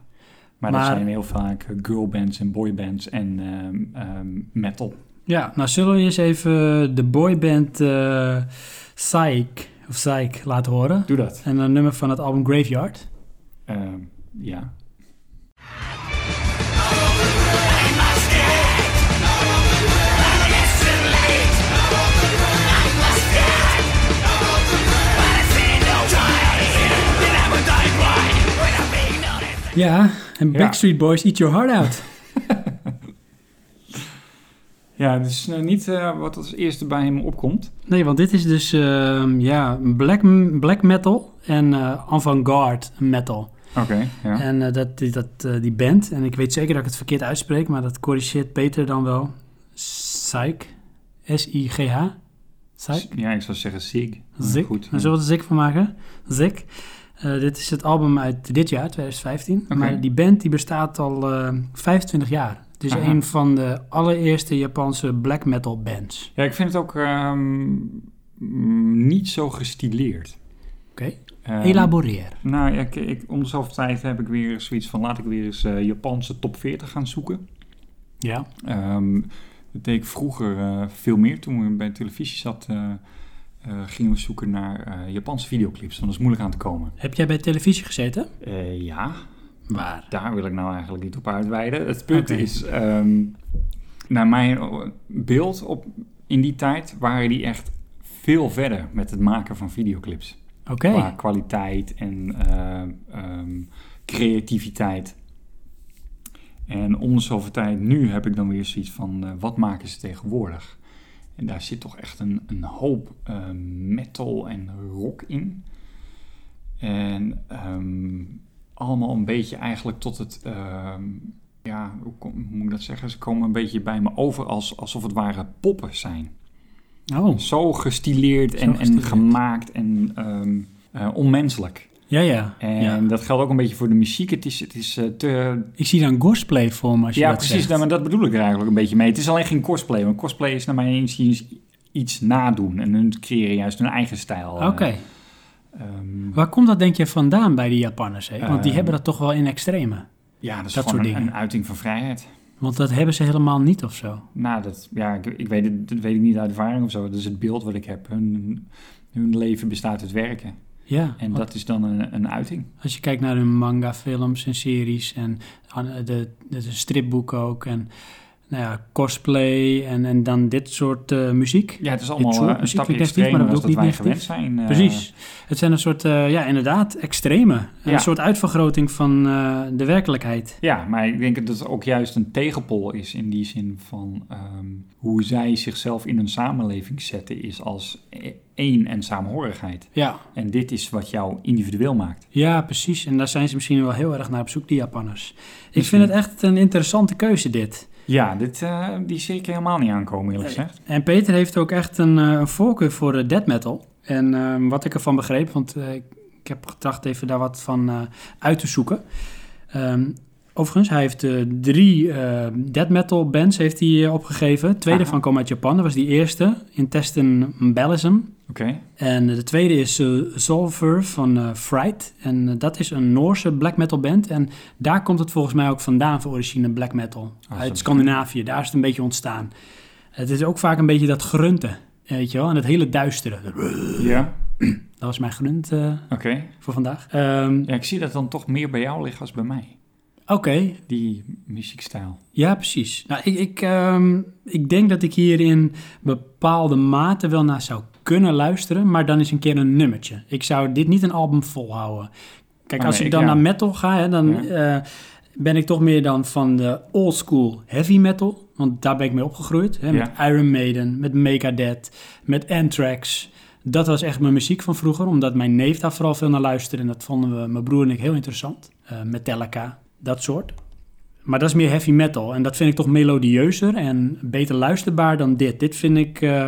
Maar, Maar- dat zijn heel vaak eh, girlbands en boybands en ehm, ehm, metal. Ja, nou zullen we eens even de boyband eh Psych, of Psych laten horen. Doe dat. En een nummer van het album Graveyard. Ehm, ja. Ja, en Backstreet Boys, Eat Your Heart Out. Ja, het is eh, niet eh, wat als eerste bij hem opkomt. Nee, want dit is dus ehm, ja, black, black metal en eh, avant-garde metal. Oké, ja. En eh, dat, die, dat, eh, die band, en ik weet zeker dat ik het verkeerd uitspreek, maar dat corrigeert Peter dan wel. Psych. S-I-G-H. Psych. Ja, ik zou zeggen Sig. Maar Zik. Goed. Daar zullen we er zik van maken. Zik. Eh, dit is het album uit dit jaar, 2015. Oké. Maar die band die bestaat al eh, 25 jaar. Het is Aha. een van de allereerste Japanse black metal bands. Ja, ik vind het ook ehm, mm, niet zo gestileerd. Oké. Ehm, Elaboreer. Nou, ja, ik, ik, om de zoveel tijd heb ik weer zoiets van... laat ik weer eens eh, Japanse top 40 gaan zoeken. Ja. Ehm, dat deed ik vroeger eh, veel meer. Toen we bij televisie zat, eh, eh, gingen we zoeken naar eh, Japanse videoclips. Want dat is moeilijk aan te komen. Heb jij bij televisie gezeten? Eh, ja, Waar? daar wil ik nou eigenlijk niet op uitweiden. Het punt Oké. is, ehm, naar mijn beeld op, in die tijd waren die echt veel verder met het maken van videoclips. Oké. Qua kwaliteit en eh, ehm, creativiteit. En om de zoveel tijd, nu heb ik dan weer zoiets van, eh, wat maken ze tegenwoordig? En daar zit toch echt een, een hoop eh, metal en rock in. En ehm, allemaal een beetje eigenlijk tot het, ehm, ja, hoe kom- hoe moet ik dat zeggen? Ze komen een beetje bij me over als, alsof het ware poppen zijn Oh, zo gestileerd en, gestileerd. en gemaakt en ehm, eh, onmenselijk. ja, ja. En ja. dat geldt ook een beetje voor de muziek. Het is, het is eh, te... Ik zie dan cosplay voor me als je Ja, dat precies. zegt. Dat, maar dat bedoel ik er eigenlijk een beetje mee. Het is alleen geen cosplay. Want cosplay is naar mijn inziens iets nadoen. En hun creëren juist hun eigen stijl. eh, Oké, Ehm, Waar komt dat denk je vandaan bij die Japanners? Hè? Want die Eh, hebben dat toch wel in extreme. ja, dat is dat gewoon soort een, dingen. een uiting van vrijheid. Want dat hebben ze helemaal niet of zo. Nou, dat, ja, ik, ik weet het dat weet ik niet uit ervaring of zo. Dat is het beeld wat ik heb. Hun, hun leven bestaat uit werken. Ja, En want dat is dan een, een uiting. als je kijkt naar hun manga, films en series en an- de, de, de stripboeken ook en nou ja, cosplay en, en dan dit soort eh, muziek. Ja, het is soort allemaal eh, een muziek stapje klinkt negatief, maar dat extremer dan wil dat ik wij niet gewend zijn. eh, Precies. Het zijn een soort, eh, ja inderdaad, extreme. Een Ja. soort uitvergroting van eh, de werkelijkheid. Ja, maar ik denk dat het ook juist een tegenpol is in die zin van ehm, hoe zij zichzelf in hun samenleving zetten is als e- één en saamhorigheid. Ja. En dit is wat jou individueel maakt. ja, precies. En daar zijn ze misschien wel heel erg naar op zoek, die Japanners. Ik vind het echt een interessante keuze dit. Ja, dit, eh, die zie ik helemaal niet aankomen eerlijk gezegd. En Peter heeft ook echt een, eh, een voorkeur voor eh, death metal. En ehm, wat ik ervan begreep, want eh, ik, ik heb gedacht even daar wat van eh, uit te zoeken. Ehm, overigens, hij heeft eh, drie eh death metal bands heeft hij, eh, opgegeven. Twee Aha. daarvan komen uit Japan. Dat was die eerste, Intestine Ballism. Oké, En eh, de tweede is eh, Solver van eh, Fright. En eh, dat is een Noorse black metal band. En daar komt het volgens mij ook vandaan voor origine black metal. dat Uit is- Scandinavië, daar is het een beetje ontstaan. Het is ook vaak een beetje dat grunten, weet je wel. En het hele duistere. ja, Dat was mijn grunt eh, oké. voor vandaag. Ehm, Ja, ik zie dat dan toch meer bij jou liggen als bij mij. Oké, Die muziekstijl. ja precies. Nou, ik, ik, ehm, ik denk dat ik hier in bepaalde mate wel naar zou kunnen luisteren. Maar dan is een keer een nummertje. Ik zou dit niet een album volhouden. Kijk, Ah, als nee, ik ik- dan ja. naar metal ga, hè, dan eh, ben ik toch meer dan van de old school heavy metal. Want daar ben ik mee opgegroeid. Hè, Met Iron Maiden, met Megadeth, met Anthrax. Dat was echt mijn muziek van vroeger, omdat mijn neef daar vooral veel naar luisterde. En dat vonden we, mijn broer en ik, heel interessant. Eh, Metallica, dat soort. Maar dat is meer heavy metal. En dat vind ik toch melodieuzer en beter luisterbaar dan dit. Dit vind ik... eh,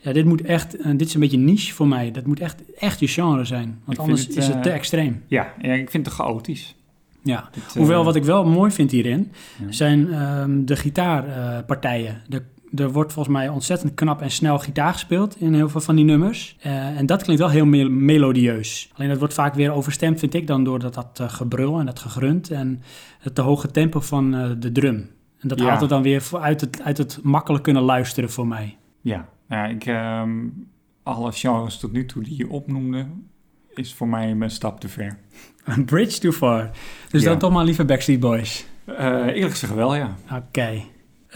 ja, dit moet echt... eh, dit is een beetje niche voor mij. Dat moet echt, echt je genre zijn. Want vind anders het, is eh, het te extreem. Ja, ja ik vind het chaotisch. Ja. Het, eh, Hoewel, wat ik wel mooi vind hierin, Ja. zijn ehm, de gitaarpartijen. er, er wordt volgens mij ontzettend knap en snel gitaar gespeeld in heel veel van die nummers. Eh, en dat klinkt wel heel mel- melodieus. Alleen dat wordt vaak weer overstemd, vind ik dan, door dat, dat eh, gebrul en dat gegrunt en het te hoge tempo van eh, de drum. En dat Ja. haalt het dan weer voor- uit het, uit het makkelijk kunnen luisteren voor mij. Ja, ja ik, ehm, alle genres tot nu toe die je opnoemde, is voor mij een stap te ver. Een bridge too far. Dus Ja. dan toch maar liever Backstreet Boys. Eh, eerlijk gezegd wel, ja. Oké. Eh,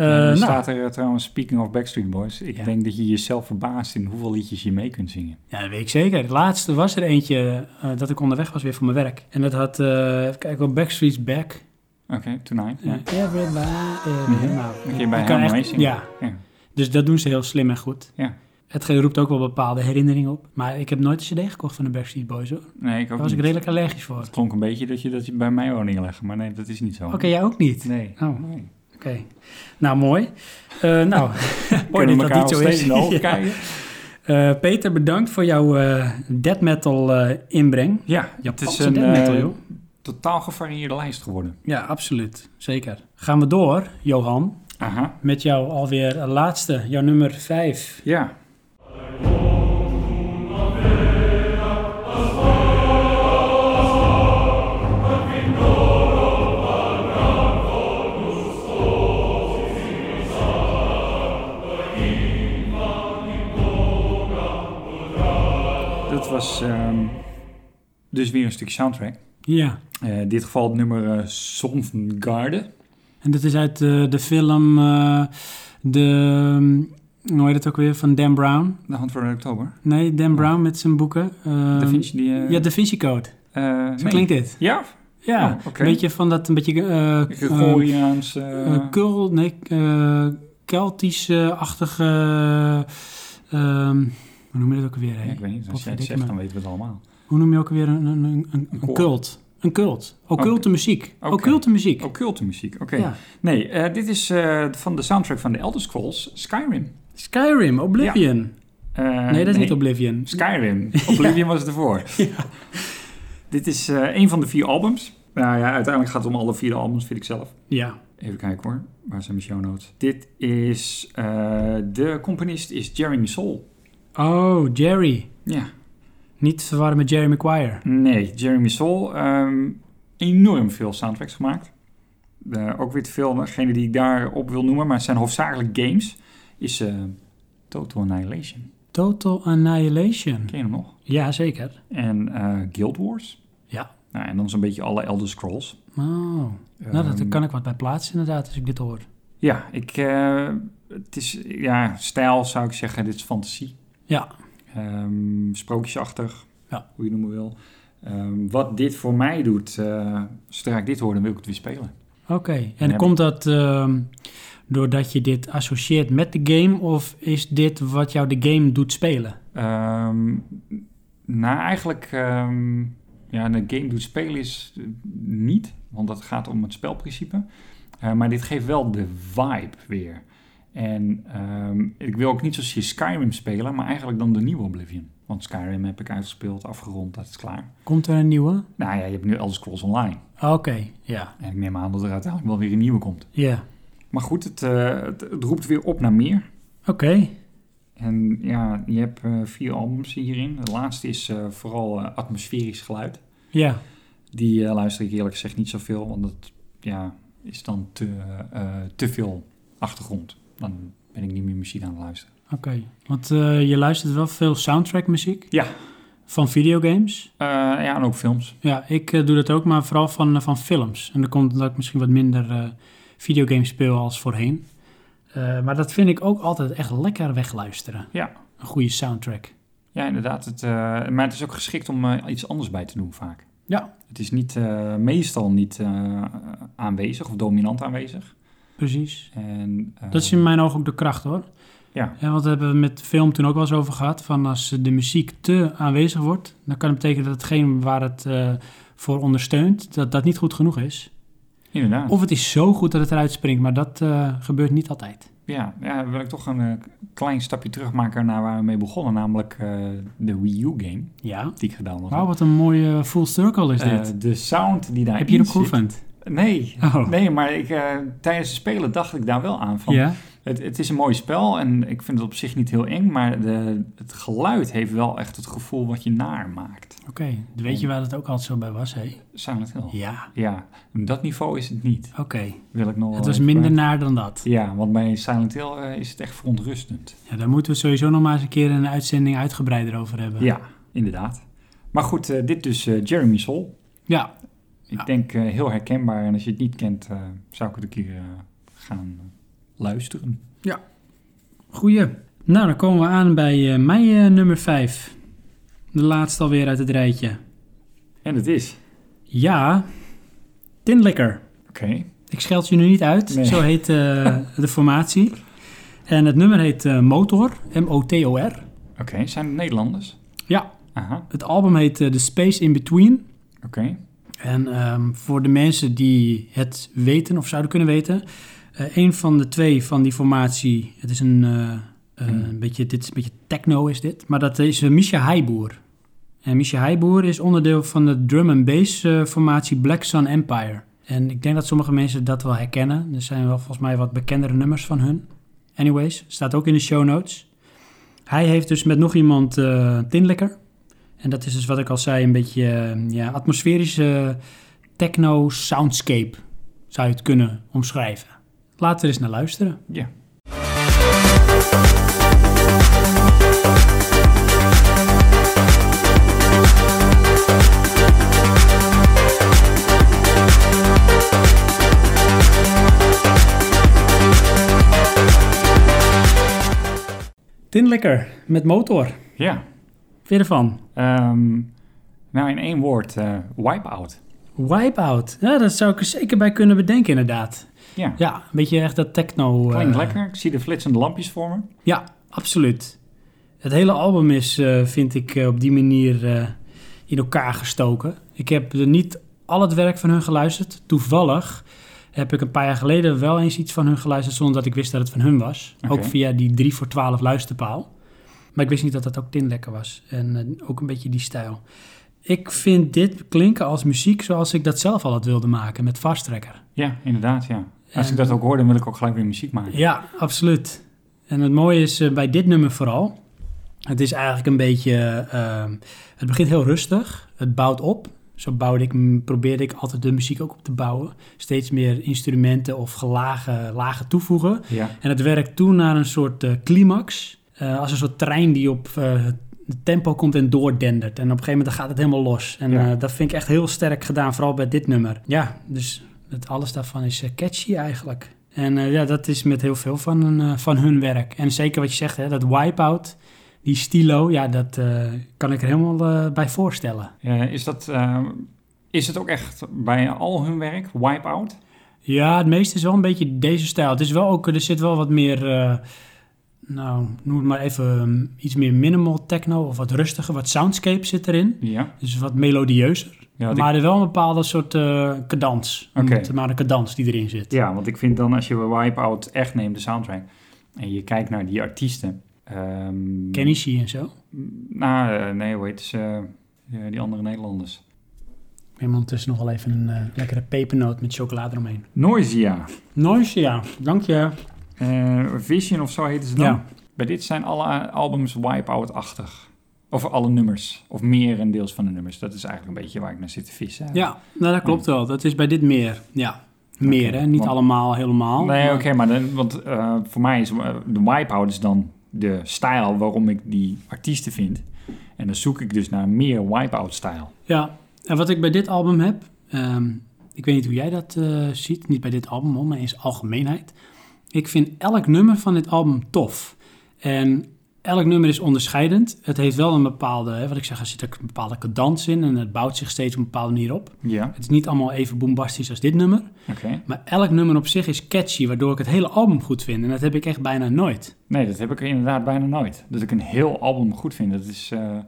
Er nou, staat er eh, trouwens, speaking of Backstreet Boys, ik Ja. denk dat je jezelf verbaast in hoeveel liedjes je mee kunt zingen. Ja, dat weet ik zeker. Het laatste was er eentje eh, dat ik onderweg was weer voor mijn werk. En dat had, eh even kijken, op Backstreet's Back. Oké, Tonight. Ja. Mhm. Ja. Everybody. Nou, Dan kun je bij je kan helemaal echt- meezingen. ja. Dus dat doen ze heel slim en goed. Ja. Het ge- roept ook wel bepaalde herinneringen op. Maar ik heb nooit een cd gekocht van de Backstreet Boys hoor. Nee, ik ook Daar was ik niet. redelijk allergisch voor. Het klonk een beetje dat je dat je bij mij wou neerleggen, maar nee, dat is niet zo. Oké, jij ook niet? Nee. Oh, oké. nee. Nou, mooi. Eh, nou, mooi Kunnen dat we dat elkaar niet al zo steeds is. in de ogen Ja. kijken? Eh, Peter, bedankt voor jouw eh death metal eh, inbreng. Ja, het Japanse is een death metal, eh, joh. totaal gevarieerde lijst geworden. Ja, absoluut. Zeker. Gaan we door, Johan. Aha. Met jou alweer eh, laatste, jouw nummer 5. Ja. Dat was ehm, dus weer een stuk soundtrack. Ja. Eh, in dit geval het nummer eh Songarde. En dat is uit eh, de film, eh, de, mm, hoe heet het ook weer, van Dan Brown. De hand voor oktober. Nee, Dan Brown met zijn boeken. Ehm, Da Vinci die... eh, Ja, Da Vinci Code. eh, Zo nee. klinkt dit. Ja, Ja, Oh, oké. een beetje van dat, een beetje... eh, eh, Gregoriaans. eh, eh, Kul, nee, eh, Keltische-achtige... ehm, hoe noem je dat ook weer? hè? ja, ik weet niet, als jij het Potverdikke zegt, me. dan weten we het allemaal. Hoe noem je ook weer een, een, een, een, een koor. cult? Een cult. Occulte muziek. Oké. Occulte muziek. Occulte muziek, oké. Ja. Nee, eh, dit is eh, van de soundtrack van de Elder Scrolls, Skyrim. Skyrim, Oblivion. Eh, nee, dat is niet Oblivion. Skyrim. Oblivion was het ervoor. Dit is eh een van de vier albums. Nou ja, uiteindelijk gaat het om alle vier de albums, vind ik zelf. Ja. Even kijken hoor, waar zijn mijn show notes? Dit is, eh, de componist is Jeremy Soule. Oh, Jerry. Ja. Niet te verwarren met Jerry Maguire. Nee, Jeremy Soul. ehm, enorm veel soundtracks gemaakt. Eh, ook weer te veel, degene die ik daar op wil noemen, maar het zijn hoofdzakelijk games. Is eh, Total Annihilation. Total Annihilation. Ken je hem nog? Ja, zeker. En eh, Guild Wars. Ja. Nou, en dan zo'n beetje alle Elder Scrolls. Oh. nou, Ehm. dat- daar kan ik wat bij plaatsen inderdaad, als ik dit hoor. Ja, ik, eh, het is, ja, stijl zou ik zeggen, dit is fantasie. Ja. Ehm, sprookjesachtig, Ja. hoe je het noemen wil. Ehm, wat dit voor mij doet, eh, zodra ik dit hoor, dan wil ik het weer spelen. Oké. En Ja. komt dat ehm, doordat je dit associeert met de game? Of is dit wat jou de game doet spelen? Ehm nou, eigenlijk, ehm, ja, een game doet spelen is eh, niet, want dat gaat om het spelprincipe. Eh, maar dit geeft wel de vibe weer. En ehm, ik wil ook niet zozeer Skyrim spelen, maar eigenlijk dan de nieuwe Oblivion. Want Skyrim heb ik uitgespeeld, afgerond, dat is klaar. Komt er een nieuwe? Nou ja, je hebt nu Elder Scrolls Online. Oké. Ja. En ik neem aan dat er uiteindelijk wel weer een nieuwe komt. Ja. Maar goed, het, eh, het, het roept weer op naar meer. Oké. En ja, je hebt eh, vier albums hierin. De laatste is eh, vooral eh, atmosferisch geluid. Ja. Die eh, luister ik eerlijk gezegd niet zoveel, want dat ja, is dan te, eh, te veel achtergrond. Dan ben ik niet meer muziek aan het luisteren. Oké. Want eh, je luistert wel veel soundtrackmuziek. Ja. Van videogames. Eh, ja, en ook films. Ja, ik eh, doe dat ook, maar vooral van, eh, van films. En dan komt dat ik misschien wat minder eh, videogames speel als voorheen. Eh, maar dat vind ik ook altijd echt lekker wegluisteren. Ja. Een goede soundtrack. Ja, inderdaad. Het, eh, maar het is ook geschikt om eh, iets anders bij te doen vaak. Ja. Het is niet, eh, meestal niet eh, aanwezig of dominant aanwezig. Precies. En, eh, Dat is in mijn ogen ook de kracht hoor. Ja. Ja, want daar hebben we met film toen ook wel eens over gehad. Van als eh, de muziek te aanwezig wordt, dan kan het betekenen dat hetgeen waar het eh, voor ondersteunt, dat dat niet goed genoeg is. Inderdaad. Of het is zo goed dat het eruit springt, maar dat eh, gebeurt niet altijd. Ja, ja, wil ik toch een eh, klein stapje terugmaken naar waar we mee begonnen, namelijk eh, de Wii U game Ja. nou, die ik gedaan had. Wauw, Oh, wat een mooie full circle is Eh, dit. de sound die daar Heb je erop zit. geoefend? Nee, Oh. nee, maar ik, eh, tijdens het spelen dacht ik daar wel aan van. Ja. Het, het is een mooi spel en ik vind het op zich niet heel eng, maar de, het geluid heeft wel echt het gevoel wat je naar maakt. Oké, weet je waar dat ook altijd zo bij was, hè? Silent Hill. Ja, Ja, op dat niveau is het niet. oké. Wil ik nog wel Het was even minder bij- naar dan dat. Ja, want bij Silent Hill eh, is het echt verontrustend. Ja, daar moeten we sowieso nog maar eens een keer een uitzending uitgebreider over hebben. Ja, inderdaad. Maar goed, eh, dit dus eh, Jeremy Sol. Ja, Ik Ja. denk eh, heel herkenbaar. En als je het niet kent, eh, zou ik het een keer eh, gaan eh, luisteren. goeie. Nou, dan komen we aan bij eh, mijn eh, nummer 5. De laatste alweer uit het rijtje. En het is. Ja, Tin Licker. Oké. Ik scheld je nu niet uit, Nee. zo heet eh, de formatie. En het nummer heet eh, Motor, M-O-T-O-R. Oké, zijn het Nederlanders? Ja, Aha, het album heet eh, The Space in Between. oké. En ehm, voor de mensen die het weten of zouden kunnen weten, eh een van de twee van die formatie, het is een, eh, eh, een beetje, dit is een beetje techno is dit, maar dat is eh, Misha Heiboer. En Misha Heiboer is onderdeel van de drum and bass eh, formatie Black Sun Empire. En ik denk dat sommige mensen dat wel herkennen. Er zijn wel volgens mij wat bekendere nummers van hun. Anyways, staat ook in de show notes. Hij heeft dus met nog iemand eh Tinlicker. En dat is dus wat ik al zei, een beetje eh, ja, atmosferische techno soundscape zou je het kunnen omschrijven. Laten we er eens naar luisteren. Ja. Tinlicker met motor. Ja. Weer ervan. Ehm, nou, in één woord, eh wipe-out. Wipeout. Ja, dat zou ik er zeker bij kunnen bedenken, inderdaad. Ja. Ja, een beetje echt dat techno. eh, Klinkt lekker. Ik zie de flitsende lampjes voor me. Ja, absoluut. Het hele album is, eh, vind ik, eh, op die manier eh, in elkaar gestoken. Ik heb er niet al het werk van hun geluisterd. Toevallig heb ik een paar jaar geleden wel eens iets van hun geluisterd... zonder dat ik wist dat het van hun was. Oké. Ook via die 3 voor 12 luisterpaal. Maar ik wist niet dat dat ook Tin Lekker was. En eh, ook een beetje die stijl. Ik vind dit klinken als muziek zoals ik dat zelf al had wilde maken met Fast Tracker. Ja, inderdaad, ja. Als En- ik dat ook hoor, dan wil ik ook gelijk weer muziek maken. Ja, absoluut. En het mooie is eh, bij dit nummer vooral Het is eigenlijk een beetje. ehm, het begint heel rustig. Het bouwt op. Zo bouwde ik, m- probeerde ik altijd de muziek ook op te bouwen. Steeds meer instrumenten of gelagen, lagen toevoegen. Ja. En het werkt toe naar een soort eh, climax. eh, als een soort trein die op eh, het tempo komt en doordendert. En op een gegeven moment gaat het helemaal los. En Ja. eh, dat vind ik echt heel sterk gedaan, vooral bij dit nummer. Ja, dus het, alles daarvan is eh, catchy eigenlijk. En eh, ja, dat is met heel veel van, hun, eh, van hun werk. En zeker wat je zegt, hè, dat wipeout, die stilo, ja, dat eh, kan ik er helemaal eh, bij voorstellen. Eh, is, dat, eh, is het ook echt bij al hun werk, Wipeout? Ja, het meeste is wel een beetje deze stijl. Het is wel ook, er zit wel wat meer, eh, nou, noem het maar even mm, iets meer minimal techno of wat rustiger. Wat soundscape zit erin, Ja. dus wat melodieuzer. Ja, want ik- maar er wel een bepaalde soort eh cadans, Oké. Noem het maar een cadans die erin zit. Ja, want ik vind dan als je Wipeout echt neemt, de soundtrack, en je kijkt naar die artiesten. ehm, Kenichi en zo. Nou, eh, nee, hoe heet ze? eh, die andere Nederlanders. Ik neem ondertussen nog wel even een eh, lekkere pepernoot met chocolade eromheen. Noisia. Noise, ja. Dank je. Eh, Vision of zo heten ze dan. Ja. Bij dit zijn alle eh, albums Wipeout-achtig. Of alle nummers. Of merendeels van de nummers. Dat is eigenlijk een beetje waar ik naar zit te vissen. Ja, nou, dat klopt wel. Dat is bij dit meer, ja. Meer, hè. Niet want- allemaal helemaal. Nee, maar- oké, maar dan, want eh, voor mij is eh, de Wipeout is dan de stijl waarom ik die artiesten vind. En dan zoek ik dus naar meer Wipeout-stijl. Ja, en wat ik bij dit album heb, ehm, ik weet niet hoe jij dat eh, ziet, niet bij dit album, hoor, maar in zijn algemeenheid. Ik vind elk nummer van dit album tof. En elk nummer is onderscheidend. Het heeft wel een bepaalde, hè, wat ik zeg, er zit ook een bepaalde cadans in en het bouwt zich steeds op een bepaalde manier op. Ja, Het is niet allemaal even bombastisch als dit nummer, oké. maar elk nummer op zich is catchy, waardoor ik het hele album goed vind. En dat heb ik echt bijna nooit. Nee, dat heb ik inderdaad bijna nooit. Dat ik een heel album goed vind, dat is... eh,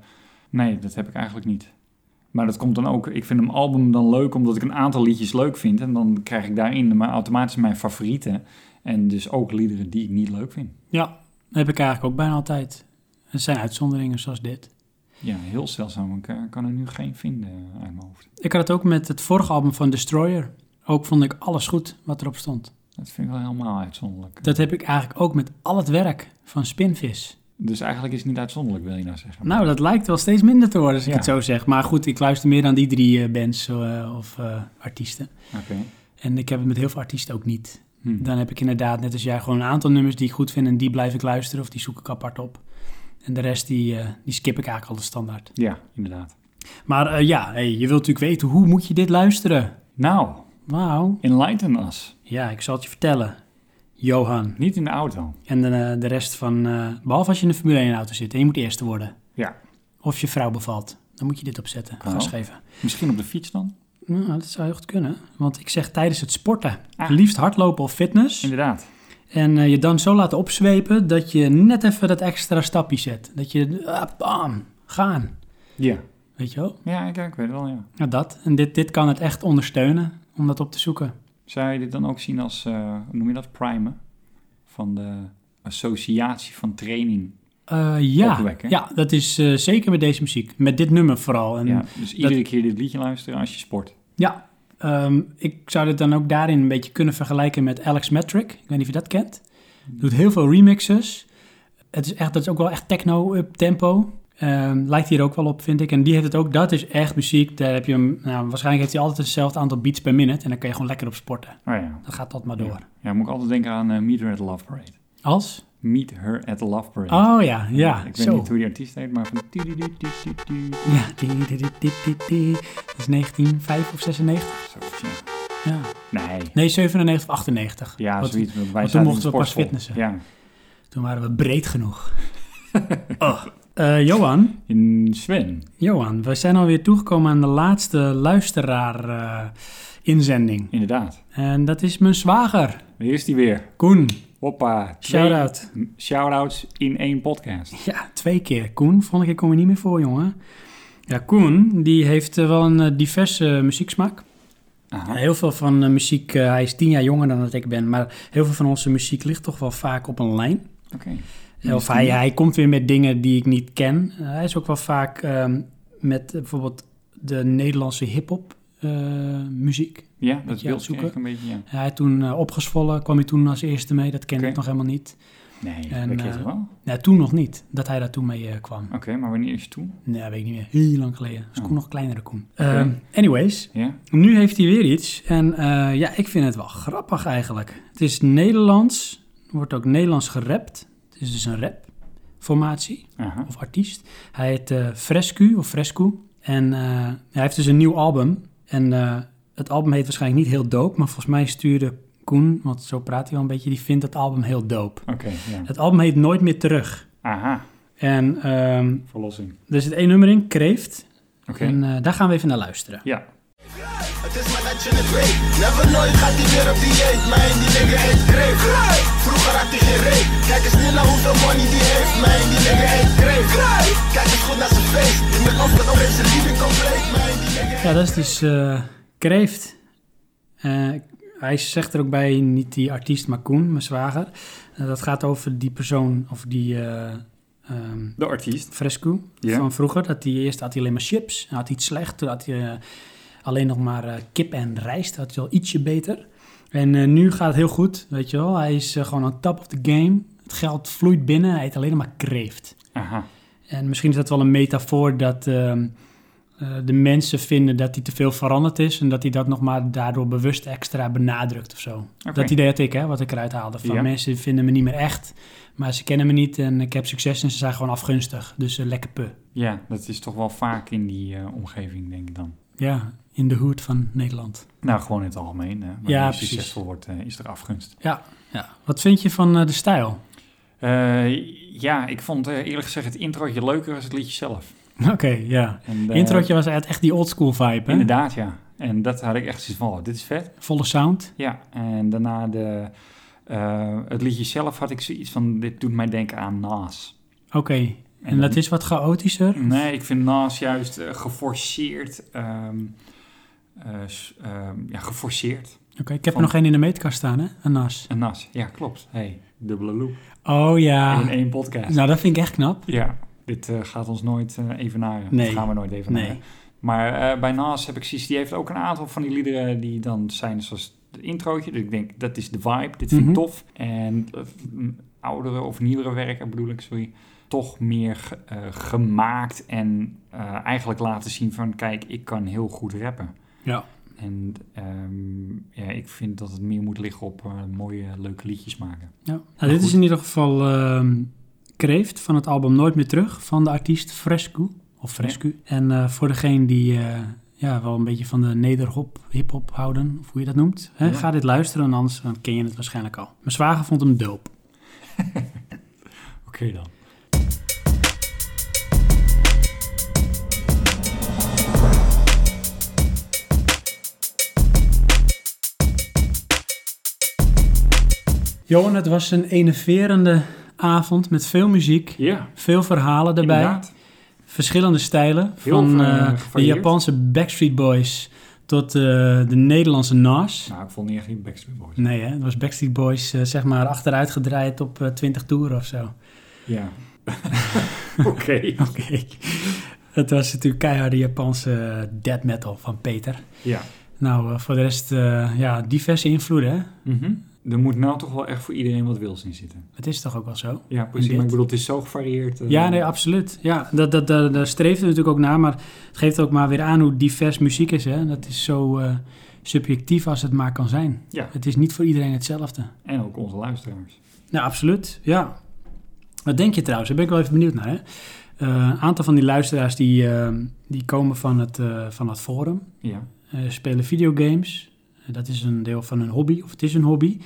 nee, dat heb ik eigenlijk niet. Maar dat komt dan ook... Ik vind een album dan leuk omdat ik een aantal liedjes leuk vind. En dan krijg ik daarin maar automatisch mijn favorieten. En dus ook liederen die ik niet leuk vind. Ja, dat heb ik eigenlijk ook bijna altijd. Het zijn uitzonderingen zoals dit. Ja, heel zeldzaam. Ik eh, kan er nu geen vinden uit mijn hoofd. Ik had het ook met het vorige album van Destroyer. Ook vond ik alles goed wat erop stond. Dat vind ik wel helemaal uitzonderlijk. Dat heb ik eigenlijk ook met al het werk van Spinvis. Dus eigenlijk is het niet uitzonderlijk, wil je nou zeggen. Nou, dat lijkt wel steeds minder te worden als ik Ja. het zo zeg. Maar goed, ik luister meer aan die drie eh, bands eh, of eh, artiesten. Oké. En ik heb het met heel veel artiesten ook niet. Hm. Dan heb ik inderdaad, net als jij, gewoon een aantal nummers die ik goed vind en die blijf ik luisteren of die zoek ik apart op. En de rest die, eh, die skip ik eigenlijk altijd standaard. Ja, inderdaad. Maar eh, ja, hey, je wilt natuurlijk weten hoe moet je dit luisteren? Nou, Wauw. enlighten us. Ja, ik zal het je vertellen. Johan. Niet in de auto. En de, eh, de rest van, eh, behalve als je in een Formule 1 auto zit en je moet eerste worden. Ja. Of je vrouw bevalt. Dan moet je dit opzetten, Oh. gas geven. Misschien op de fiets dan? Nou, dat zou heel goed kunnen. Want ik zeg tijdens het sporten. Ah. Liefst hardlopen of fitness. Inderdaad. En eh, je dan zo laten opzwepen dat je net even dat extra stapje zet. Dat je, ah, bam, gaan. Ja. Weet je wel? Ja, ik, ik weet het wel, ja. Nou, dat. En dit, dit kan het echt ondersteunen om dat op te zoeken. Zou je dit dan ook zien als, eh, hoe noem je dat, primen? Van de associatie van training. Eh, ja. Opwekken. ja, dat is eh, zeker met deze muziek. Met dit nummer vooral. En Ja, dus iedere keer dit liedje luisteren als je sport. Ja, ehm, ik zou dit dan ook daarin een beetje kunnen vergelijken met Alex Metric. Ik weet niet of je dat kent. Doet heel veel remixes. Het is echt, dat is ook wel echt techno-up-tempo. Ehm, lijkt hier ook wel op, vind ik. En die heeft het ook. Dat is echt muziek. Daar heb je hem, nou, waarschijnlijk heeft hij altijd hetzelfde aantal beats per minute. En dan kan je gewoon lekker op sporten. Oh ja. Dan gaat dat maar door. Ja, moet ik altijd denken aan eh, Meet Her at the Love Parade. Als? Meet Her at the Love Parade. Oh ja, ja. Ik weet zo. niet hoe die artiest heet, maar van... Zo, Ja. Die, die, die, die, die, die. Dat is 1905 of 96. ja. Ja. Nee. Nee, 97 of 98. Ja, Want zoiets. want Wij toen zaten in mochten we pas sportschool. fitnessen. Ja. Toen waren we breed genoeg. oh. Eh, Johan, In Sven. Johan, we zijn alweer toegekomen aan de laatste luisteraar-inzending. Inderdaad. en dat is mijn zwager, Daar is die weer. Koen. Hoppa. twee Shout-out. Shout-outs in één podcast. Ja, twee keer. Koen, volgende keer kom je niet meer voor, jongen. Ja, Koen, die heeft eh, wel een eh, diverse muzieksmaak. Aha. Heel veel van de muziek, eh, hij is tien jaar jonger dan dat ik ben, maar heel veel van onze muziek ligt toch wel vaak op een lijn. Oké. Of hij, hij komt weer met dingen die ik niet ken. Uh, hij is ook wel vaak ehm, met eh, bijvoorbeeld de Nederlandse hip-hop eh, eh, muziek. Ja, dat je wil ik zoeken. echt een beetje, ja. Hij had toen eh, opgezwollen, kwam hij toen als eerste mee. Dat kende Oké. ik nog helemaal niet. Nee, En, dat ken eh, je toch wel? Nou, toen nog niet, dat hij daar toen mee eh, kwam. Oké, maar wanneer is het toen? Nee, weet ik niet meer. Heel lang geleden. Dus Oh. Koen nog kleinere Koen. Ehm, anyways, Ja? nu heeft hij weer iets. En eh, ja, ik vind het wel grappig eigenlijk. Het is Nederlands. Er wordt ook Nederlands gerapt. Het is dus een rapformatie Aha. of artiest. Hij heet eh, Frescu of Frescu. En eh, hij heeft dus een nieuw album. En eh, het album heet waarschijnlijk niet heel dope. Maar volgens mij stuurde Koen, want zo praat hij wel een beetje, die vindt het album heel dope. Oké, ja. Het album heet Nooit meer terug. Aha, En ehm, verlossing. er zit één nummer in, Kreeft. Oké. En eh, daar gaan we even naar luisteren. Ja. Het is maar dat je het weet. Never nooit gaat hij weer op dieet. Mijn die nigga heet Greef. Vroeger had hij geen reet. Kijk eens nu naar hoeveel money die heeft. Mijn die nigga heet Greef. Kijk eens goed naar zijn face. Die met afstand op heeft zijn liefde compleet. Mijn die nigga Ja, dat is dus eh, Kreeft. Eh, hij zegt er ook bij, niet die artiest, maar Koen, mijn zwager. Eh, dat gaat over die persoon, of die eh, ehm, De artiest. fresco Ja. van vroeger. Dat hij eerst had hij alleen maar chips, hij had iets slecht. Toen had hij eh, alleen nog maar eh, kip en rijst, had hij al ietsje beter. En eh, nu gaat het heel goed, weet je wel. Hij is eh, gewoon on top of the game. Het geld vloeit binnen, hij eet alleen maar kreeft. Aha. En misschien is dat wel een metafoor dat ehm, eh, de mensen vinden dat hij te veel veranderd is en dat hij dat nog maar daardoor bewust extra benadrukt of zo. Dat idee had ik, hè, wat ik eruit haalde. Van Ja. mensen vinden me niet meer echt, maar ze kennen me niet en ik heb succes en ze zijn gewoon afgunstig. Dus eh, lekker pu. Ja, dat is toch wel vaak in die eh, omgeving, denk ik dan. Ja, in de hoed van Nederland. Nou, gewoon in het algemeen. Hè. Wanneer Ja, je precies. succesvol wordt, eh, is er afgunst. Ja, ja. Wat vind je van eh, de stijl? Eh, ja, ik vond eh, eerlijk gezegd het introotje leuker als het liedje zelf. Oké, ja. En, eh, Introotje was echt die oldschool vibe, hè? Inderdaad, ja. En dat had ik echt zoiets van, oh, dit is vet. Volle sound. Ja, en daarna de, eh, het liedje zelf had ik zoiets van, dit doet mij denken aan Naas. Oké. En dat is wat chaotischer? Nee, ik vind Naas juist eh, geforceerd. ehm, eh, s- ehm, ja, geforceerd. Oké, ik heb er Van- nog één in de meetkast staan, hè? Een nas. Een Naas, ja, klopt. Hey, dubbele loop. Oh ja. In één podcast. Nou, dat vind ik echt knap. Ja, dit eh, gaat ons nooit eh, evenaren. Nee. Dat gaan we nooit evenaren. Nee. Maar eh, bij Nas heb ik zoiets, die heeft ook een aantal van die liederen die dan zijn zoals het introotje. Dus ik denk, dat is de vibe, dit vind Mhm. ik tof. En eh, m, oudere of nieuwere werken bedoel ik, sorry, toch meer ge- eh, gemaakt en eh, eigenlijk laten zien van, kijk, ik kan heel goed rappen. Ja. En ehm, ja, ik vind dat het meer moet liggen op eh, mooie, leuke liedjes maken. ja. Nou, dit goed. is in ieder geval ehm, Kreeft van het album Nooit meer terug van de artiest Frescu. Of Frescu. En eh, voor degene die eh, ja, wel een beetje van de nederhop, hip-hop houden, of hoe je dat noemt, hè, Ja. ga dit luisteren, anders dan ken je het waarschijnlijk al. Mijn zwager vond hem dope. Oké dan. Johan, het was een enerverende avond met veel muziek, Ja, veel verhalen daarbij. inderdaad. verschillende stijlen. Heel van va- eh, de gevarieerd. Japanse Backstreet Boys tot eh, de Nederlandse Nas. Nou, ik vond niet echt geen Backstreet Boys. Nee, hè? het was Backstreet Boys eh, zeg maar achteruit gedraaid op eh, 20 toeren of zo. Ja. Oké. Oké. Het was natuurlijk keiharde Japanse eh, death metal van Peter. Ja. Nou, eh, voor de rest, eh, ja, diverse invloeden, hè? Er moet nou toch wel echt voor iedereen wat wils in zitten. Het is toch ook wel zo? Ja, precies. precies. Maar Maar ik ik bedoel, het is zo gevarieerd. eh, Ja, nee, absoluut. Ja, dat, dat, dat, daar streeft het natuurlijk ook naar, maar het geeft ook maar weer aan hoe divers muziek is, hè? Dat is zo eh, subjectief als het maar kan zijn. Ja. Het is niet voor iedereen hetzelfde. En ook onze luisteraars. Nou, absoluut. Ja. Wat denk je trouwens? Daar ben ik wel even benieuwd naar. Hè? Eh, een aantal van die luisteraars die, eh, die komen van het, eh, van het forum, Ja. eh, spelen videogames. Eh, dat is een deel van hun hobby, of het is hun hobby.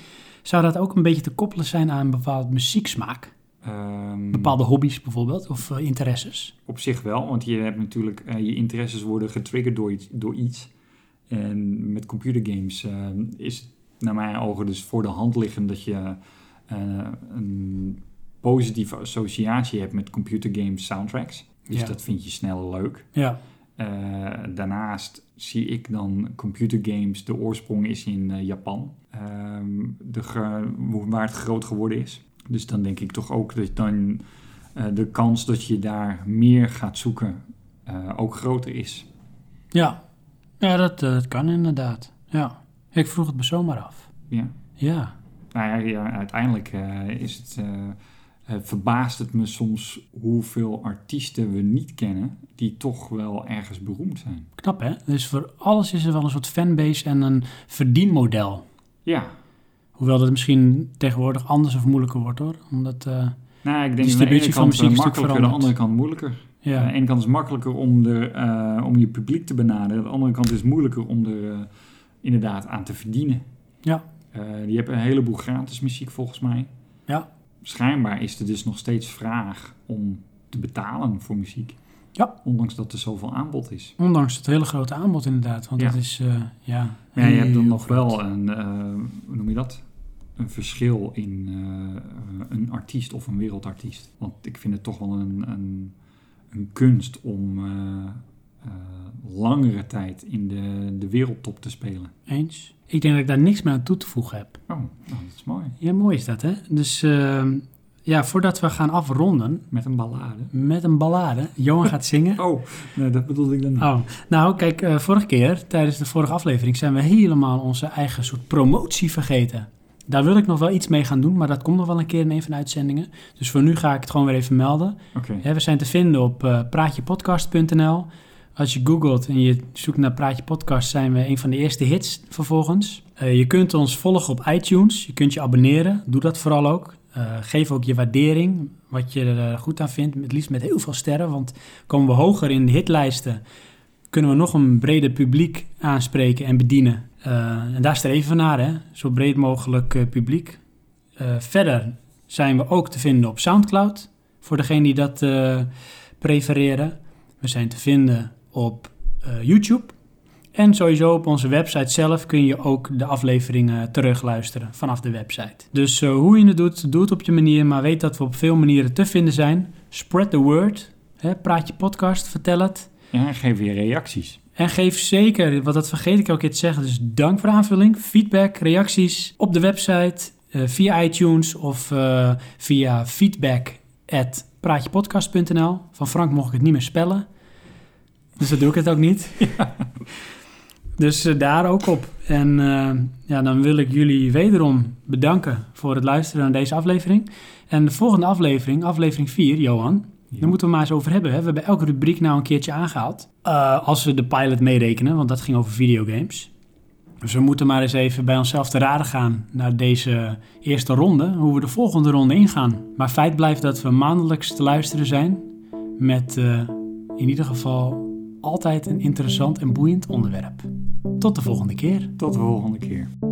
Zou dat ook een beetje te koppelen zijn aan een bepaald muzieksmaak? Ehm, Bepaalde hobby's bijvoorbeeld, of eh, interesses? Op zich wel, want je hebt natuurlijk, eh, je interesses worden getriggerd door iets. Door iets. En met computergames ehm, is het naar mijn ogen dus voor de hand liggend dat je eh, een positieve associatie hebt met computergame soundtracks. Dus Ja. dat vind je snel leuk. Ja, Eh, daarnaast zie ik dan computergames, de oorsprong is in eh, Japan, Ehm, de ge- hoe- waar het groot geworden is. Dus dan denk ik toch ook dat dan eh, de kans dat je daar meer gaat zoeken eh, ook groter is. ja. Ja, dat, eh, dat kan inderdaad. Ja. Ik vroeg het me zomaar af. Ja. Ja. Nou ja, ja, uiteindelijk eh, is het, eh, eh, verbaast het me soms hoeveel artiesten we niet kennen die toch wel ergens beroemd zijn. Knap, hè? Dus voor alles is er wel een soort fanbase en een verdienmodel. Ja, Hoewel dat misschien tegenwoordig anders of moeilijker wordt, hoor. Omdat, eh, nou, ik denk aan de ene Distributie kant van muziek eh, is natuurlijk makkelijker, aan de veranderd. andere kant moeilijker. ja. Aan de ene Eh, kant is het makkelijker om, er, eh, om je publiek te benaderen. Aan de andere kant is het moeilijker om er eh, inderdaad aan te verdienen. Ja. Eh, je hebt een heleboel gratis muziek volgens mij. Ja. Schijnbaar is er dus nog steeds vraag om te betalen voor muziek. Ja. Ondanks dat er zoveel aanbod is. Ondanks het hele grote aanbod, inderdaad. Want Ja. dat is, eh, ja... Maar ja, je hebt dan heel nog groot. wel een, eh, hoe noem je dat? Een verschil in eh, een artiest of een wereldartiest. Want ik vind het toch wel een, een, een kunst om eh, eh, langere tijd in de, de wereldtop te spelen. Eens. Ik denk dat ik daar niks meer aan toe te voegen heb. Oh, nou, dat is mooi. Ja, mooi is dat, hè? Dus ehm, ja, voordat we gaan afronden Met een ballade. met een ballade. Johan gaat zingen. Oh, nee, dat bedoelde ik dan niet. Oh, nou kijk, eh, vorige keer, tijdens de vorige aflevering, zijn we helemaal onze eigen soort promotie vergeten. Daar wil ik nog wel iets mee gaan doen, maar dat komt nog wel een keer in een van de uitzendingen. Dus voor nu ga ik het gewoon weer even melden. Oké, Hè, we zijn te vinden op eh, praatjepodcast.nl. Als je googelt en je zoekt naar Praatje Podcast, zijn we een van de eerste hits vervolgens. Eh, je kunt ons volgen op iTunes. Je kunt je abonneren. Doe dat vooral ook. Eh, geef ook je waardering, wat je er eh, goed aan vindt. Het liefst met heel veel sterren, want komen we hoger in de hitlijsten, kunnen we nog een breder publiek aanspreken en bedienen. Eh, en daar streven we naar, hè? zo breed mogelijk eh, publiek. Eh, verder zijn we ook te vinden op Soundcloud, voor degenen die dat eh, prefereren. We zijn te vinden op eh, YouTube. En sowieso op onze website zelf kun je ook de afleveringen terugluisteren vanaf de website. Dus eh, hoe je het doet, doe het op je manier, maar weet dat we op veel manieren te vinden zijn. Spread the word, hè, praat je podcast, vertel het. ja, geef je reacties. En geef zeker, want dat vergeet ik elke keer te zeggen, dus dank voor de aanvulling, feedback, reacties op de website, eh, via iTunes of eh, via feedback at praatjepodcast.nl. Van Frank mocht ik het niet meer spellen, dus dat doe ik het ook niet. Dus eh, daar ook op. En eh, ja, dan wil ik jullie wederom bedanken voor het luisteren naar deze aflevering. En de volgende aflevering, aflevering 4, Johan, Ja. daar moeten we maar eens over hebben. Hè? We hebben elke rubriek nou een keertje aangehaald. Eh, als we de pilot meerekenen, want dat ging over videogames. Dus we moeten maar eens even bij onszelf te raden gaan naar deze eerste ronde, hoe we de volgende ronde ingaan. Maar feit blijft dat we maandelijks te luisteren zijn met eh, in ieder geval altijd een interessant en boeiend onderwerp. Tot de volgende keer. Tot de volgende keer.